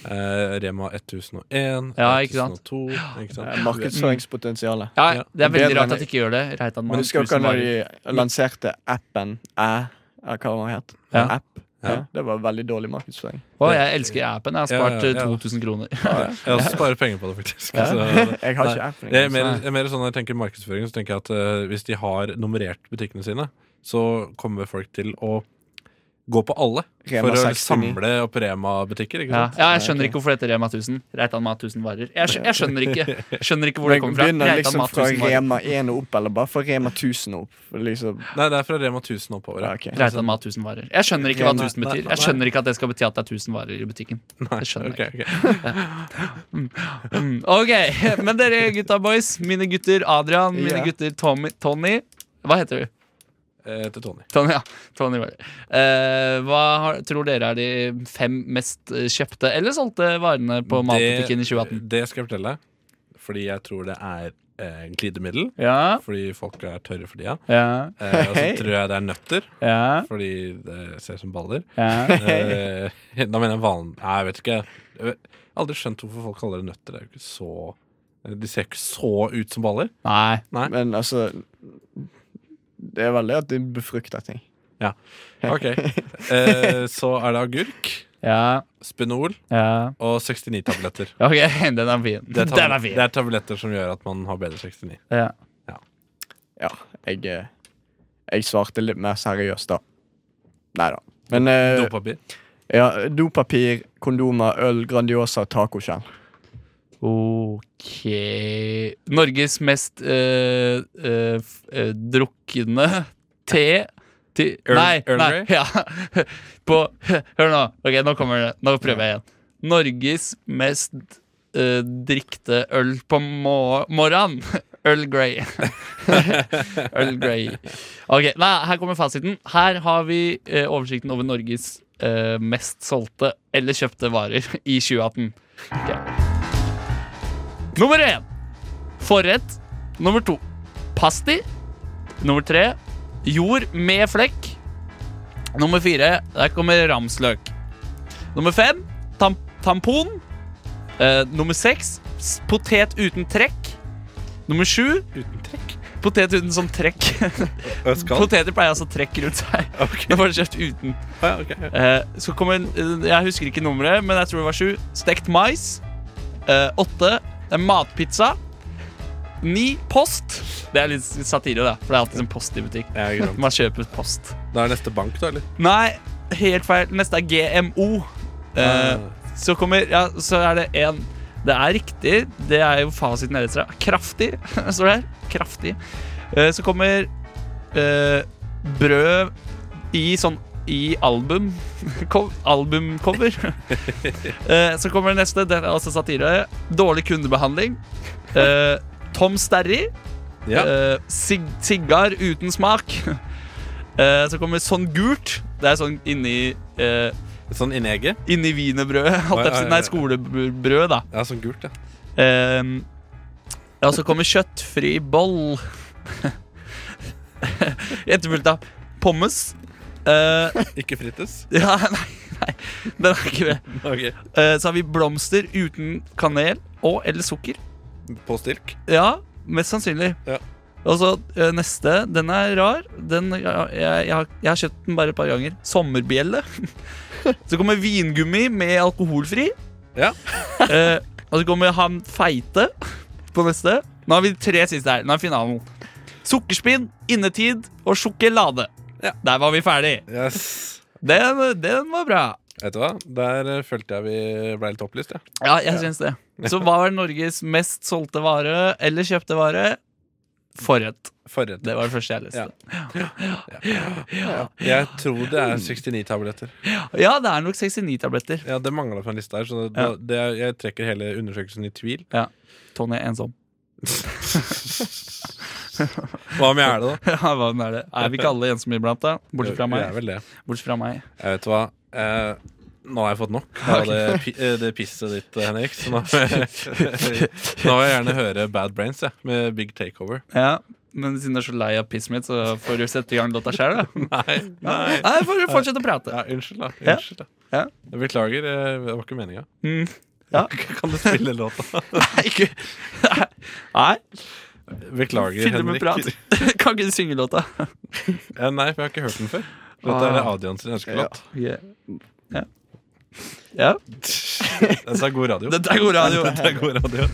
[SPEAKER 2] Eh, Rema 1001,
[SPEAKER 9] Ja, ikke sant?
[SPEAKER 2] 1002 ikke sant?
[SPEAKER 4] Eh, Markedsføringspotensialet.
[SPEAKER 2] Ja.
[SPEAKER 9] det er veldig
[SPEAKER 4] Bedre
[SPEAKER 9] rart
[SPEAKER 4] enn-
[SPEAKER 9] at de ikke gjør det. Reitan
[SPEAKER 4] Men
[SPEAKER 9] Mann,
[SPEAKER 4] husker dere
[SPEAKER 9] tusen
[SPEAKER 4] når
[SPEAKER 9] varer.
[SPEAKER 4] de lanserte appen Æ? Ja, Hva var den het?
[SPEAKER 9] Ja.
[SPEAKER 4] App? Ja.
[SPEAKER 2] Ja.
[SPEAKER 4] det var veldig dårlig markedsføring.
[SPEAKER 9] Å, jeg elsker appen. Jeg har
[SPEAKER 2] Ja,
[SPEAKER 9] spart
[SPEAKER 2] ja,
[SPEAKER 9] eh,
[SPEAKER 2] ja.
[SPEAKER 9] 2000 kroner.
[SPEAKER 2] Jeg også sparer penger på det, faktisk.
[SPEAKER 4] Ja.
[SPEAKER 2] Så,
[SPEAKER 4] Jeg har ikke
[SPEAKER 2] Nei.
[SPEAKER 4] appen.
[SPEAKER 2] det er
[SPEAKER 4] engang,
[SPEAKER 2] mer, det er mer sånn Når jeg tenker markedsføring, så tenker jeg at eh, hvis de har nummerert butikkene sine, så kommer folk til å gå på alle
[SPEAKER 4] så Rema
[SPEAKER 2] for å
[SPEAKER 4] 69.
[SPEAKER 2] samle opp Rema-butikker. Ikke
[SPEAKER 9] Ja.
[SPEAKER 2] sant?
[SPEAKER 9] ja, Jeg skjønner ikke hvorfor det heter Rema 1000. Reitan Mat 1000 varer. Jeg, skj jeg skjønner ikke Skjønner ikke hvor det
[SPEAKER 4] Men
[SPEAKER 9] kommer fra.
[SPEAKER 4] begynner
[SPEAKER 9] Reitan
[SPEAKER 4] liksom
[SPEAKER 9] Mat
[SPEAKER 4] fra
[SPEAKER 9] 1000 varer.
[SPEAKER 4] Rema 1 og opp, eller bare fra Rema 1000 og opp? For Liksom,
[SPEAKER 2] Nei, det er fra Rema 1000 oppover.
[SPEAKER 4] ja, Ah, ok.
[SPEAKER 9] Reitan Mat 1000 varer. Jeg skjønner ikke hva
[SPEAKER 4] Rema-
[SPEAKER 9] 1000 betyr.
[SPEAKER 2] nei, nei.
[SPEAKER 9] Jeg skjønner ikke at det skal bety at det er 1000 varer i butikken. Det skjønner
[SPEAKER 2] Ok,
[SPEAKER 9] jeg
[SPEAKER 2] ok.
[SPEAKER 9] Mm, Ok, Men dere gutta boys, mine gutter Adrian, mine
[SPEAKER 4] Ja.
[SPEAKER 9] gutter Tommy, Tony Hva heter du?
[SPEAKER 2] Eh, til Tony.
[SPEAKER 9] Tony, ja. Tony var det. Eh, hva har, tror dere er de fem mest eh, kjøpte eller solgte varene på matbutikken i 2018?
[SPEAKER 2] Det skal jeg fortelle. Fordi jeg tror det er eh, glidemiddel.
[SPEAKER 9] Ja,
[SPEAKER 2] Fordi folk er tørre for tida.
[SPEAKER 9] ja,
[SPEAKER 2] Eh, og så
[SPEAKER 4] Hei.
[SPEAKER 2] tror jeg det er nøtter,
[SPEAKER 9] ja,
[SPEAKER 2] fordi det ser ut som baller.
[SPEAKER 9] ja.
[SPEAKER 2] Eh, da mener jeg vanlig Nei, jeg vet ikke. Jeg vet- aldri skjønt hvorfor folk kaller det nøtter. Det er jo ikke så eh, De ser ikke så ut som baller.
[SPEAKER 9] Nei.
[SPEAKER 4] Men altså Det er veldig at de befrukter ting.
[SPEAKER 2] Ok eh, Så er det agurk,
[SPEAKER 9] Ja,
[SPEAKER 2] Spenol
[SPEAKER 9] ja.
[SPEAKER 2] og 69-tabletter.
[SPEAKER 9] Ok, den er fin.
[SPEAKER 2] Det, er tab-
[SPEAKER 9] den er fin.
[SPEAKER 2] det er tabletter som gjør at man har bedre 69.
[SPEAKER 9] Ja.
[SPEAKER 4] Ja, jeg, eh, jeg svarte litt mer seriøst, da. Nei da. Men eh,
[SPEAKER 2] Dopapir.
[SPEAKER 4] ja, dopapir, kondomer, øl, Grandiosa, tacoskjell.
[SPEAKER 9] Ok Norges mest eh, eh, f- eh, drukne te til,
[SPEAKER 2] Earl-
[SPEAKER 9] Nei,
[SPEAKER 2] Earl
[SPEAKER 9] nei
[SPEAKER 2] Grey?
[SPEAKER 9] ja. På, Hør nå. Ok, nå kommer det. Nå prøver jeg igjen. Norges mest eh, drikte øl på mor morgenen. Earl Grey. Earl Grey. Ok, nei, Her kommer fasiten. Her har vi eh, oversikten over Norges eh, mest solgte eller kjøpte varer i 2018. Ok. Nummer én forrett. Nummer to pasti. Nummer tre jord med flekk. Nummer fire der kommer ramsløk. Nummer fem tam tampon. Eh, nummer seks s- potet uten trekk. Nummer sju
[SPEAKER 2] Uten trekk?
[SPEAKER 9] potet uten sånn trekk.
[SPEAKER 2] Skal?
[SPEAKER 9] Poteter pleier altså å trekke rundt seg.
[SPEAKER 2] Ok.
[SPEAKER 9] Det var kjøpt uten.
[SPEAKER 2] Ja, ok, ja.
[SPEAKER 9] Eh, så kom en, eh, jeg husker ikke nummeret, men jeg tror det var sju. Stekt mais. Eh, åtte det er matpizza. Ni post. Det er litt satire, da, for det er alltid en post i butikk.
[SPEAKER 2] Ja, ikke sant.
[SPEAKER 9] Man kjøper post.
[SPEAKER 2] Da er neste bank, da, eller?
[SPEAKER 9] Nei, helt feil. Neste er GMO. Eh,
[SPEAKER 2] Ah.
[SPEAKER 9] så kommer Ja, så er det en Det er riktig. Det er jo fasiten her. etter. Kraftig, står det her. Kraftig. Eh, så kommer eh, brød i sånn i album co- albumcover. Eh, så kommer det neste. Den er også satire. Dårlig kundebehandling. Eh, Tom Sterry.
[SPEAKER 2] Ja.
[SPEAKER 9] Eh, sig sigar uten smak. Eh, så kommer sånn gult. Det er sånn inni uh,
[SPEAKER 2] Sånn inni egget.
[SPEAKER 9] Inni wienerbrødet. holdt jeg på å si. Nei, skolebrød, da.
[SPEAKER 2] Ja, sånn gult, ja.
[SPEAKER 9] Eh, ja, så kommer kjøttfri boll. Etterfulgt av pommes. Eh,
[SPEAKER 2] Ikke frites.
[SPEAKER 9] ja, nei, nei, den er ikke med.
[SPEAKER 2] Ok.
[SPEAKER 9] Eh, så har vi blomster uten kanel og eller sukker.
[SPEAKER 2] På stilk.
[SPEAKER 9] Ja, mest sannsynlig.
[SPEAKER 2] Ja.
[SPEAKER 9] Og så ø, neste, den er rar. Den, jeg, jeg, jeg har- jeg har kjøpt den bare et par ganger. Sommerbjelle. så kommer vingummi med alkoholfri.
[SPEAKER 2] Ja.
[SPEAKER 9] Eh, og så kommer han feite på neste. Nå har vi tre siste her. Nå er finalen. Sukkerspinn, innetid og sjokolade.
[SPEAKER 2] Ja.
[SPEAKER 9] Der var vi ferdig.
[SPEAKER 2] Yes.
[SPEAKER 9] Den, den var bra.
[SPEAKER 2] Vet du hva? Der eh, følte jeg vi ble litt opplyst, ja.
[SPEAKER 9] Ja, jeg syns det. Så hva var Norges mest solgte vare eller kjøpte vare? Forrett.
[SPEAKER 2] Forrett.
[SPEAKER 9] Det var det første jeg leste.
[SPEAKER 2] Ja. Jeg tror det
[SPEAKER 9] Hmm.
[SPEAKER 2] er 69 tabletter.
[SPEAKER 9] Ja, det er nok 69-tabletter.
[SPEAKER 2] Ja, Det mangla fra en liste her, så det,
[SPEAKER 9] Ja.
[SPEAKER 2] det, jeg trekker hele undersøkelsen i tvil.
[SPEAKER 9] Tony er ensom.
[SPEAKER 2] Hva med jeg er det, da?
[SPEAKER 9] Ja, hva er det? Er vi ikke alle ensomme iblant, da? Bortsett fra
[SPEAKER 2] Det er
[SPEAKER 9] meg.
[SPEAKER 2] vel det.
[SPEAKER 9] Bortsett fra meg.
[SPEAKER 2] Jeg vet hva. Eh, nå har jeg fått nok av det, pi- eh, det pisset ditt, eh, Henrik. Så nå, nå vil jeg gjerne høre Bad Brains jeg, med Big Takeover.
[SPEAKER 9] Ja, men siden du er så lei av pisset mitt, så får du sette i gang låta sjøl, da.
[SPEAKER 2] Nei, nei.
[SPEAKER 9] Nei, får du fortsette å prate.
[SPEAKER 2] Ja, unnskyld, da.
[SPEAKER 9] Ja.
[SPEAKER 2] Unnskyld, da.
[SPEAKER 9] Ja.
[SPEAKER 2] Jeg Beklager, eh, det var ikke meninga.
[SPEAKER 9] Mm. Ja.
[SPEAKER 2] Kan du spille låta?
[SPEAKER 9] Nei, ikke- Nei,
[SPEAKER 2] Beklager,
[SPEAKER 9] fylle
[SPEAKER 2] Henrik.
[SPEAKER 9] med prat. Kan ikke du synge låta?
[SPEAKER 2] Eh, nei, for jeg har ikke hørt den før. Dette er
[SPEAKER 9] Ah.
[SPEAKER 2] Adrian sin ønskelåt.
[SPEAKER 9] Ja. ja.
[SPEAKER 2] Dette er god radio.
[SPEAKER 9] Dette er god radio.
[SPEAKER 2] Dette er god radio.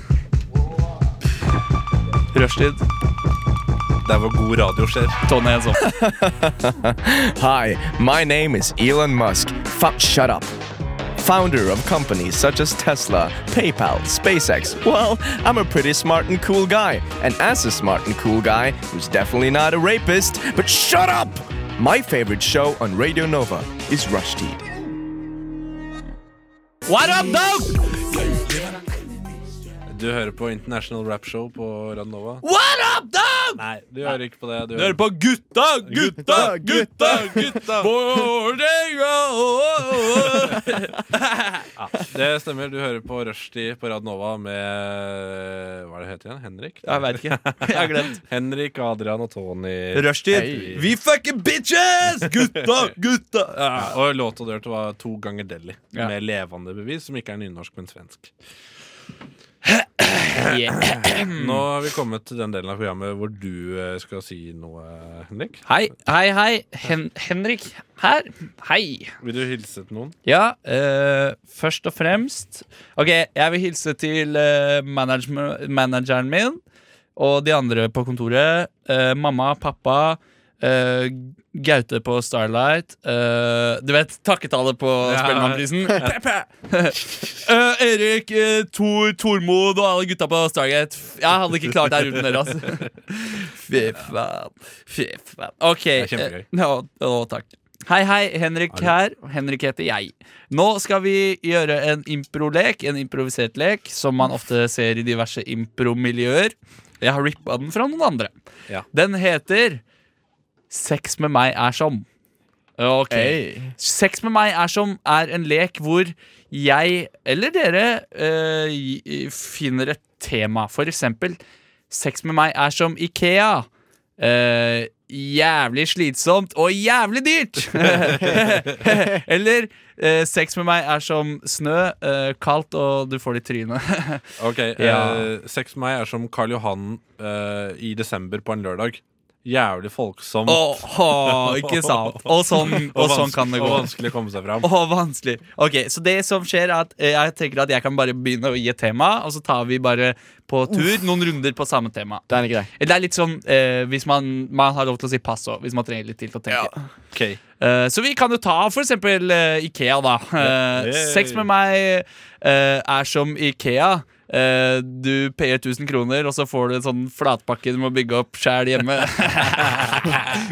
[SPEAKER 9] Rushtid.
[SPEAKER 2] Det er hvor god radio skjer.
[SPEAKER 9] Tony er ensom.
[SPEAKER 4] Hi, my name is Elon Musk. Fuck, shut up. Founder of companies such as Tesla, PayPal, SpaceX. Well, I'm a pretty smart and cool guy. And as a smart and cool guy, who's definitely not a rapist, but shut up! My favorite show on Radio Nova is Rush Teed.
[SPEAKER 9] What up, dog?
[SPEAKER 2] Du hører på International Rap Show på Radnova.
[SPEAKER 9] What up, dog?
[SPEAKER 2] Nei, du hører ikke på det. Du
[SPEAKER 9] Du hører på gutta, gutta, gutta, gutta
[SPEAKER 2] Det stemmer. Du hører på Rushdie på Radnova med Hva er det heter igjen? Henrik?
[SPEAKER 9] Jeg vet ikke, jeg har glemt
[SPEAKER 2] Henrik, Adrian og Tony.
[SPEAKER 9] Rushtid,
[SPEAKER 2] Hei.
[SPEAKER 9] we fucking bitches Gutta, gutta
[SPEAKER 2] Ja, og låta du hørte, var To ganger Delhi,
[SPEAKER 9] Ja.
[SPEAKER 2] med levende bevis, som ikke er nynorsk, men svensk.
[SPEAKER 9] Mm.
[SPEAKER 2] Nå har vi kommet til den delen av programmet hvor du eh, skal si noe, Henrik.
[SPEAKER 9] Hei, hei, hei Hen Henrik her Hei
[SPEAKER 2] Vil du hilse til noen?
[SPEAKER 9] Ja, eh, først og fremst Ok, jeg vil hilse til eh, managem- manageren min og de andre på kontoret. Eh, mamma, pappa, eh, Gaute på Starlight. eh, du vet, takketallet på Spellemannprisen. Eh, Erik, eh, Tor, Tormod og alle gutta på Stargate. F- Jeg hadde ikke klart det her uten dere, altså. Fy faen. Fy faen. Ok.
[SPEAKER 2] Det er kjempegøy.
[SPEAKER 9] eh, Ja, å, takk. Hei, hei. Henrik her. Henrik heter jeg. Nå skal vi gjøre en improlek, en improvisert lek, som man ofte ser i diverse impromiljøer. Jeg har rippa den fra noen andre.
[SPEAKER 2] Ja.
[SPEAKER 9] Den heter Sex med meg er som. Ok.
[SPEAKER 4] Hey.
[SPEAKER 9] Sex med meg er som er en lek hvor jeg eller dere eh, gi- finner et tema. For eksempel Sex med meg er som Ikea. Eh, jævlig slitsomt og jævlig dyrt! eller eh, Sex med meg er som snø. eh, kaldt, og du får det i trynet.
[SPEAKER 2] Ok,
[SPEAKER 9] Ja.
[SPEAKER 2] eh, Sex med meg er som Karl Johan eh, i desember på en lørdag. Jævlig folksomt.
[SPEAKER 9] Åh, ikke sant? Og sånn, og sånn kan det
[SPEAKER 2] vanskelig-
[SPEAKER 9] gå.
[SPEAKER 2] Og vanskelig å komme seg fram.
[SPEAKER 9] Åh, vanskelig. Ok, Så det som skjer, er at eh, jeg tenker at jeg kan bare begynne å gi et tema, og så tar vi bare på tur noen runder på samme tema.
[SPEAKER 4] Den er grei.
[SPEAKER 9] Det er litt sånn eh, hvis man, man har lov til å si pass òg, hvis man trenger litt tid til å tenke.
[SPEAKER 2] Ok.
[SPEAKER 9] Eh, så vi kan jo ta for eksempel eh, Ikea, da. Eh,
[SPEAKER 2] Hey.
[SPEAKER 9] Sex med meg eh, er som Ikea. Eh, du payer 1000 kroner, og så får du en sånn flatpakke du må bygge opp sjæl hjemme.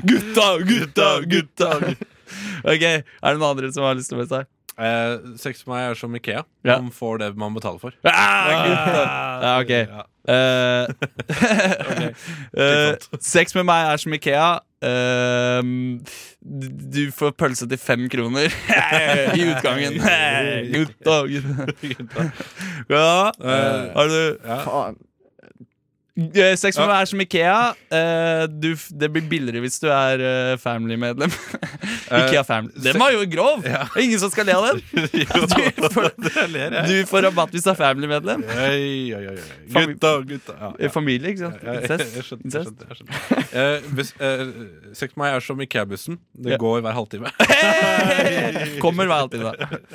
[SPEAKER 9] gutta, gutta, gutta! Ok, Er det noen andre som har lyst til å melde seg?
[SPEAKER 2] Eh, sex med meg er som Ikea.
[SPEAKER 9] Ja.
[SPEAKER 2] Man får det man betaler for.
[SPEAKER 9] Ah, gutta. Ja, ok. Eh, eh, sex med meg er som Ikea. Eh, du du får pølse til fem kroner i utgangen. Gutta, gutta. Ja,
[SPEAKER 2] Eh,
[SPEAKER 9] har du
[SPEAKER 4] Faen.
[SPEAKER 9] Eh, Sex med meg er som Ikea. Eh, du, f- det blir billigere hvis du er eh, family-medlem.
[SPEAKER 2] Eh,
[SPEAKER 9] Ikea-family. Den var jo grov! Ingen som skal le av den. Du får, du får rabatt hvis du er family-medlem.
[SPEAKER 2] Oi, oi, oi, oi.
[SPEAKER 9] Fam-
[SPEAKER 2] Gutta, gutta. Ja,
[SPEAKER 9] Eh,
[SPEAKER 2] ja.
[SPEAKER 9] Familie, ikke sant?
[SPEAKER 2] Ja, jeg-
[SPEAKER 9] Incest.
[SPEAKER 2] jeg skjønte, jeg
[SPEAKER 9] Incest.
[SPEAKER 2] skjønte, jeg skjønte. Eh, hvis, eh, Sex med meg er som Ikea-bussen. Det
[SPEAKER 9] Ja.
[SPEAKER 2] går hver halvtime.
[SPEAKER 9] Hey! Kommer hver halvtime, da.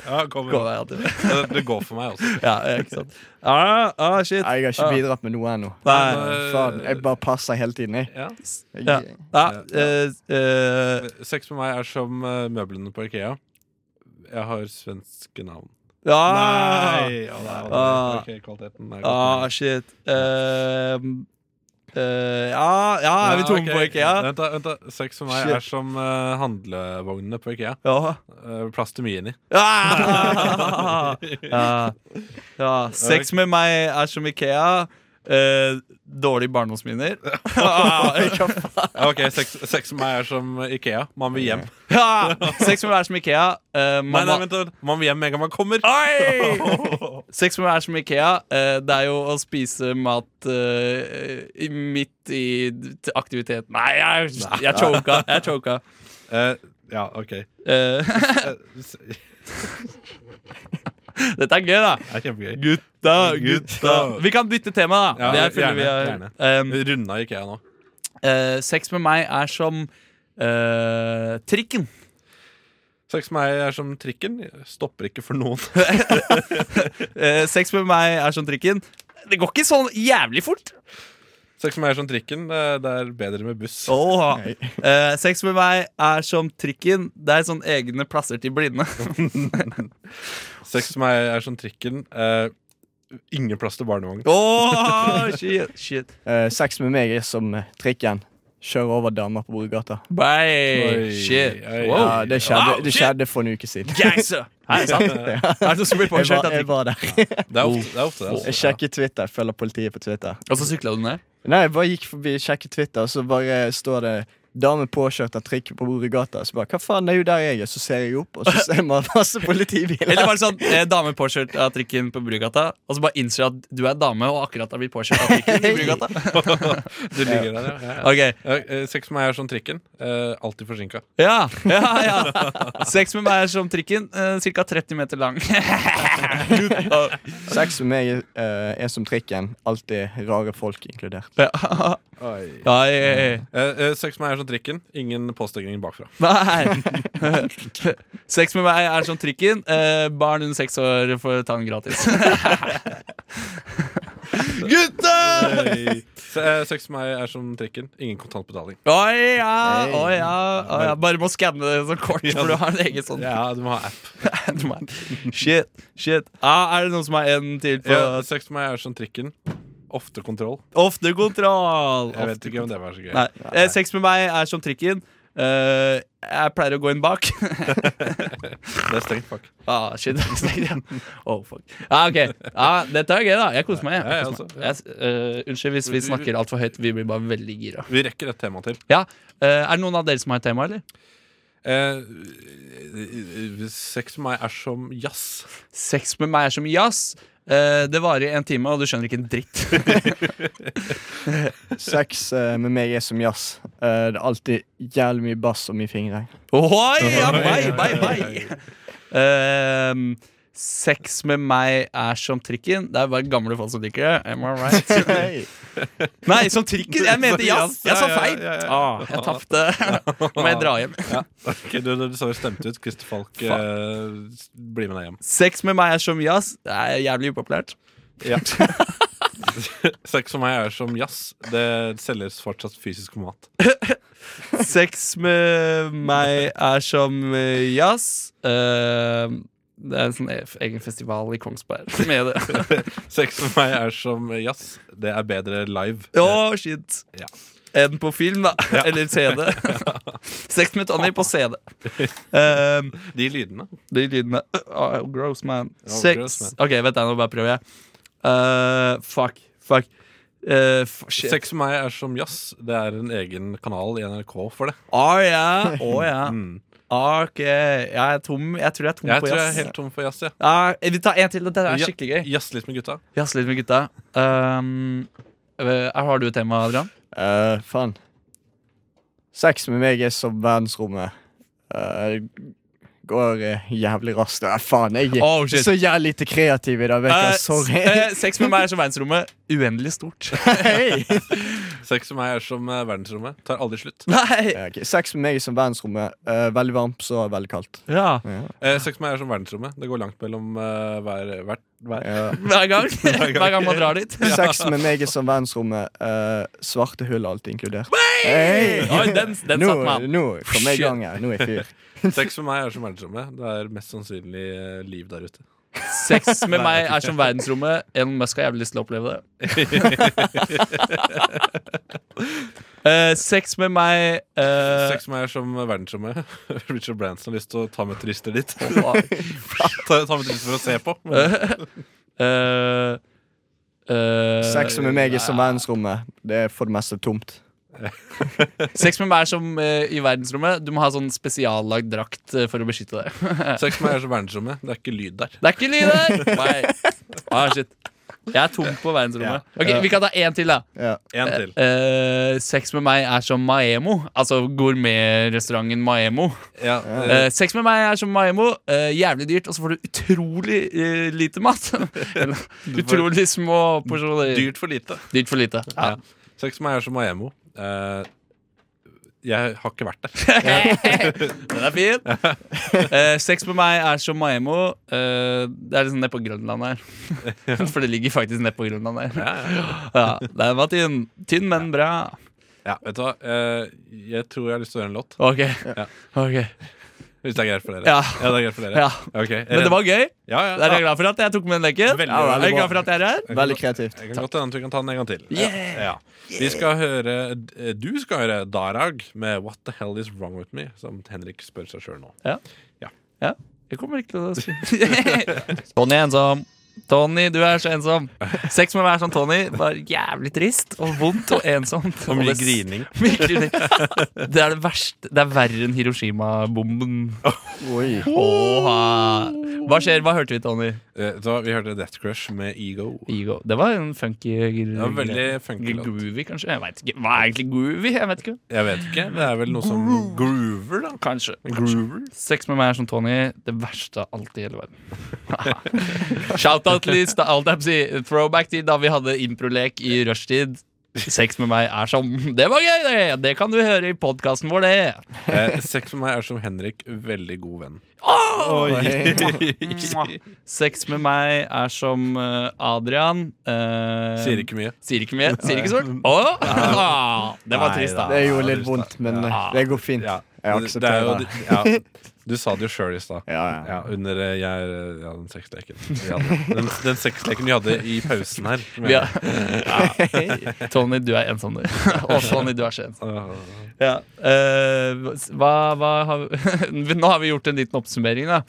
[SPEAKER 2] ja, kommer.
[SPEAKER 9] Kommer hver halvtime.
[SPEAKER 2] Eh, Det går for meg også.
[SPEAKER 9] Ja, eh, ikke sant. Ah, ah, shit.
[SPEAKER 4] Nei, Jeg har ikke bidratt med noe ennå. eh,
[SPEAKER 9] Nei.
[SPEAKER 4] Faen, jeg bare passer hele tiden, jeg.
[SPEAKER 2] Ja.
[SPEAKER 4] jeg
[SPEAKER 9] Ja. Ja, eh, eh,
[SPEAKER 2] Sex med meg er som eh, møblene på Ikea. Jeg har svenske navn.
[SPEAKER 9] ah.
[SPEAKER 2] ja,
[SPEAKER 9] Ah.
[SPEAKER 2] ok, kvaliteten er
[SPEAKER 9] Ah,
[SPEAKER 2] god.
[SPEAKER 9] shit. Ehm, eh, ja, ja, er vi tomme
[SPEAKER 2] Ja, ok.
[SPEAKER 9] på IKEA?
[SPEAKER 2] Vent, da. vent da. Sex med meg
[SPEAKER 9] Shit.
[SPEAKER 2] er som eh, handlevognene på Ikea.
[SPEAKER 9] Ja.
[SPEAKER 2] Eh, plass til mye inni.
[SPEAKER 9] Ah! ja. ja. Sex med meg er som Ikea. Eh, dårlige barndomsminner. Ah, ikke faen.
[SPEAKER 2] Ja, Ok, sex, sex med meg er som Ikea. Man vil hjem.
[SPEAKER 9] ja. Sex med meg er som Ikea. Eh,
[SPEAKER 2] Nei, nei,
[SPEAKER 9] mamma- Ah!
[SPEAKER 2] vent, da, vent. Man vil hjem med en gang man kommer.
[SPEAKER 9] Oi! Sex med meg er som Ikea. Eh, Det er jo å spise mat eh, i- midt i til aktivitet Nei, jeg, jeg choka. Jeg choka.
[SPEAKER 2] Eh, ja, ok. Eh,
[SPEAKER 9] Eh,
[SPEAKER 2] s- Det
[SPEAKER 9] Dette er gøy, da.
[SPEAKER 2] er kjempegøy.
[SPEAKER 9] Gutta,
[SPEAKER 2] gutta.
[SPEAKER 9] Vi kan bytte tema, da.
[SPEAKER 2] Ja,
[SPEAKER 9] det er, fordi
[SPEAKER 2] gjerne,
[SPEAKER 9] vi er, eh,
[SPEAKER 2] Runda Ikea nå.
[SPEAKER 9] eh, sex med meg er som eh, trikken.
[SPEAKER 2] Sex med meg er som trikken. Stopper ikke for noen.
[SPEAKER 9] Eh, sex med meg er som trikken. Det går ikke sånn jævlig fort.
[SPEAKER 2] Sex med meg er som trikken. eh, Det er bedre med buss.
[SPEAKER 9] Åh. Eh, sex med meg er som trikken. Det er sånn egne plasser til blinde.
[SPEAKER 2] Sex med meg er som trikken. eh, ingen plass til barnevogn.
[SPEAKER 9] Åh, shit, shit.
[SPEAKER 4] Eh, sex med meg er som eh, trikken. Kjører over damer på Borggata.
[SPEAKER 9] Bye,
[SPEAKER 2] Oi,
[SPEAKER 9] shit.
[SPEAKER 2] oi,
[SPEAKER 9] Wow.
[SPEAKER 4] Ja, det skjedde,
[SPEAKER 9] Wow,
[SPEAKER 4] det
[SPEAKER 9] shit.
[SPEAKER 4] skjedde for en uke siden.
[SPEAKER 9] Gangster. Er det sant? Er det noe som blir
[SPEAKER 4] Jeg
[SPEAKER 9] påkjørt
[SPEAKER 4] var,
[SPEAKER 9] av
[SPEAKER 4] jeg
[SPEAKER 9] trikken?
[SPEAKER 4] var der.
[SPEAKER 2] Det er ofte det. Er ofte, det altså.
[SPEAKER 4] Jeg sjekker Twitter. Jeg følger politiet på Twitter.
[SPEAKER 9] Og så sykla du ned?
[SPEAKER 4] Nei, jeg bare gikk forbi, sjekket Twitter, og så bare står det Dame påkjørt av trikk på Borggata. Så bare, hva faen, det er jo der jeg er. Så ser jeg opp, og så ser man masse
[SPEAKER 9] Eller
[SPEAKER 4] politibiler.
[SPEAKER 9] var det sånn eh, dame påkjørt av trikken på Brugata, og så bare innser du at du er dame og akkurat har blitt påkjørt av trikken i Brugata?
[SPEAKER 2] Du ligger der, ja. ja, ja.
[SPEAKER 9] Ok,
[SPEAKER 2] Eh, eh, Sex med meg er som trikken. eh, Alltid forsinka.
[SPEAKER 9] ja, ja, ja. Sex med meg er som trikken, eh, ca. 30 meter lang.
[SPEAKER 4] Sex med meg eh, er som trikken. Alltid rare folk inkludert.
[SPEAKER 9] Ja. Nei.
[SPEAKER 2] Eh, eh, Sex med meg er som trikken. Ingen påstegning bakfra.
[SPEAKER 9] Nei. Sex med meg er som trikken. Eh, barn under seks år får ta den gratis. Gutta!
[SPEAKER 2] Se- eh, Sex med meg er som trikken. Ingen kontantbetaling.
[SPEAKER 9] Å ja, å
[SPEAKER 4] Hey.
[SPEAKER 9] ja, å ja. Bare må skanne det som kort, for du har en egen sånn.
[SPEAKER 2] Ja, du må ha app.
[SPEAKER 9] Du må- Shit, shit ah, Er det noen som har en til på
[SPEAKER 2] Ja, sex med meg er som trikken. Ofte kontroll.
[SPEAKER 9] Ofte kontroll
[SPEAKER 2] Jeg vet ikke om det var så gøy.
[SPEAKER 9] Nei. Eh, Sex med meg er som trikken Eh, Jeg pleier å gå inn bak.
[SPEAKER 2] Det er strengt, fuck.
[SPEAKER 9] ah, shit, det er stengt igjen. Oh, fuck. Ah, ok. Ah, dette er gøy, da. Jeg koser meg.
[SPEAKER 2] Ja,
[SPEAKER 9] Jeg,
[SPEAKER 2] altså. ja,
[SPEAKER 9] jeg koser meg. Jeg, eh, unnskyld hvis vi snakker altfor høyt. Vi blir bare veldig gira.
[SPEAKER 2] Vi rekker et tema til.
[SPEAKER 9] Ja, eh, Er det noen av dere som har et tema, eller?
[SPEAKER 2] Eh, sex med meg er som jazz.
[SPEAKER 9] Sex med meg er som jazz. Eh, det varer i en time, og du skjønner ikke en dritt.
[SPEAKER 4] Sex eh, med meg er som jazz. Eh, det er alltid jævlig mye bass og mye fingre.
[SPEAKER 9] Oi, ja, bye, bye, bye. Ehm, sex med meg er som trikken. Det er bare gamle folk som liker det. Am I right?
[SPEAKER 4] Hey.
[SPEAKER 9] Nei, som trikken! Jeg mente jazz! Jeg sa feil!
[SPEAKER 2] Ah,
[SPEAKER 9] Jeg tapte. Nå må jeg dra hjem.
[SPEAKER 2] ok, du, du, du sa jo stemt ut. Christer Falk, eh, s- bli med deg hjem.
[SPEAKER 9] Sex med meg er som jazz. Det er jævlig upopulært.
[SPEAKER 2] Sex med meg er som jazz. Det selges fortsatt fysisk mat.
[SPEAKER 9] Sex med meg er som eh, jazz. Ehm, det er en sånn e- egen festival i Kongsberg med det.
[SPEAKER 2] Sex med meg er som jazz. Det er bedre live.
[SPEAKER 9] Å, shit.
[SPEAKER 2] Ja.
[SPEAKER 9] Enn på film, da. Eller CD. Sex med Tony på CD. Ehm,
[SPEAKER 2] De lydene.
[SPEAKER 9] de lydene oh, Gross, man.
[SPEAKER 2] Oh,
[SPEAKER 9] Sex
[SPEAKER 2] gross, man.
[SPEAKER 9] OK, vent, da, nå bare prøver jeg. Eh, fuck. Fuck. Eh, f- shit.
[SPEAKER 2] Sex med meg er som jazz. Det er en egen kanal i NRK for det.
[SPEAKER 9] Å ja. Å ja.
[SPEAKER 2] Mm.
[SPEAKER 9] OK. Jeg er tom. Jeg tror jeg er tom
[SPEAKER 2] Jeg
[SPEAKER 9] på
[SPEAKER 2] tror jeg er
[SPEAKER 9] jazz.
[SPEAKER 2] helt tom for jazz. Ja.
[SPEAKER 9] Ja, vi tar en til. Dette er skikkelig gøy.
[SPEAKER 2] Jazz litt med gutta.
[SPEAKER 9] Jazz litt med gutta. Ehm, eh, har du et tema, Adrian?
[SPEAKER 4] Eh, faen. Sex med meg er som verdensrommet. Eh, går eh, jævlig raskt. Nei, faen, jeg
[SPEAKER 9] Oh,
[SPEAKER 4] er
[SPEAKER 9] shit.
[SPEAKER 4] så jævlig lite kreativ i dag. Vet
[SPEAKER 9] Eh,
[SPEAKER 4] jeg.
[SPEAKER 9] s-
[SPEAKER 4] Sorry.
[SPEAKER 9] eh, sex med meg er som verdensrommet. Uendelig stort.
[SPEAKER 4] Hei.
[SPEAKER 9] eh,
[SPEAKER 2] Sex med meg er som eh, verdensrommet. Tar aldri slutt.
[SPEAKER 9] Nei!
[SPEAKER 4] Ja, ok. Sex med meg er som verdensrommet. Eh, veldig varmt, så veldig kaldt.
[SPEAKER 9] Ja,
[SPEAKER 2] Eh, sex med meg er som verdensrommet. Det går langt mellom eh, hver, hvert hver.
[SPEAKER 4] Ja.
[SPEAKER 9] hver gang. Hver gang man drar dit.
[SPEAKER 4] Sex med meg er som verdensrommet. eh, svarte hull er alltid inkludert.
[SPEAKER 9] Oi, den, den
[SPEAKER 4] nå,
[SPEAKER 9] satt meg.
[SPEAKER 4] nå kom jeg i gang her. Nå er jeg fyr.
[SPEAKER 2] Sex med meg er som verdensrommet. Det er mest sannsynlig eh, liv der ute.
[SPEAKER 9] Sex med meg er som verdensrommet. Elon Musk har jævlig lyst til å oppleve det. Eh, sex med meg eh,
[SPEAKER 2] Sex med meg er som verdensrommet. Richard Branson har lyst til å ta med turister dit. ta,
[SPEAKER 9] eh,
[SPEAKER 2] ta med turister for å se på.
[SPEAKER 9] eh, eh,
[SPEAKER 4] Sex med meg er som verdensrommet. Det er for det meste tomt.
[SPEAKER 9] Sex med meg er som eh, i verdensrommet. Du må ha sånn spesiallagd drakt eh, for å beskytte deg.
[SPEAKER 2] Sex med meg er som verdensrommet. Det er ikke lyd der.
[SPEAKER 9] Det er ikke lyd der! Nei. Ah, shit. Jeg er tom på verdensrommet. Ok, Vi kan ta én til, da.
[SPEAKER 4] Ja.
[SPEAKER 2] En til.
[SPEAKER 9] Eh, sex med meg er som Maemo. Altså gourmetrestauranten Maemo.
[SPEAKER 2] Ja, eh,
[SPEAKER 9] Eh, sex med meg er som Maemo. Eh, jævlig dyrt, og så får du utrolig eh, lite mat. Eller, utrolig små porsjoner. Dyrt.
[SPEAKER 2] dyrt for lite.
[SPEAKER 9] for lite. Ja.
[SPEAKER 2] Sex med meg er som Maemo. Eh, jeg har ikke vært der.
[SPEAKER 9] Den er fin. Eh, sex med meg er som Maemo. Eh, det er liksom nedpå Grønland her. For det ligger faktisk nedpå Grønland her. Ja, den var tynn. Tynn, men bra.
[SPEAKER 2] Ja, vet du hva? Eh, jeg tror jeg har lyst til å gjøre en låt.
[SPEAKER 9] Ok.
[SPEAKER 2] Ja.
[SPEAKER 9] ok
[SPEAKER 2] Hvis det er greit for dere.
[SPEAKER 9] Ja.
[SPEAKER 2] det er greit for dere.
[SPEAKER 9] Ja.
[SPEAKER 2] Ok, jeg
[SPEAKER 9] Men det var gøy.
[SPEAKER 2] ja, ja,
[SPEAKER 9] Der er jeg glad for at jeg tok med den leken.
[SPEAKER 2] Veldig
[SPEAKER 4] bra.
[SPEAKER 9] Jeg er glad for at jeg er her.
[SPEAKER 4] Veldig kreativt.
[SPEAKER 2] Jeg kan godt hende at vi kan ta den en gang til.
[SPEAKER 9] Yeah!
[SPEAKER 2] Ja. Vi skal høre eh, Du skal høre Darag med 'What the hell is wrong with me?' Som Henrik spør seg sjøl nå.
[SPEAKER 9] Ja, jeg kommer ikke til å si Tony er ensom. Tony, du er så ensom. Sex med meg er som Tony. Bare jævlig trist og vondt og ensomt.
[SPEAKER 2] Og mye
[SPEAKER 9] det-
[SPEAKER 2] grining.
[SPEAKER 9] Mye grining. Det er det verste. Det er verre enn Hiroshima-bomben.
[SPEAKER 4] Oi.
[SPEAKER 9] Åha. Hva skjer? Hva hørte vi, Tony?
[SPEAKER 2] Eh, Så vi hørte Death Crush med Ego.
[SPEAKER 9] Ego. Det var en funky gr-
[SPEAKER 2] Det var veldig funky
[SPEAKER 9] gr-
[SPEAKER 2] låt.
[SPEAKER 9] Groovy, kanskje? Jeg vet ikke. Hva er egentlig groovy? Jeg vet ikke.
[SPEAKER 2] Jeg vet ikke. Det er vel noe som Groover, da.
[SPEAKER 9] Kanskje.
[SPEAKER 2] Groover?
[SPEAKER 9] Sex med meg er som Tony. Det verste av alt i hele verden. Shout-out list til alt jeg sier. Throwback til da vi hadde improlek i rushtid. Sex med meg er som Det var gøy, det! Det kan du høre i podkasten vår, det.
[SPEAKER 2] Eh, sex med meg er som Henrik, veldig god venn.
[SPEAKER 9] Sex med meg er som eh, Adrian. eh,
[SPEAKER 2] Sier ikke mye.
[SPEAKER 9] Sier ikke mye? Sier ikke så mye? Åh! Ah, Det var trist, da.
[SPEAKER 4] Det gjorde litt vondt, men eh, det går fint.
[SPEAKER 2] Ja.
[SPEAKER 4] Jeg
[SPEAKER 2] Det- det er jo,
[SPEAKER 4] aksepterer det.
[SPEAKER 2] ja, du sa det jo sjøl i stad.
[SPEAKER 4] Ja, ja.
[SPEAKER 2] Ja, under eh, jeg, er, eh, ja, den sexleken vi hadde. Den, den sexleken vi hadde i pausen her.
[SPEAKER 9] Vi har- Tony, du er ensom, du. Og Tony, du er så ensom.
[SPEAKER 2] Åh.
[SPEAKER 9] Ja. eh, hva, hva har vi, Nå har vi gjort en liten oppsummering, da.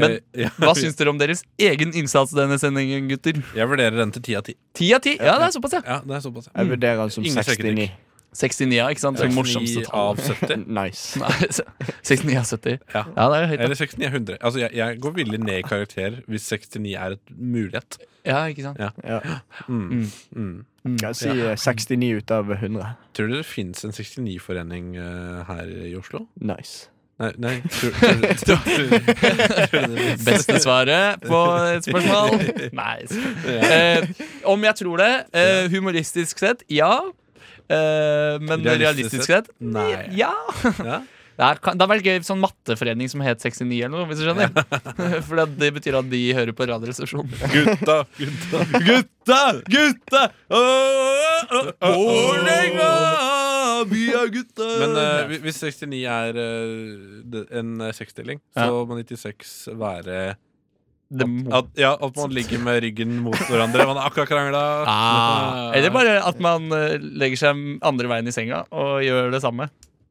[SPEAKER 9] Men
[SPEAKER 2] Eh, ja.
[SPEAKER 9] hva syns dere om deres egen innsats denne sendingen, gutter?
[SPEAKER 2] Jeg vurderer den til ti av ti.
[SPEAKER 9] Ti av ti? Ja, det er såpass, ja.
[SPEAKER 2] Ja, det er såpass. ja.
[SPEAKER 4] Jeg vurderer den som
[SPEAKER 2] Ingen
[SPEAKER 4] 69.
[SPEAKER 9] 69, ja, ikke sant? Det
[SPEAKER 2] 69
[SPEAKER 9] morsomste
[SPEAKER 2] av
[SPEAKER 9] tallet.
[SPEAKER 2] 70.
[SPEAKER 4] Nice.
[SPEAKER 9] Nei, 69 av 70.
[SPEAKER 2] Ja.
[SPEAKER 9] Ja, det er høyt. da.
[SPEAKER 2] Eller 69 er 100. Altså, jeg, jeg går villig ned i karakter hvis 69 er et mulighet.
[SPEAKER 9] Ja, ikke sant?
[SPEAKER 4] Ja.
[SPEAKER 2] Mm. Mm.
[SPEAKER 4] Skal jeg si eh, 69 ut av 100.
[SPEAKER 2] Tror dere det fins en 69-forening eh, her i Oslo?
[SPEAKER 4] Nice.
[SPEAKER 2] Nei, nei tror, tror, tror, tror, tror dere det finnes?
[SPEAKER 9] Beste svaret på et spørsmål? Nice. Eh, om jeg tror det? Eh, humoristisk sett, ja. Eh, men
[SPEAKER 2] Realistisk
[SPEAKER 9] realistisk, sett?
[SPEAKER 2] sett? Nei.
[SPEAKER 9] Ja.
[SPEAKER 2] Ja.
[SPEAKER 9] Det er- kan- det hadde vært gøy sånn matteforening som het 69 eller noe, hvis du skjønner. For det- det betyr at de hører på Radioresepsjonen.
[SPEAKER 2] Gutta, gutta.
[SPEAKER 9] Gutta! Gutta! Vålerenga! Vi er gutta!
[SPEAKER 2] Men eh, hvi- hvis 69 er eh, det- en eh, seksstilling, så må 96 være
[SPEAKER 9] det må
[SPEAKER 2] at, Ja, at man ligger med ryggen mot hverandre. Man har akkurat krangla.
[SPEAKER 9] Ah. Eller bare at man eh, legger seg andre veien i senga og gjør det samme.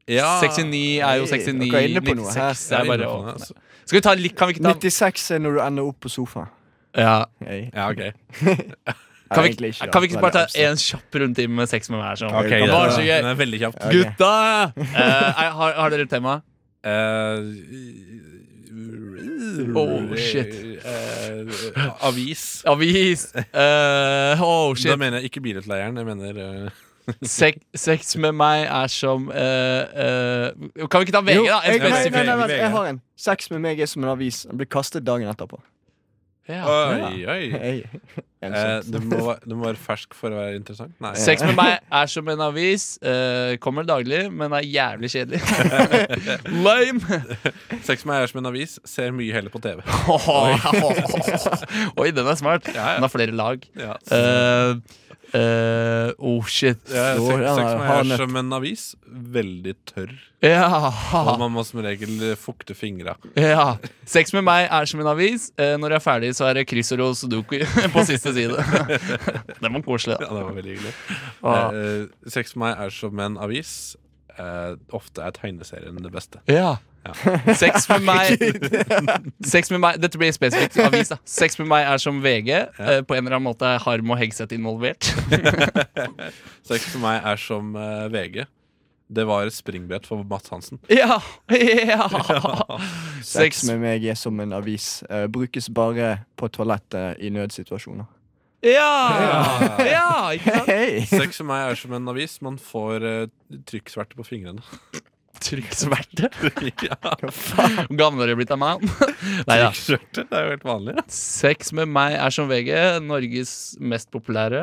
[SPEAKER 9] 69 er jo 69.
[SPEAKER 4] Dere er inne på noe her.
[SPEAKER 9] 96 er bare å åpne.
[SPEAKER 2] altså.
[SPEAKER 9] Skal vi ta litt Kan vi ikke ta
[SPEAKER 4] 96 er når du ender opp på sofaen.
[SPEAKER 9] ja.
[SPEAKER 4] Jeg
[SPEAKER 2] Ja, ok.
[SPEAKER 4] er
[SPEAKER 9] kan, vi,
[SPEAKER 4] egentlig altså.
[SPEAKER 9] kan vi ikke bare ta
[SPEAKER 4] veldig
[SPEAKER 9] en kjapp rundtime med sex med hver? Sånn.
[SPEAKER 2] Ok,
[SPEAKER 9] det var så
[SPEAKER 2] den- Den
[SPEAKER 9] gøy.
[SPEAKER 2] er veldig kjapt.
[SPEAKER 4] ok.
[SPEAKER 9] Gutta! Eh, er- har, har dere et tema?
[SPEAKER 2] Eh,
[SPEAKER 9] Oh, shit.
[SPEAKER 2] eh, avis.
[SPEAKER 9] Avis! Eh, oh,
[SPEAKER 2] Da
[SPEAKER 9] shit.
[SPEAKER 2] mener jeg ikke bilutleieren. Jeg mener eh,
[SPEAKER 9] Sek, sex med meg er som eh, eh, Kan vi ikke ta VG,
[SPEAKER 4] Jo,
[SPEAKER 9] da? En
[SPEAKER 4] jeg, nei, nei, nei,
[SPEAKER 9] spesifikk-
[SPEAKER 4] vent, jeg har en. Sex med meg er som en avis. Den blir kastet dagen etterpå.
[SPEAKER 9] Ja.
[SPEAKER 2] Oi, oi.
[SPEAKER 4] Hey.
[SPEAKER 2] Eh,
[SPEAKER 9] sånn
[SPEAKER 4] Ensomt.
[SPEAKER 2] det, må, være- det må være fersk for å være interessant. Nei.
[SPEAKER 9] Sex med meg er som en avis. eh, kommer daglig, men er jævlig kjedelig. Lame!
[SPEAKER 2] Sex med meg er som en avis. Ser mye heller på TV.
[SPEAKER 9] Oi, den er smart.
[SPEAKER 2] ja.
[SPEAKER 9] Den har flere lag.
[SPEAKER 2] Ja.
[SPEAKER 9] Eh, eh, oh, shit.
[SPEAKER 2] Ja,
[SPEAKER 4] Så
[SPEAKER 2] sex,
[SPEAKER 4] ja, nei,
[SPEAKER 2] sex med
[SPEAKER 4] ha
[SPEAKER 2] meg
[SPEAKER 4] nett.
[SPEAKER 2] er som en avis. Veldig tørr.
[SPEAKER 9] Ja.
[SPEAKER 2] Og man må som regel eh, fukte fingra.
[SPEAKER 9] ja. Sex med meg er som en avis. Eh, når jeg er ferdig, så er det kryssord og sudoku på siste side. den var koselig,
[SPEAKER 2] Ja,
[SPEAKER 9] da.
[SPEAKER 2] det var veldig hyggelig.
[SPEAKER 9] Ah.
[SPEAKER 2] Eh, sex med meg er som en avis. Eh, ofte er tegneserien det beste.
[SPEAKER 9] Ja.
[SPEAKER 2] Ja.
[SPEAKER 9] Sex med meg Sex med meg Dette blir spesifikt avis, da. Sex med meg er som VG. eh, på en eller annen måte er Harm og Hegseth involvert.
[SPEAKER 2] Sex med meg er som eh, VG. Det var et springbrett for Matt Hansen.
[SPEAKER 9] Ja! ja.
[SPEAKER 4] Sex
[SPEAKER 9] Sex
[SPEAKER 4] med meg er som en avis. Eh, brukes bare på toalettet i nødsituasjoner.
[SPEAKER 9] Ja! ja ikke sant?
[SPEAKER 4] Hei!
[SPEAKER 2] Sex med meg er som en avis. Man får eh, trykksverte på fingrene.
[SPEAKER 9] Trykksverte.
[SPEAKER 2] ja,
[SPEAKER 9] Hvor gammel har du blitt av mann? Nei da.
[SPEAKER 2] trykksverte, det er jo helt vanlig. ja.
[SPEAKER 9] Sex med meg er som VG. Norges mest populære.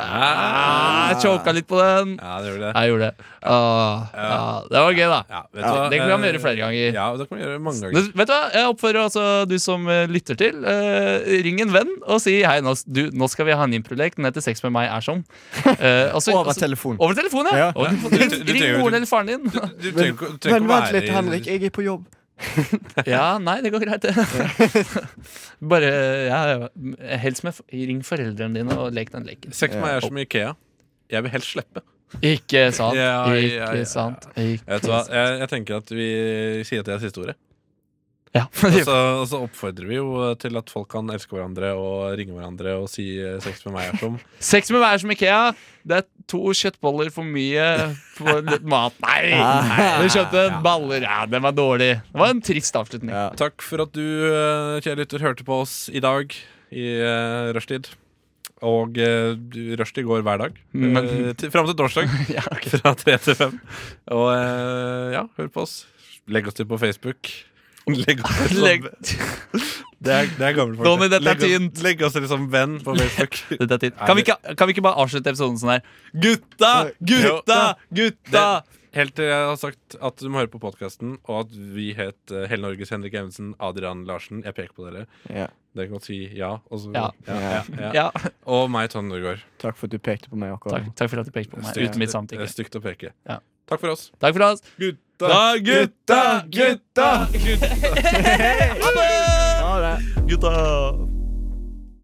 [SPEAKER 9] Ah, Jeg choka litt på den.
[SPEAKER 2] Ja, det gjør det.
[SPEAKER 9] Jeg gjorde det. Ah, ah, det var gøy, da.
[SPEAKER 2] Ja, vet du
[SPEAKER 9] Ja,
[SPEAKER 2] hva?
[SPEAKER 9] det kan man
[SPEAKER 2] Eh,
[SPEAKER 9] gjøre flere ganger.
[SPEAKER 2] Ja, det kan man gjøre mange
[SPEAKER 9] Nå,
[SPEAKER 2] ganger.
[SPEAKER 9] vet du hva, Jeg oppfører altså du som eh, lytter til. eh, ring en venn og si hei, nå, s- du, nå skal vi ha en improlek. Den heter Sex med meg er som. Eh, altså-
[SPEAKER 4] Over
[SPEAKER 9] altså-
[SPEAKER 4] telefon.
[SPEAKER 9] Over telefonen, ja.
[SPEAKER 4] Ja.
[SPEAKER 2] Ja,
[SPEAKER 9] Over
[SPEAKER 2] du- du-
[SPEAKER 9] telefonen. Ring,
[SPEAKER 2] du
[SPEAKER 9] ring
[SPEAKER 2] trenger-
[SPEAKER 9] moren eller faren din.
[SPEAKER 2] Du trenger ikke- trenger
[SPEAKER 4] Men
[SPEAKER 2] ikke å
[SPEAKER 4] vent
[SPEAKER 2] være
[SPEAKER 4] litt,
[SPEAKER 2] i-
[SPEAKER 4] Henrik. Jeg er på jobb.
[SPEAKER 9] Ja, nei, det går greit, det. Bare ja, ja, Helst med f- Ring foreldrene dine og lek den leken.
[SPEAKER 2] Sex med meg er som Ikea. Jeg vil helst slippe.
[SPEAKER 9] Ikke sant.
[SPEAKER 2] Ja, ja, ja,
[SPEAKER 9] Ikke
[SPEAKER 2] ja.
[SPEAKER 9] sant.
[SPEAKER 2] Jeg,
[SPEAKER 9] Ikke
[SPEAKER 2] vet hva, jeg, jeg tenker at vi sier at det er siste ordet.
[SPEAKER 9] Ja.
[SPEAKER 2] Og så, og så oppfordrer vi jo til at folk kan elske hverandre og ringe hverandre og si eh, sex med meg er som.
[SPEAKER 9] Sex med meg er som Ikea. Det er to kjøttboller for mye på litt mat. Nei!
[SPEAKER 4] Ah.
[SPEAKER 9] Du kjøpte baller. Ja, den var dårlig. Det var en trist avslutning.
[SPEAKER 4] Ja.
[SPEAKER 2] Takk for at du, eh, kjære lytter, hørte på oss i dag i eh, rushtid. Og eh, du- rushtid går hver dag.
[SPEAKER 9] Men-
[SPEAKER 2] Eh, til, fram til torsdag
[SPEAKER 9] Ja, ok.
[SPEAKER 2] fra tre til fem. Og eh, ja, hør på oss. Legg oss til på Facebook. Legg oss til som-
[SPEAKER 9] Legg,
[SPEAKER 2] Det er, det er gammelt folk.
[SPEAKER 9] Donny, dette er
[SPEAKER 2] legg,
[SPEAKER 9] tynt.
[SPEAKER 2] oss, legg oss til som venn på Facebook.
[SPEAKER 9] dette er tid. Kan, vi ikke, kan vi ikke bare avslutte episoden sånn her? Gutta! Gutta! Gutta!
[SPEAKER 2] Helt til jeg har sagt at du må høre på podkasten, og at vi het eh, Hele Norges Henrik Evensen, Adrian Larsen. Jeg peker på dere.
[SPEAKER 4] Ja.
[SPEAKER 2] Dere kan si ja. Og, så,
[SPEAKER 9] Ja.
[SPEAKER 2] Ja, ja, ja.
[SPEAKER 9] Ja.
[SPEAKER 2] og meg, Tonje Norgård.
[SPEAKER 4] Takk for at du pekte på meg akkurat.
[SPEAKER 9] Takk, takk for at du pekte på meg
[SPEAKER 2] Stygt-
[SPEAKER 9] uten mitt
[SPEAKER 2] det er
[SPEAKER 9] samtykke.
[SPEAKER 2] Stygt å peke.
[SPEAKER 9] Ja.
[SPEAKER 2] Takk for oss.
[SPEAKER 9] Takk for oss.
[SPEAKER 2] Gutta!
[SPEAKER 4] Da, gutta, gutta, gutta. Ha det!
[SPEAKER 10] Ha det.
[SPEAKER 4] Gutta.